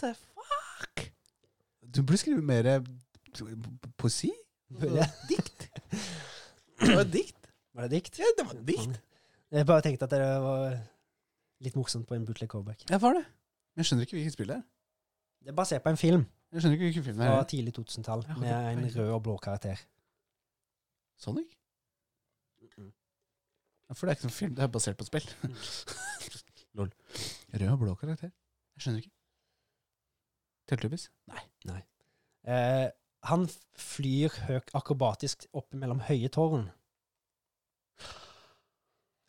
the fuck? Du burde skrive mer eh, poesi? Altså- Burde jeg? Dikt? Det var dikt. Var det dikt? Ja, det var dikt. Jeg bare tenkte at det var litt morsomt på en bootleg coverback. Ja, hva er det? Men jeg skjønner ikke hvilket spill det er. Det er basert på en film Jeg skjønner ikke hvilken film det fra er. tidlig 2000-tall Jeg har med ikke en peiling. rød og blå karakter. Sonic? Ja, for det er ikke noen film, det er basert på spill. Mm. Lol. Rød og blå karakter. Jeg skjønner ikke. Teletubbies? Nei. Eh, han f- flyr høyt akrobatisk opp mellom høye tårn.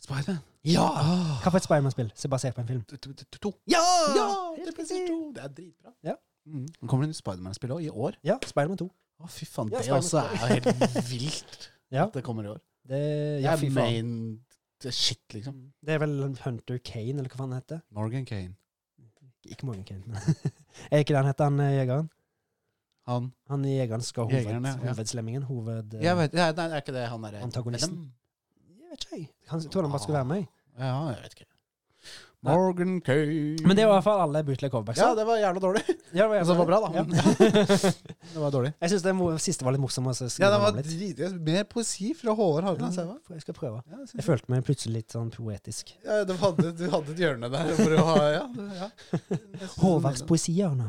Spiderman? Ja! Ah. Hva for et Spiderman-spill som er basert på en film? To- to- to- to. Ja! Ja! Helt Det er PlayStation 2. Det er dritbra. Ja. Mm. Nå kommer det nytt Spiderman-spill òg, i år. Ja, Spiderman 2. Å, fy faen, Ja, det også er jo Spiderman helt vilt. Ja. At det kommer i år. Det, Det ja, er fy faen. main det er shit, liksom. Det er vel Hunter Kane, eller hva faen han heter. Morgan Kane. Ikke Morgan Kane, men Er ikke det han heter, han eh, jegeren? Han Han jegeren skal hoved, Jegeren, ja, ja. hovedslemmingen. Hoved... eh, Jeg vet, ja, Nei, det er ikke det han derre Antagonisten. Venom? jeg vet ikke, jeg. Han jeg trodde han bare Ah. skulle være med. jeg. Ja, jeg vet ikke. Nei. Morgan Kane. Men det var i hvert fall alle bootleg coverbacks. Ja, det var jævla dårlig. Ja, var Altså, det var bra, da. Ja. Det var dårlig. jeg syns den mo- siste var litt morsom. å skrive Ja, det var om litt. drit, Mer poesi fra Håvard Haugland Sæva. Ja, jeg skal prøve. Ja, jeg Jeg synes- følte meg plutselig litt sånn poetisk. ja, du, hadde, du hadde et hjørne der for å ha Ja. det- ja. Jeg synes det var Håvards nydelig. poesihjørne.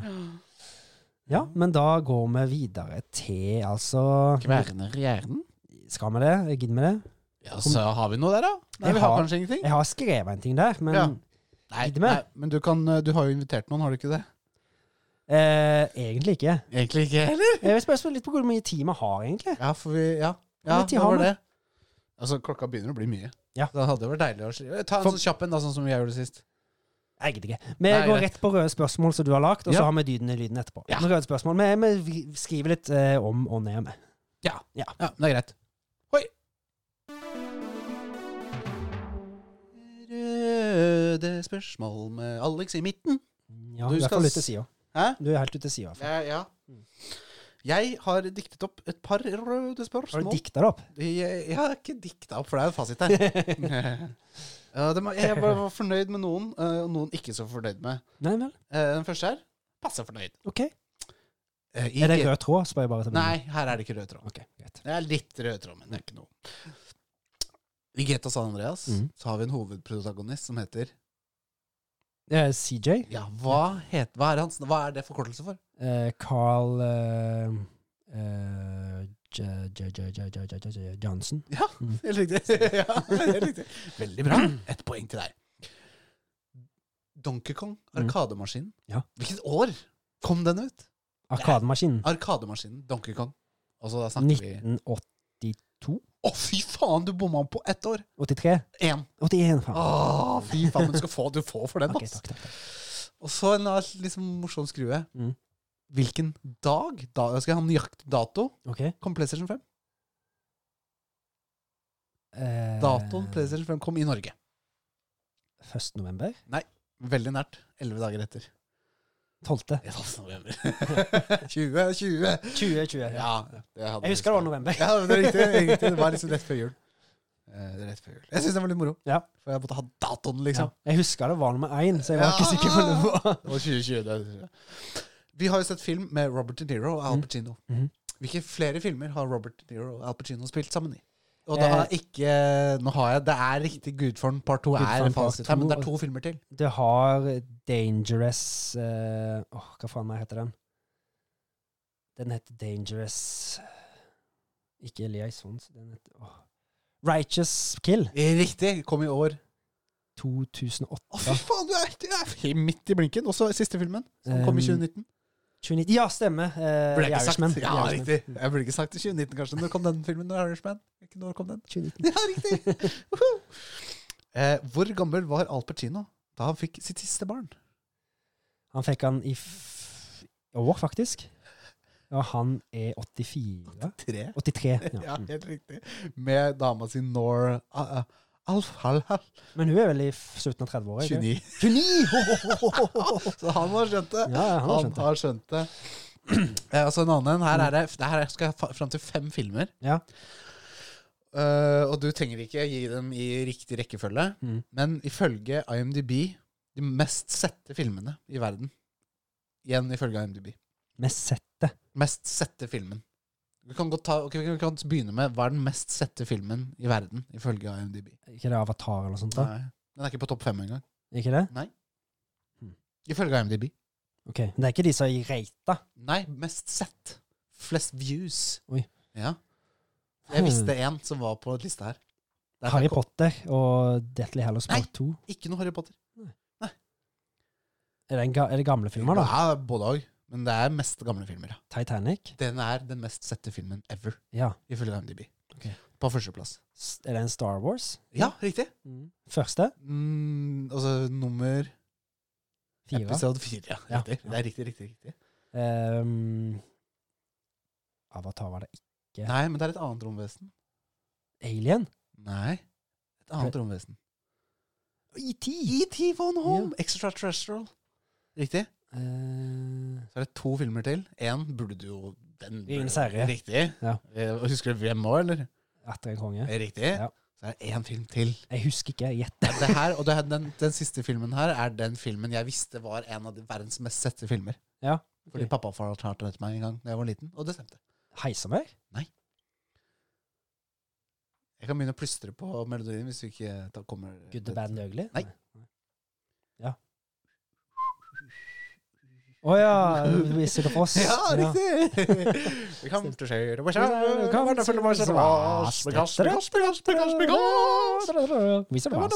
Ja, men da går vi videre til, altså Kverner hjernen? Skal vi det? Gidder vi det? Ja, så har vi noe der, da? Nei, Jeg vi har har- kanskje ingenting? Jeg har skrevet en ting der, men Ja. Nei, Gidder vi? nei, men du, kan, eh, du har jo invitert noen, har du ikke det? eh, egentlig ikke. Egentlig ikke heller. Jeg vil spørre litt på hvor mye tid vi har, egentlig. Ja, for vi Ja, Hvor ja mye tid det har var vi? det. Altså, klokka begynner å bli mye. Ja. Så det hadde vært deilig å sli- ta en For- sånn kjapp en, da, sånn som vi gjorde sist. Jeg gidder ikke. Vi Nei, går greit. rett på røde spørsmål som du har lagt, og så Ja. har vi dyden i lyden etterpå. Ja. Men Røde spørsmål. Vi, vi skriver litt eh, om og ned med. Ja, men det er greit. Oi! Røde spørsmål med Alex i midten. Ja, Du du, er skal for litt til s- sida. Hæ? Du er helt ute til sida. Ja, ja. Jeg har diktet opp et par røde Har du spørsmål. dikta det opp? Jeg, jeg har ikke dikta opp, for det er en fasit her. Ja, det må- jeg var var fornøyd med noen, eh, og noen ikke så fornøyd med. Nei vel. Eh, Den første her passe fornøyd. OK. Eh, Er det ikke- rød tråd, spør jeg bare. til meg. Nei, her er det ikke rød tråd. Ok, greit. Det er litt rød tråd, men det er ikke noe. I GTA San Andreas Mm. så har vi en hovedprotagonist som heter Eh, CJ? Ja, hva, het, hva, er, hans, hva er det forkortelse for? Eh, Carl eh, eh, J- J- J- J- J- J- J- Johnson? Ja, Mm. helt riktig. ja, helt riktig. Veldig bra. Ett poeng til deg. Donkey Kong, Mm. Arkademaskinen. Ja. Hvilket år kom den ut? Arkademaskinen. Arkademaskinen, Donkey Kong. Og så da snakker vi 1983? Å, fy faen, du bomma på ett år! Én. 81, Ah, faen. Å, fy faen, men du skal få du får for den, Ok, ass. takk, takk, takk. Og så en annen liksom morsom skrue. Mm. Hvilken dag, da, skal jeg ha nøyaktig dato, Ok. kom PlayStation 5? Eh, Datoen PlayStation 5 kom i Norge. 1. november? Veldig nært. Elleve dager etter. 12. 2020! Ja, 2020. det hadde liksom- Jeg husker det var november. Ja, men det er riktig. det er riktig. Det var liksom rett før jul. Eh, det er rett før jul. Jeg syns det var litt moro. Ja. For jeg måtte ha datoen, liksom. Jeg husker det var nummer én, så jeg var ikke Ja. sikker på det var. Det var 2020. det er- Vi har jo sett film med Robert De Niro og Al Mhm. Pacino. Mhm. Hvilke flere filmer har Robert De Niro og Al Pino spilt sammen i? Og Eh, da har jeg ikke Nå har jeg Det er riktig Gudfaren part 2 er Gudfaren part fasit. her, Men det er to, to filmer til. Det har Dangerous eh, Åh, hva faen meg heter den? Den heter Dangerous Ikke Liaisons. Den heter åh. Righteous Kill Riktig! Kom i år. 2008. Å, fy faen! Du er, du er helt midt i blinken. Og så siste filmen, som kom i Um, 2019. 29. Ja, stemmer. Eh, Burde jeg ikke Irishman. sagt Ja, Irishman. riktig. Jeg burde ikke sagt det 2019, kanskje. Når kom den filmen? Når Irishman? Ikke når kom den? 2019. Ja, riktig! Woohoo! eh, hvor gammel var Al Pacino da han fikk sitt siste barn? Han fikk han i f år, faktisk. Og han er 84. Tre? 83. Ja. Ja, Mm. helt riktig. Med dama si Nor... Uh, Alf Halhal, Men hun er vel i f- slutten av 30-åra? ikke? 29. 29! Så han har skjønt det. ja, han har Han skjønt det. har skjønt det. Eh, altså en annen en. Her, er det, det her skal jeg fa- fram til fem filmer. Ja. Eh, og du trenger ikke gi dem i riktig rekkefølge, Mm. men ifølge IMDb de mest sette filmene i verden. Igjen ifølge IMDb. Med settet. Mest sette filmen. Vi kan, godt ta, ok, vi kan begynne med hva er den mest sette filmen i verden, ifølge IMDb. Ikke det Avatar eller noe sånt? da? Nei. Den er ikke på topp fem engang. Ikke det? Ifølge IMDb. Ok, Det er ikke de som er reita? Nei, mest sett. Flest views. Oi. Hmm. Ja. Jeg visste en som var på lista her. Det er Harry Potter. Potter og Deathly Hallows Part 2. Ikke noe Harry Potter. Er det, en ga er det gamle filmer, da? Ja, både òg. Men det er mest gamle filmer. Ja. Titanic? Den er den mest sette filmen ever, Ja. ifølge IMDb. Ok. På førsteplass. S- Er det en Star Wars? Ja, riktig. Første? Mm, altså nummer Fire. Episode fire. Ja, Ja. riktig. Det er riktig, riktig. riktig. Ehm, Avatar var det ikke. Ja. Nei, men det er et annet romvesen. Alien? Nei. Et annet romvesen. ET! ET Von Home! Extraterrestrial. Riktig. Eh, Så er det to filmer til. Én burde du jo den I en burde- serie. Riktig. Ja. Eh, og Husker du hvem òg, eller? Eh, Atter en konge. Riktig. Ja. Så er det én film til. Jeg husker ikke. Gjett. Det her, og det, her- den, den siste filmen her er den filmen jeg visste var en av de verdens mest sette filmer. Ja, Fordi ok. pappa fortalte det til meg en gang da jeg var liten, og det stemte. Heisenberg? Jeg kan begynne å plystre på melodien hvis vi ikke da kommer Good, the bad and the ugly? Nei. Å ja. Wizard of Oz. riktig! Vi kommer til å skje det, vi kommer til å følge med oss. Begass, begass, begass, begass, begass. Wizard of Oz.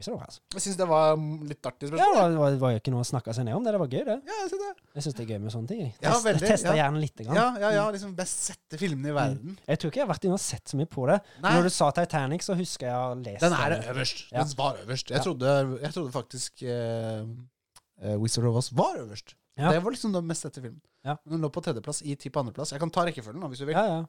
Wizard of Oz. Jeg syns det var mm, litt artig Ja, det spørsmål. var- det var, det var jo ikke noe å snakke seg ned om. Det Det var gøy, det. Ja, jeg synes det. Jeg syns det er gøy med sånne ting. Jeg Ja, Test- veldig, tester ja. gjerne litt. Grann. Ja, ja, ja, liksom best sette filmene i verden. Jeg tror ikke jeg har vært inne og sett så mye på det. Nei. Mm. Når du sa Titanic, så husker jeg jeg har lest Den er det. øverst. Ja. Den var øverst. Jeg Ja. trodde, jeg trodde faktisk eh, eh, Wizard of Oz var øverst. Ja. Det var liksom den mest sette filmen. Ja. Men Den lå på tredjeplass, ET på andreplass. Jeg kan ta rekkefølgen da, hvis du vil. Ja, ja.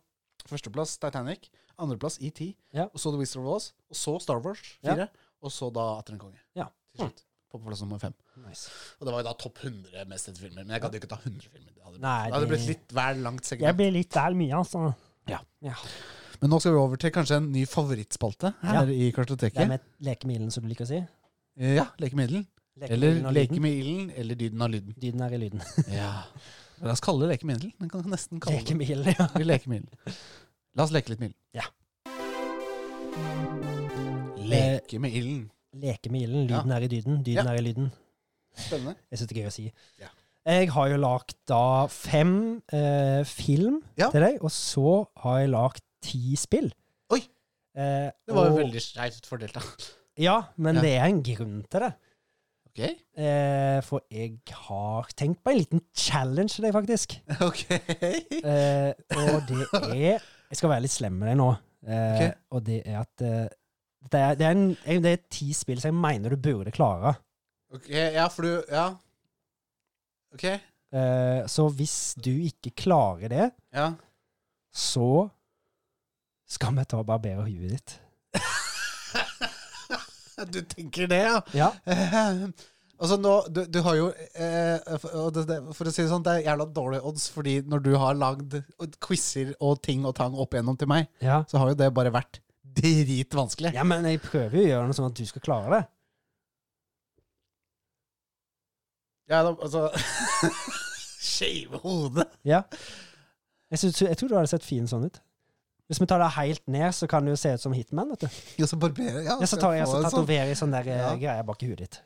Førsteplass Titanic, andreplass ET, Ja. og så The Wizard of Oz, og så Star Wars 4, og så da Atter en konge. Ja. Til slutt. På plass nummer fem. Nice. Og det var jo da topp 100 mest sette filmer. Men jeg gadd jo ikke ta 100 filmer. Det hadde blitt, Nei, det hadde det- blitt litt vel langt Jeg segment. blir litt vel mye, altså. Ja. ja. Men nå skal vi over til kanskje en ny favorittspalte her i Det er Kartoteket. Eh, med lekemilen, som du liker å si. Ja, lekemiddel. Eller Lekemilen og lyden. leke med ilden, eller lyden av lyden. Lyden er i lyden. Ja. La oss kalle det leke med ilden. Den kan nesten kalle det Lekemilen, ja. Vi leker med ilden. La oss leke litt med ilden. Ja. Leke med ilden. Lekemilen. Lyden er i dyden. Dyden Ja. er i lyden. Spennende. Jeg syns det er gøy å si. Ja. Jeg har jo lagd da fem eh, film Ja. til deg, og så har jeg lagd ti spill. Oi! Eh, Det var jo og- veldig skjevt fordelt, da. Ja, men Ja. det er en grunn til det. Ok. Eh, for jeg har tenkt på en liten challenge til deg, faktisk. Ok. Eh, og det er Jeg skal være litt slem med deg nå. Eh, Ok. Og det er at eh, det, er, det, er en, eh, det er ti spill som jeg mener du burde klare. Ok, Ja, for du Ja. Ok. Eh, så hvis du ikke klarer det, Ja. så skal vi ta og barbere huet ditt. Du tenker det, ja? Ja. Eh, Altså nå, du, du har jo eh, for, og det, det, for å si det sånn, det er jævla dårlige odds, fordi når du har lagd quizer og ting og tang opp igjennom til meg, Ja. så har jo det bare vært dritvanskelig. ja, men jeg prøver jo å gjøre noe sånn at du skal klare det. Ja, da, altså Skeive hodet. Ja. Jeg, synes, jeg tror du hadde sett fin sånn ut. Hvis vi tar det helt ned, så kan det jo se ut som Hitman. vet du. Ja, så barberer Ja, så tar jeg så få en sånn- tatoverer jeg sånn der eh, Ja. greie bak i huet ditt.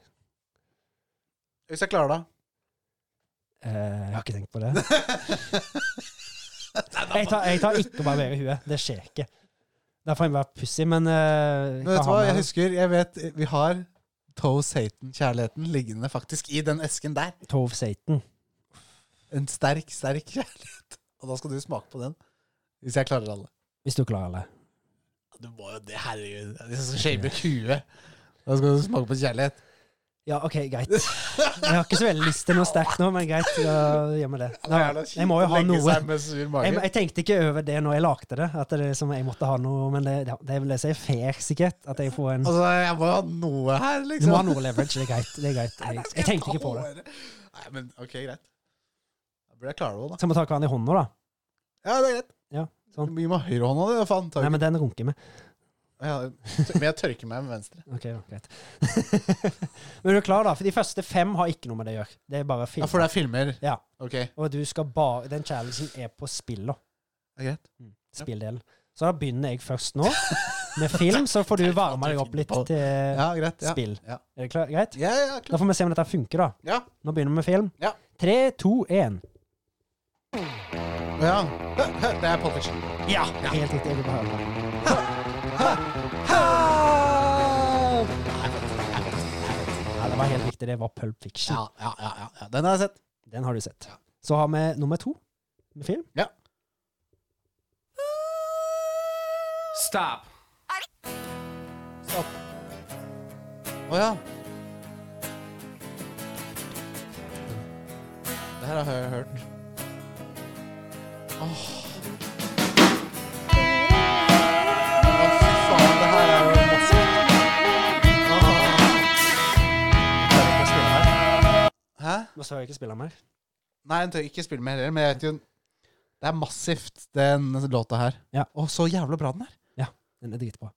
Hvis jeg klarer det. Eh, jeg har ikke tenkt på det. Jeg tar, jeg tar ikke å barbere huet. Det skjer ikke. Da får jeg være pussig, men eh, jeg Men vet kan du ha hva, med jeg det. husker Jeg vet vi har Toes Satan, kjærligheten, liggende faktisk i den esken der. Tove Satan. En sterk, sterk kjærlighet. Og da skal du smake på den. Hvis jeg klarer alle. Hvis du klarer det. Du må jo det, herregud. Det er så shame huet. Da skal du smake på kjærlighet. Ja, OK, greit. Jeg har ikke så veldig lyst til noe sterkt nå, men greit. Da gjør vi det. Da, jeg må jo ha noe. Seg med sur Jeg, mage. jeg tenkte ikke over det når jeg lagde det, at det er liksom, jeg måtte ha noe, men det, ja, det vil jeg si er fair, sikkert. At jeg får en Altså, jeg må jo ha noe her, Du må ha liksom. noe leverage. Det er greit. Det er greit. Jeg, jeg tenkte ikke på det. Nei, men ok, greit. Da burde jeg klare det òg, da. Så jeg må ta hverandre i hånda, da. Ja, det er greit. Ja, sånn. Du må Gi meg høyrehånda di, da, faen. Tar Nei, ikke- men den runker vi. Ja, men jeg tørker meg med venstre. Ok, ja, greit. men er du klar, da? For de første fem har ikke noe med det å gjøre. Det er bare film. Ja, For det er filmer? Ja. Ok, det Og du skal bare Den challengen er på spillene. er greit. Spilldelen. Så da begynner jeg først nå. Med film, så får du varme deg opp litt til Ja, greit. Ja, spill. Ja. Er det klar, greit? ja, ja Da klart. får vi se om dette funker, da. Ja. Nå begynner vi med film. Ja. Tre, to, én. ja. Hø, hø, Det er Pulp Fiction. Ja! Helt riktig. Jeg vil bare høre det. Ja, det var helt riktig. Det var Pulp Fiction. Ja, ja, ja, ja, ja. Den har jeg sett. Den har du sett. Så har vi nummer to med film. Ja. Stop. Å ja. Det her har jeg hørt. Åh. Å, fy faen, det her er jo masse. Åh. Hæ? Nå skal jeg ikke spille mer. Nei, jeg tør ikke spille mer heller, men jeg vet jo Det er massivt, den låta her. Ja. Og så jævla bra den er. Den er dritbra.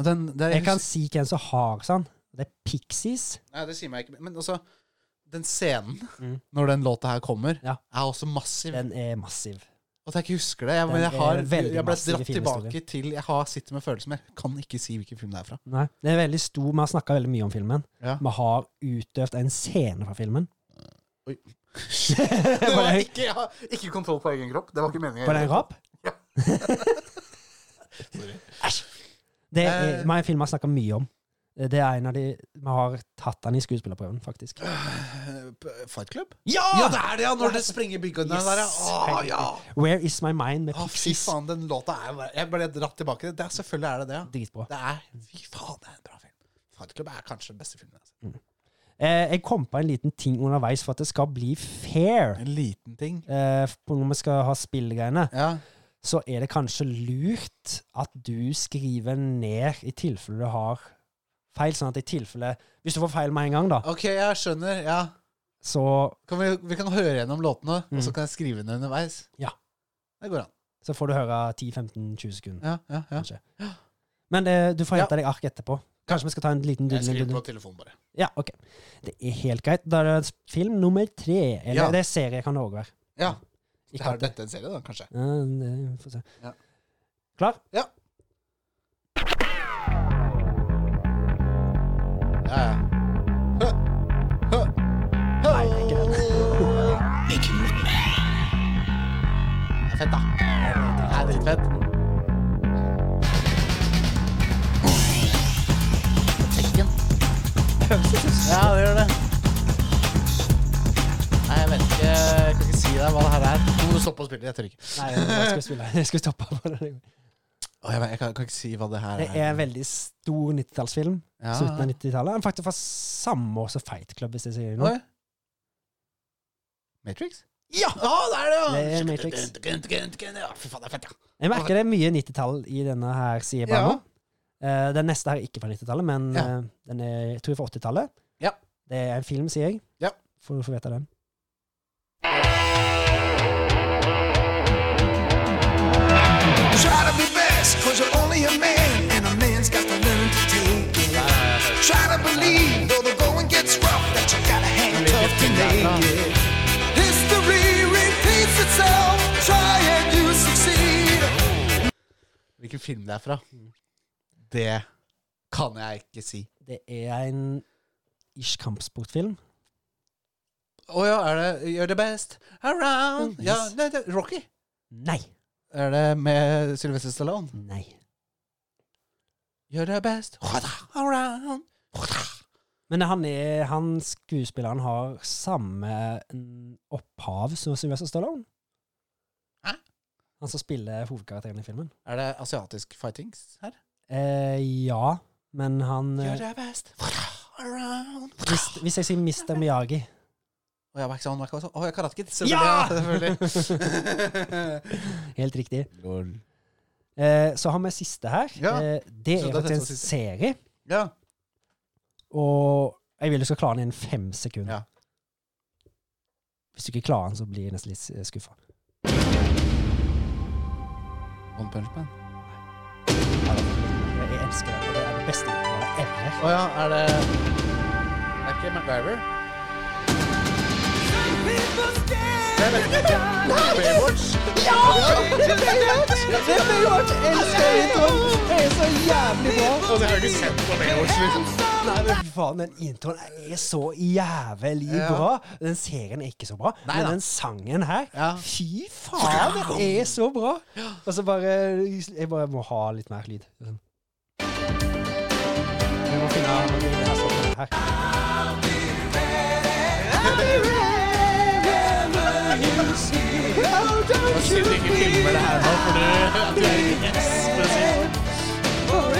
Og Den, det, Jeg kan si hvem som har sånn. Det er Pixies. Nei, det sier meg ikke Men altså, den scenen, Mm. når den låta her kommer, Ja. er også massiv. Den er massiv. At jeg ikke husker det. Jeg, Den men jeg, er har, veldig jeg ble massiv i dratt filmhistorien. tilbake til Jeg har sitter med følelser, men jeg kan ikke si hvilken film det er fra. Nei, det er veldig stor. Vi har snakka veldig mye om filmen. Ja. Vi har utøvd en scene fra filmen. Oi. Var Det var det- ikke, jeg har ikke kontroll på egen kropp. Det var ikke meningen. Var det en rap? Ja. Æsj. Det er Eh. meg og Film har snakka mye om. Det er en av de Vi har tatt den i skuespillerprøven, faktisk. Eh, Fight Club? Ja! Ja, det er det, ja! Når det sprenger byggene Yes. der, ja. Å, ja. Where Is My Mind med Å, fy Pixies. faen, den låta er jo bare- Jeg ble dratt tilbake. Det er, selvfølgelig er det det, ja. Dritbra. Det er Fy faen, det er en bra film. Fight Club er kanskje den beste filmen altså. jeg har sett. Eh, jeg kom på en liten ting underveis for at det skal bli fair. En liten ting. Eh, for når vi skal ha spillegreiene, Ja. så er det kanskje lurt at du skriver ned i tilfelle du har feil, sånn at i tilfelle Hvis du får feil med en gang, da, OK, jeg skjønner. Ja. så, Kan vi, vi kan høre gjennom låtene, og så Mm. kan jeg skrive den underveis. Ja. Det går an. så får du høre 10-15-20 sekunder. Ja, ja, ja. kanskje. Men eh, du får Ja. hente deg ark etterpå. Kanskje vi skal ta en liten Jeg dundel- skriver dundel- på telefonen, bare. Ja, ok. Det er helt greit. Da er det film nummer tre. Eller Ja. det er serie kan det òg være. Ja. Ikke Er at det- dette en serie, da, kanskje? Ja, det- Få se. Ja. Klar? Ja, ja. Hø. Hø. Nei, det er ikke den. Det er fett, da. Det er dritfett. Tekken. Ja, det gjør det. Nei, jeg vet ikke Jeg kan ikke si deg hva det her er. Nå må du stoppe å spille. Jeg tør ikke. Nei, jeg skal spille. Jeg skal stoppe på det. Å, jeg, vet- jeg kan, kan ikke si hva det her Det er en veldig stor 90-tallsfilm. Ja. Slutten av 90-tallet. Den er Faktisk fra samme år som Fight Club, hvis jeg sier noe. Oi. Matrix? Ja! Å, det er det, ja! Det er Matrix. Ja, fy faen, det er fett, ja. Jeg merker det er mye 90-tall i denne her siden bare Ja. nå. Eh, den neste her er ikke fra 90-tallet, men Ja. eh, den er, jeg tror jeg fra 80-tallet. Ja. Det er en film, sier jeg. Ja. Får du få vite den. Try to be best, cause you're only a man, and a man's got to learn to take it. Try to believe, though the going gets rough, that you gotta hang tough to make it. History repeats itself, try and you succeed. Hvilken film det er fra? Det kan jeg ikke si. Det er en ish kampsportfilm. Å ja, er det You're the best around ja, Yes. nei, det, Rocky. Nei. Er det med Sylvester Stallone? Nei. You're the best around Men han, er, han skuespilleren har samme mm, opphav som Sylvester Stallone. Hæ? Han som spiller hovedkarakteren i filmen. Er det asiatisk fightings her? Eh, ja, men han eh, You're the best around hvis, hvis jeg sier Mr. Miyagi Å ja, Maxon, Maxon. Å, ja, Karate Kid. Ja! selvfølgelig. Ja, selvfølgelig. Helt riktig. Eh, så har vi siste her. Ja. Eh, det Så det er er faktisk en dette siste. serie, ja. og jeg vil du skal klare den innen fem sekunder. Ja. Hvis du ikke klarer den, så blir jeg nesten litt eh, skuffa. One Punch Man. Jeg elsker den. og Det er det beste utvalget ever. Å ja, er det Er det ikke MacGyver? Jeg vet ikke. Baywatch? Det blir gjort! Elsker jeg Tom! Det er så jævlig bra! Altså, jeg har ikke sett på Baywatch, liksom. Nei, men fy faen, den introen er så jævlig Ja. bra. Altså, Den serien er ikke så bra, Nei da. men den sangen her Ja. Fy faen, den er så bra! Og så bare Jeg bare må ha litt mer lyd. Jeg må finne den her sangen her. Og siden ikke filmer det her nå, for du, du er ikke yes, for å si det.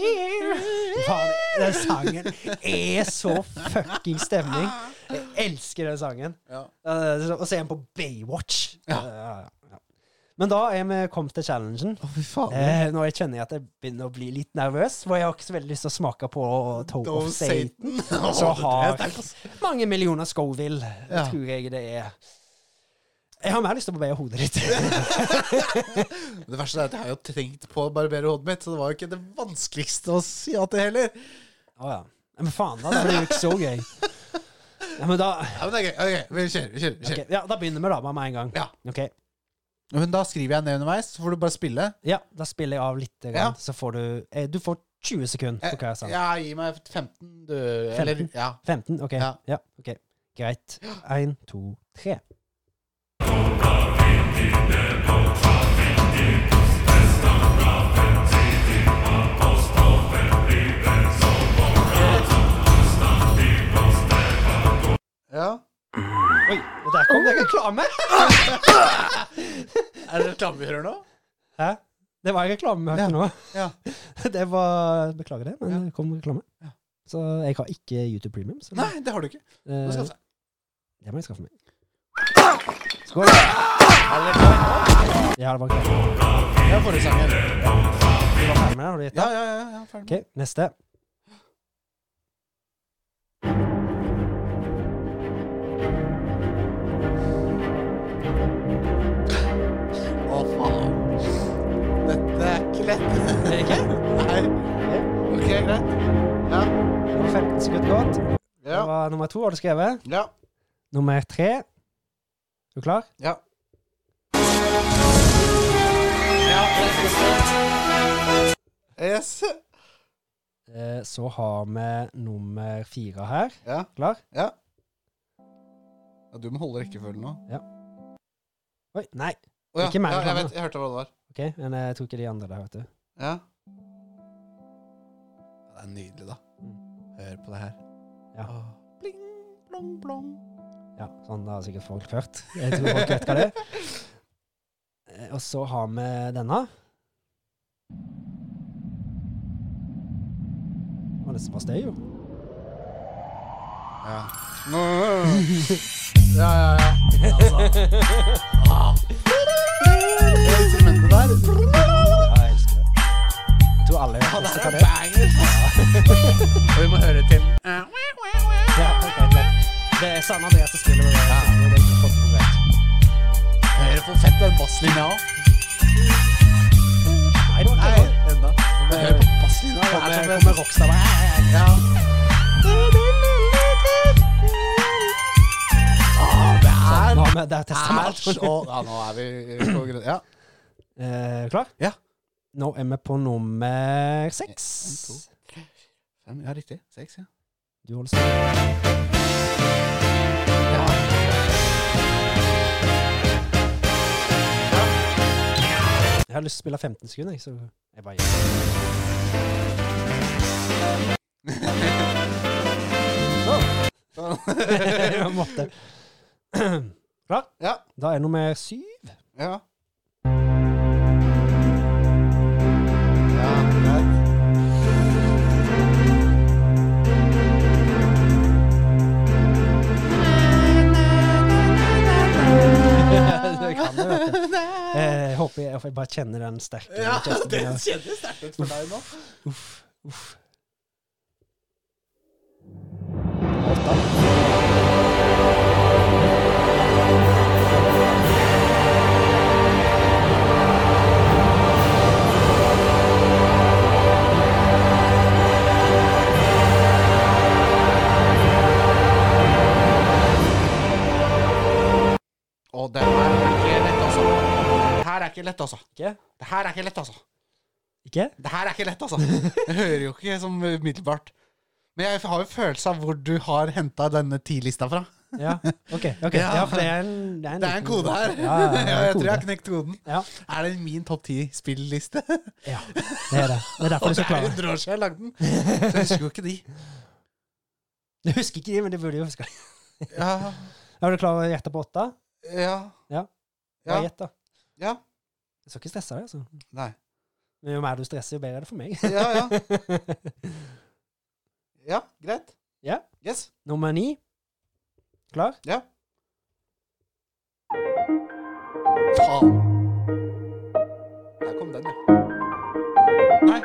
Faen, den sangen er så fucking stemning. Jeg elsker den sangen. Ja. Eh, så- Og så er den på Baywatch. Eh, ja. Men da er vi kommet til challengen. Fy faen. Eh, nå jeg kjenner jeg at jeg begynner å bli litt nervøs, for jeg har ikke så veldig lyst til å smake på Toe of Satan. Så har altså. mange millioner Scoville, Ja. tror jeg det er. Jeg har mer lyst til å barbere hodet ditt. Det verste er at jeg har jo tenkt på å barbere hodet mitt, så det var jo ikke det vanskeligste å si ja til heller. Å ja. Ja, Men faen, da. Det blir jo ikke så gøy. Ja, men da, Ja, men det er gøy. Ok, vi kjører, vi kjører. vi kjører. ok, ja, da begynner vi da bare med en gang. Ja. Ok. Men da skriver jeg ned underveis, så får du bare spille. Ja, da spiller jeg av litt, grann, Ja. så får du eh, Du får 20 sekunder på hva jeg sa. Ja, gi meg 15, du. Eller, 15? ja. 15? OK. Ja. Ja, ok. Greit. Én, to, tre. ja. Oi, og der kom det reklame! Er det reklame vi hører nå? Hæ? Det var en reklame vi hørte nå. Ja. Det var Beklager det, men Ja. det kom reklame. Ja. Så jeg har ikke YouTube Premium. Så Nei, det har du ikke. eh, Nå skal jeg se. det må jeg skaffe meg. Skål! Ja, det var klart. Det er forrige sangen. Du var ferdig med det? Har du gitt Ja, ja, ja. ja ferdig. OK, neste. Å, faen. Dette er ikke lett. Er det ikke? Nei. Ok, greit. Ja. Det var 15 sekunder gått. Ja. Det var nummer to, har du skrevet. Ja. Nummer tre. Er du klar? Ja. Yes. Eh, Så har vi nummer fire her. Ja. Klar? Ja. ja du må holde rekkefølgen nå. Oi, nei. Å ja. Ikke mer ja, jeg, reklame. vet, jeg hørte hva det var. Ok, Men jeg tok ikke de andre der, vet du. Ja. Det er nydelig, da. Hør på det her. Mm. Ja. Åh. Bling, blong, blong. Ja, Sånn har sikkert folk hørt. Jeg tror folk vet hva det er. Eh, Og så har vi denne. Det var nesten bare støy, jo. Ja. Ja, ja, ja. Det instrumentet der. Ja, jeg elsker det. Jeg tror alle visste hva det er. Og vi må høre til. Ja, ok, greit. Det er Sanne Andreas som spiller med det. Det er ikke folk som vet. Hører for fett den basslinja òg. Nei, det var Nei, ikke det. enda. Men hør på basslinja. Det er sånn det er kommer som en- rockstar. Hei, hei, hei. Ja. Åh, Ah, det er Nå har vi- Sånn, Der tester vi alt. Æsj! og- Ja, nå er vi på grunn... Ja. Eh, klar? Ja. Nå er vi på nummer seks. Fem, ja, riktig. Seks, ja. Du holder sånn. styr. Jeg har lyst til å spille 15 sekunder, jeg, så jeg bare gjør det. Jeg måtte. Klar? Ja. Da er nummer syv. Ja. Ja, greit. Jeg kan det, vet du. Eh, Jeg håper jeg, jeg bare kjenner den sterke Ja, kjesten. det kjennes sterkt ut for deg nå. Og det her er ikke lett, altså. Det her er ikke lett, altså. Ikke? Det her er ikke lett, altså. Ikke? Det her er ikke lett, altså. Jeg hører jo ikke som umiddelbart. Men jeg har jo følelse av hvor du har henta denne ti-lista fra. Ja, ok. ok. Ja. Ja, for det er en Det er en, Det er en liten- kode her. Ja, ja, ja, det er en jeg tror jeg har kode. knekt koden. Ja. Er det min topp ti-spilliste? Ja, det er det. Det er derfor Og du det skal er klare det. 100 år siden jeg lagde den. Så jeg husker jo ikke de. Du husker ikke de, men du burde jo huske det. Ja, Er du klar til å gjette på åtte? ja, Ja. ja. Bare gjett, da. ja. Jeg skal ikke stresse deg, altså. Nei. Men jo mer du stresser, jo bedre er det for meg. Ja, ja. Ja, greit. Ja. Yes. Nummer ni. Klar? Ja. Faen. Der kom den, ja. Nei.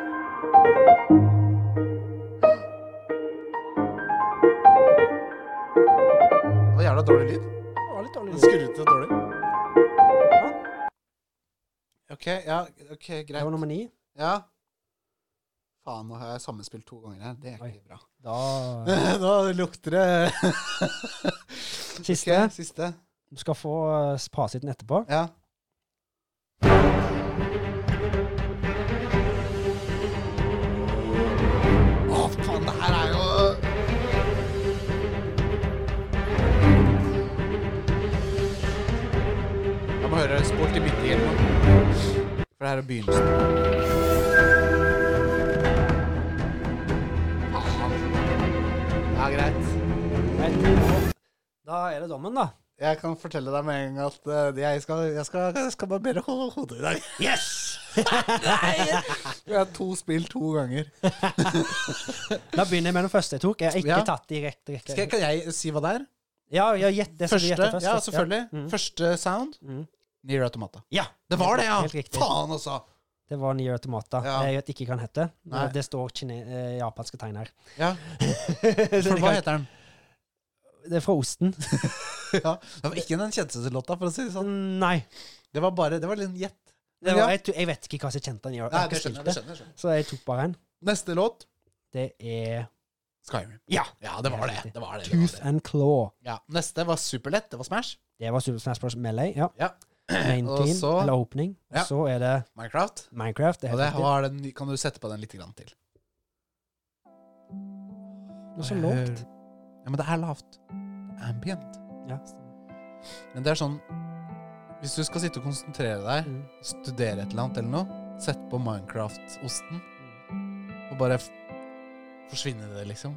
Det var jævla dårlig lyd. Det var litt dårlig Den lyd. skurret så dårlig. OK, ja, ok, Det var greit. nummer ni. Ja. Faen, nå har jeg sammenspilt to ganger her. Det er ikke bra. Da Nå lukter det Siste. Ok, Siste. Du skal få eh, fasiten etterpå. Ja. For det her er begynnelsen. Ja, greit. Da er det dommen, da. Jeg kan fortelle deg med en gang at eh, jeg skal, jeg skal, jeg skal barbere ho- hodet i dag. Yes! Jeg har to spill to ganger. Da begynner jeg med den første jeg tok. Jeg har ikke Ja. tatt Skal direkte jeg, rekke. kan jeg si hva det er? Ja, ja, gjett det som du Første, gjetter først. ja, da. selvfølgelig. Første sound. Mm. Nier Automata. Ja. Det var det, ja! Helt riktig. Faen, altså! Det var Nier Automata. Ja. Jeg vet ikke hva den heter. Nei. Det står kine eh, japanske tegn her. Ja. For hva heter den? Det er fra Osten. Ja. Det var ikke den kjenteste låta, for å si det sånn. Nei. Det var bare Det var litt gjett. Det Ja. var, jeg, tror- jeg vet ikke hva som kjente den. Jeg, Nei, har det ikke skjønner jeg, det spilt det. skjønner jeg. Så jeg tok bare en. Neste låt Det er Skyrim. Ja. Ja, det var det. det, var det, det, var Tooth det. and Claw. Ja. Neste var superlett. Det var Smash. Det var Super Smash Bros. Melee. Ja. Ja. Main Og team, så- eller opening. Og Ja. så er det Minecraft. Minecraft. Det er Og helt det riktig. var den, kan du sette på den litt grann til. Noe så lavt. Ja, men det er lavt. Ambient. Ja. Men det er sånn Hvis du skal sitte og konsentrere deg, Mm. studere et eller annet eller noe, sett på Minecraft-osten, og bare f forsvinne i det, liksom.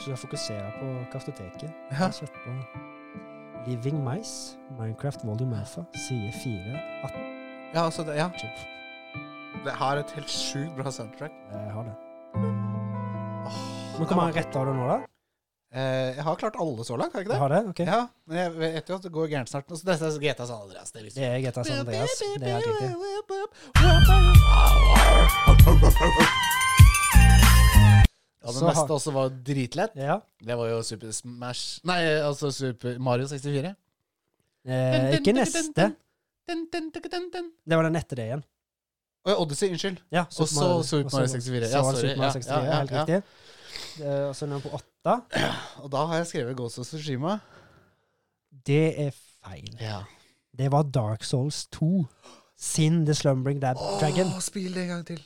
Så jeg fokuserer på kartoteket. Ja. Jeg setter på Living Mice, Minecraft Volume Alpha, side 4, 18. Ja, altså, det, ja. Det har et helt sjukt bra soundtrack. eh, Jeg har det. Men kommer han rett av det nå, da? Eh, jeg har klart alle så langt, har jeg ikke det? Jeg har det? Ok. Ja, men jeg vet jo at det går gærent snart. Så dette er GTA San Andreas. Det er Det liksom. er GTA San Andreas. Det er helt riktig. Ja, den Så har- neste også var dritlett. Ja. Det var jo Super Smash Nei, altså Super Mario 64. Eh, ikke neste. Dun, dun, dun, dun, dun. Det var den etter det igjen. Å, Odyssey, unnskyld. Ja, Og så Super Mario 64. Så Ja, var det sorry. Super Mario Ja, ja, 64, ja, helt ja. riktig. Eh, Og så nummer på åtte. Og da har jeg skrevet Ghost of Tsushima. Det er feil. Ja. Det var Dark Souls 2 sin The Slumbering Dab Dragon. Å, spill det en gang til.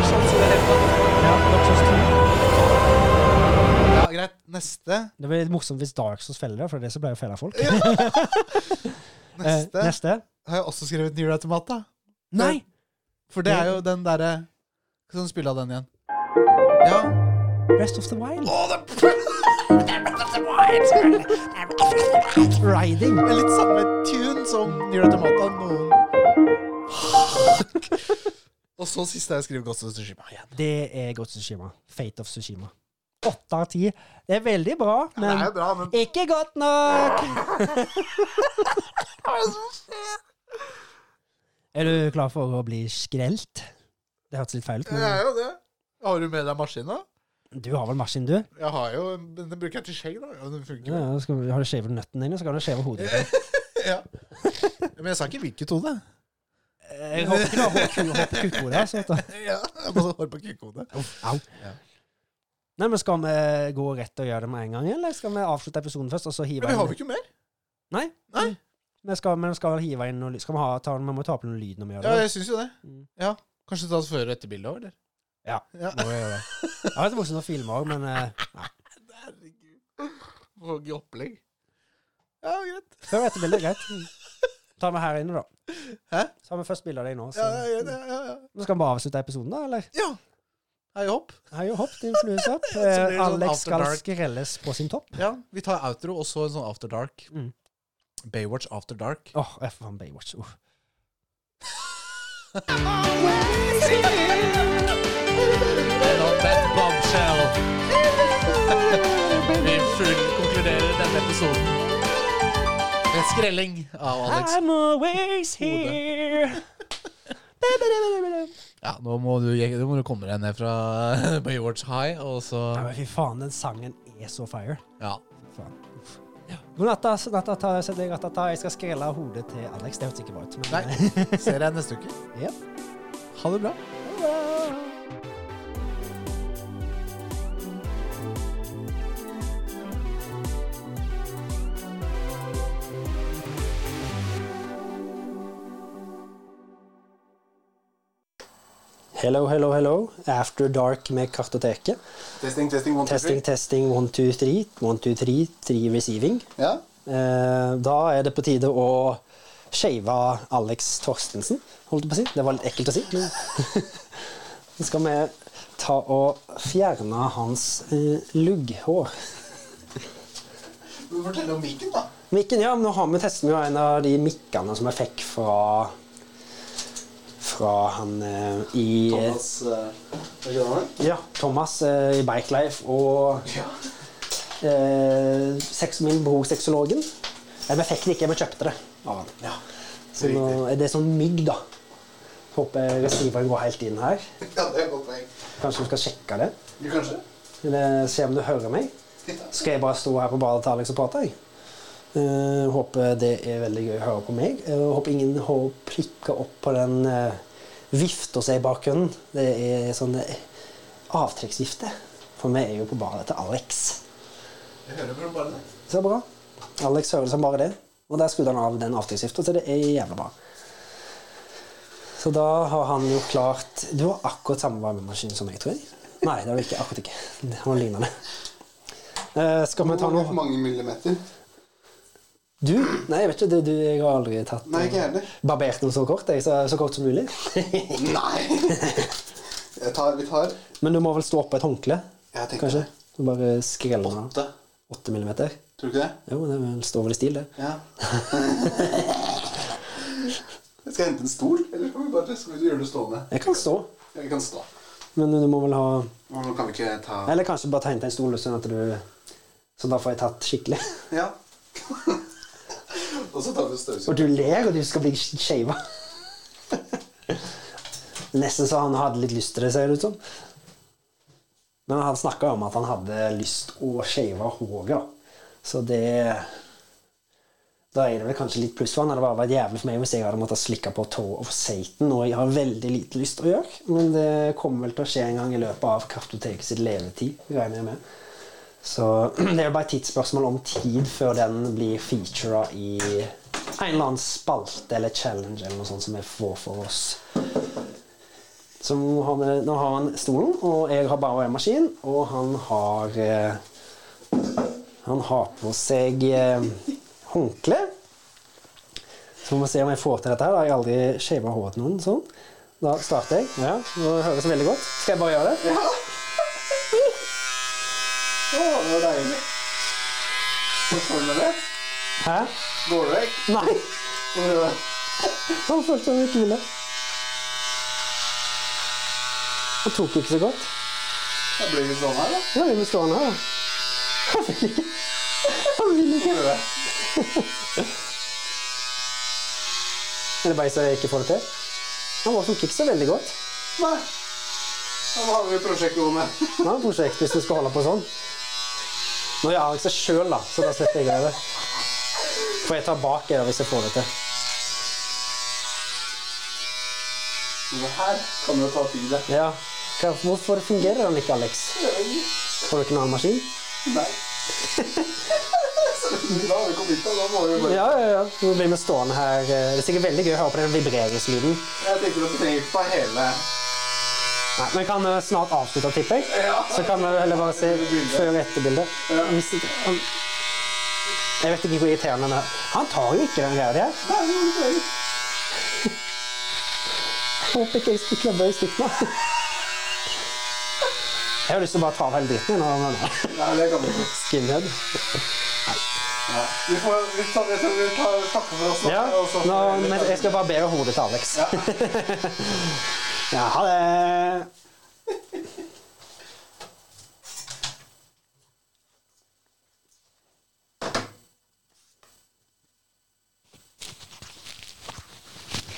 Ja, Dark Souls 2. Ja, greit. Neste. Det blir litt morsomt hvis Dark Souls feller det, for det er det som pleier å felle folk. Eh, Neste. neste. Har jeg også skrevet Near Automata. Nei! For det er jo den derre Skal du spille av den igjen? Ja. Rest of the Wild. Riding. Det er litt samme tune som Near Automata. Noen Og så siste jeg skriver Ghost of Tsushima igjen. Det er godt Sushima. Fate of Sushima. Åtte av ti. Det er veldig bra, Det men er jo bra, men ikke godt nok! Er du klar for å bli skrelt? Det hørtes litt feil ut, det er men jo det. Har du med deg maskina? du har vel maskin, du? Jeg har jo Den bruker jeg til skjegg, da. Ja, den funker Ja, jo. ja, skal, vi- har du skjevet nøtten din, så kan du skjeve hodet ditt. Ja. Men jeg sa ikke hvilket hode. Eh, Jeg håper ikke du har hår- ku- hår på kukhodet. altså, vet du. Ja, jeg bare hår på kukkhodet. Au. Ja. Nei, men Skal vi gå rett og gjøre det med en gang, eller skal vi avslutte episoden først? og så hive Men vi har jo inn? ikke mer. Nei. Nei. Vi skal, men skal vi hive inn noe lyd? Skal vi ha, ta, vi må ta opp noe lyd når vi gjør Ja, det. jeg syns jo det. Mm. Ja. Kanskje ta oss før og etter bildet òg, eller? Ja. Ja. Må vi gjøre det. Jeg har vært morsomt å filme òg, men eh, nei. Og i opplegg. Ja, greit. før og etter bildet er greit. Ta med her inne, da. Hæ? Så har vi først bilde av deg nå. Så. Ja, ja, ja, ja, ja. Men Skal vi bare avslutte episoden, da? eller? ja. Hei, hopp. Hei og hopp, din flue sapp. Så blir det Eh, sånn Alex after skal dark. skrelles på sin topp. Ja, vi tar outro og så en sånn After Dark. Mm. Baywatch After Dark. Åh, jeg får faen Baywatch. Uff. That bombshell. vi full konkluderer denne episoden. Med skrelling av Alex. I'm always here. Ja, nå må du, nå må du komme deg ned fra Baywatch High, og så Ja, men fy faen, den sangen er så fire. Ja. Faen. God natt, da. Så natta, ta, sett deg ratta, ta. Jeg skal skrelle hodet til Alex. Det hørtes ikke bra ut. Nei, ser deg neste uke. Ja. Ha det bra. Hello, hello, hello. After Dark med Kartoteket. Testing, testing, one, two, three. Testing, testing, one, two, three. One, two, three, three receiving. Ja. Eh, da er det på tide å shave Alex Torstensen, holdt jeg på å si. Det var litt ekkelt å si. men- Nå skal vi ta og fjerne hans eh, lugghår. Du må fortelle om mikken, da. Mikken, ja, men nå har vi testet med en av de mikkene som jeg fikk fra fra han eh, i Thomas eh, Hva heter han? Ja, Thomas eh, i Bikelife og eh, seks, min bror sexologen. Nei, Vi fikk det ikke, vi kjøpte det av han. Ja. Så nå, det er sånn mygg, da. Håper receiveren går helt inn her. ja, det er et godt poeng. Kanskje du skal sjekke det? Du, kanskje? Eller se om du hører meg? Skal jeg bare stå her på badet til Alex og prate? jeg? Eh, håper det er veldig gøy å høre på meg. Eh, håper ingen har prikka opp på den uh, vifta som er i bakgrunnen. Det er sånn eh, avtrekksvifte. For vi er jo på badet til Alex. Jeg hører bare bare det. Så bra. Alex hører det som bare det. Og der skrudde han av den avtrykksvifta, så det er jævla bra. Så da har han jo klart Du har akkurat samme varmemaskin som meg, tror jeg. Nei, det har du ikke. Akkurat ikke. Det var lignende. Eh, skal vi ta Hvor noe mange millimeter? Du? Nei, jeg vet ikke. Det, du, jeg har aldri tatt eh, Nei, ikke jeg heller. Barbert noe så kort. Jeg, så, så kort som mulig. Nei! Jeg tar, vi tar Men du må vel stå oppå et håndkle? Jeg tenkte Kanskje? det. Du bare skreller den av. åtte. Åtte millimeter? Tror du ikke det? Jo, det vel- står vel i stil, det. Ja. Jeg skal hente en stol, eller skal vi bare skal vi gjøre det stående? Jeg kan stå, Jeg kan stå. men du må vel ha Og nå kan vi ikke ta Eller kanskje bare tegne deg en stol, sånn at du Så da får jeg tatt skikkelig. Ja. Og så tar vi Og støvsugeren. du ler, og du skal bli shava. Nesten så han hadde litt lyst til det, ser det ut som. Men han snakka om at han hadde lyst å shave håret, da. Så det Da er det vel kanskje litt pluss for han. Det hadde bare vært jævlig for meg hvis jeg hadde måttet slikke på tå og Satan, og jeg har veldig lite lyst til å gjøre. Men det kommer vel til å skje en gang i løpet av Kartoteket sitt levetid, regner jeg med. Så det er jo bare et tidsspørsmål om tid før den blir featura i en eller annen spalte eller challenge eller noe sånt som vi får for oss. Så nå har, vi, nå har han stolen, og jeg har bare en maskin, og han har eh, Han har på seg eh, håndkle. Så må vi se om jeg får til dette. her. Da har jeg aldri shava håret til noen sånn. Da starter jeg. Ja, nå høres det veldig godt. Skal jeg bare gjøre det? Å, det var deilig. Forstår du det? Hæ? Går du vekk? Nei! Får du det? Han følte seg litt lille. Han tok ikke så godt. Da blir vi sånn her, da. Ja, vi må stå han her, da. Han vil ikke. Han vil ikke. Gjør du det? Er det bare så jeg ikke får det til? Han var tok ikke så veldig godt. Nei. Ja, Da har vi prosjektet gående. Han har prosjekt hvis du skal holde på sånn. Nå gjør Alex det sjøl, da, så da slipper jeg det. For jeg tar bak jeg, da, hvis jeg får det til. Det her kan jo ta tid, det. Ja. Hva- Hvorfor fungerer han ikke, Alex? Har du ikke en annen maskin? Nei. Så Da har vi kommet hit, da. Da må vi bare Ja, ja, ja. Nå blir vi stående her. eh, Det er sikkert veldig gøy å høre på den vibreringslyden. Jeg tenker at vi trenger ikke ta hele Nei, men kan eh, snart avslutte, tipper jeg. Ja. Så kan vi heller bare se Bildet. før- og etterbildet. Hvis ikke han- Jeg vet ikke hvor irriterende den er. Han tar jo ikke den greia der. Nei, det må vi gjøre. Jeg Håper ikke jeg skal klabbe i stykker. Jeg har lyst til å bare ta av hele dritten igjen. og- og- Nei, det kan vi ikke. Skinhead. Ja. Vi får vi tar, jeg tror vi tar, takker for oss nå. Ja, og så får nå, vi- men jeg skal bare barbere hodet til Alex. Ja, ha det.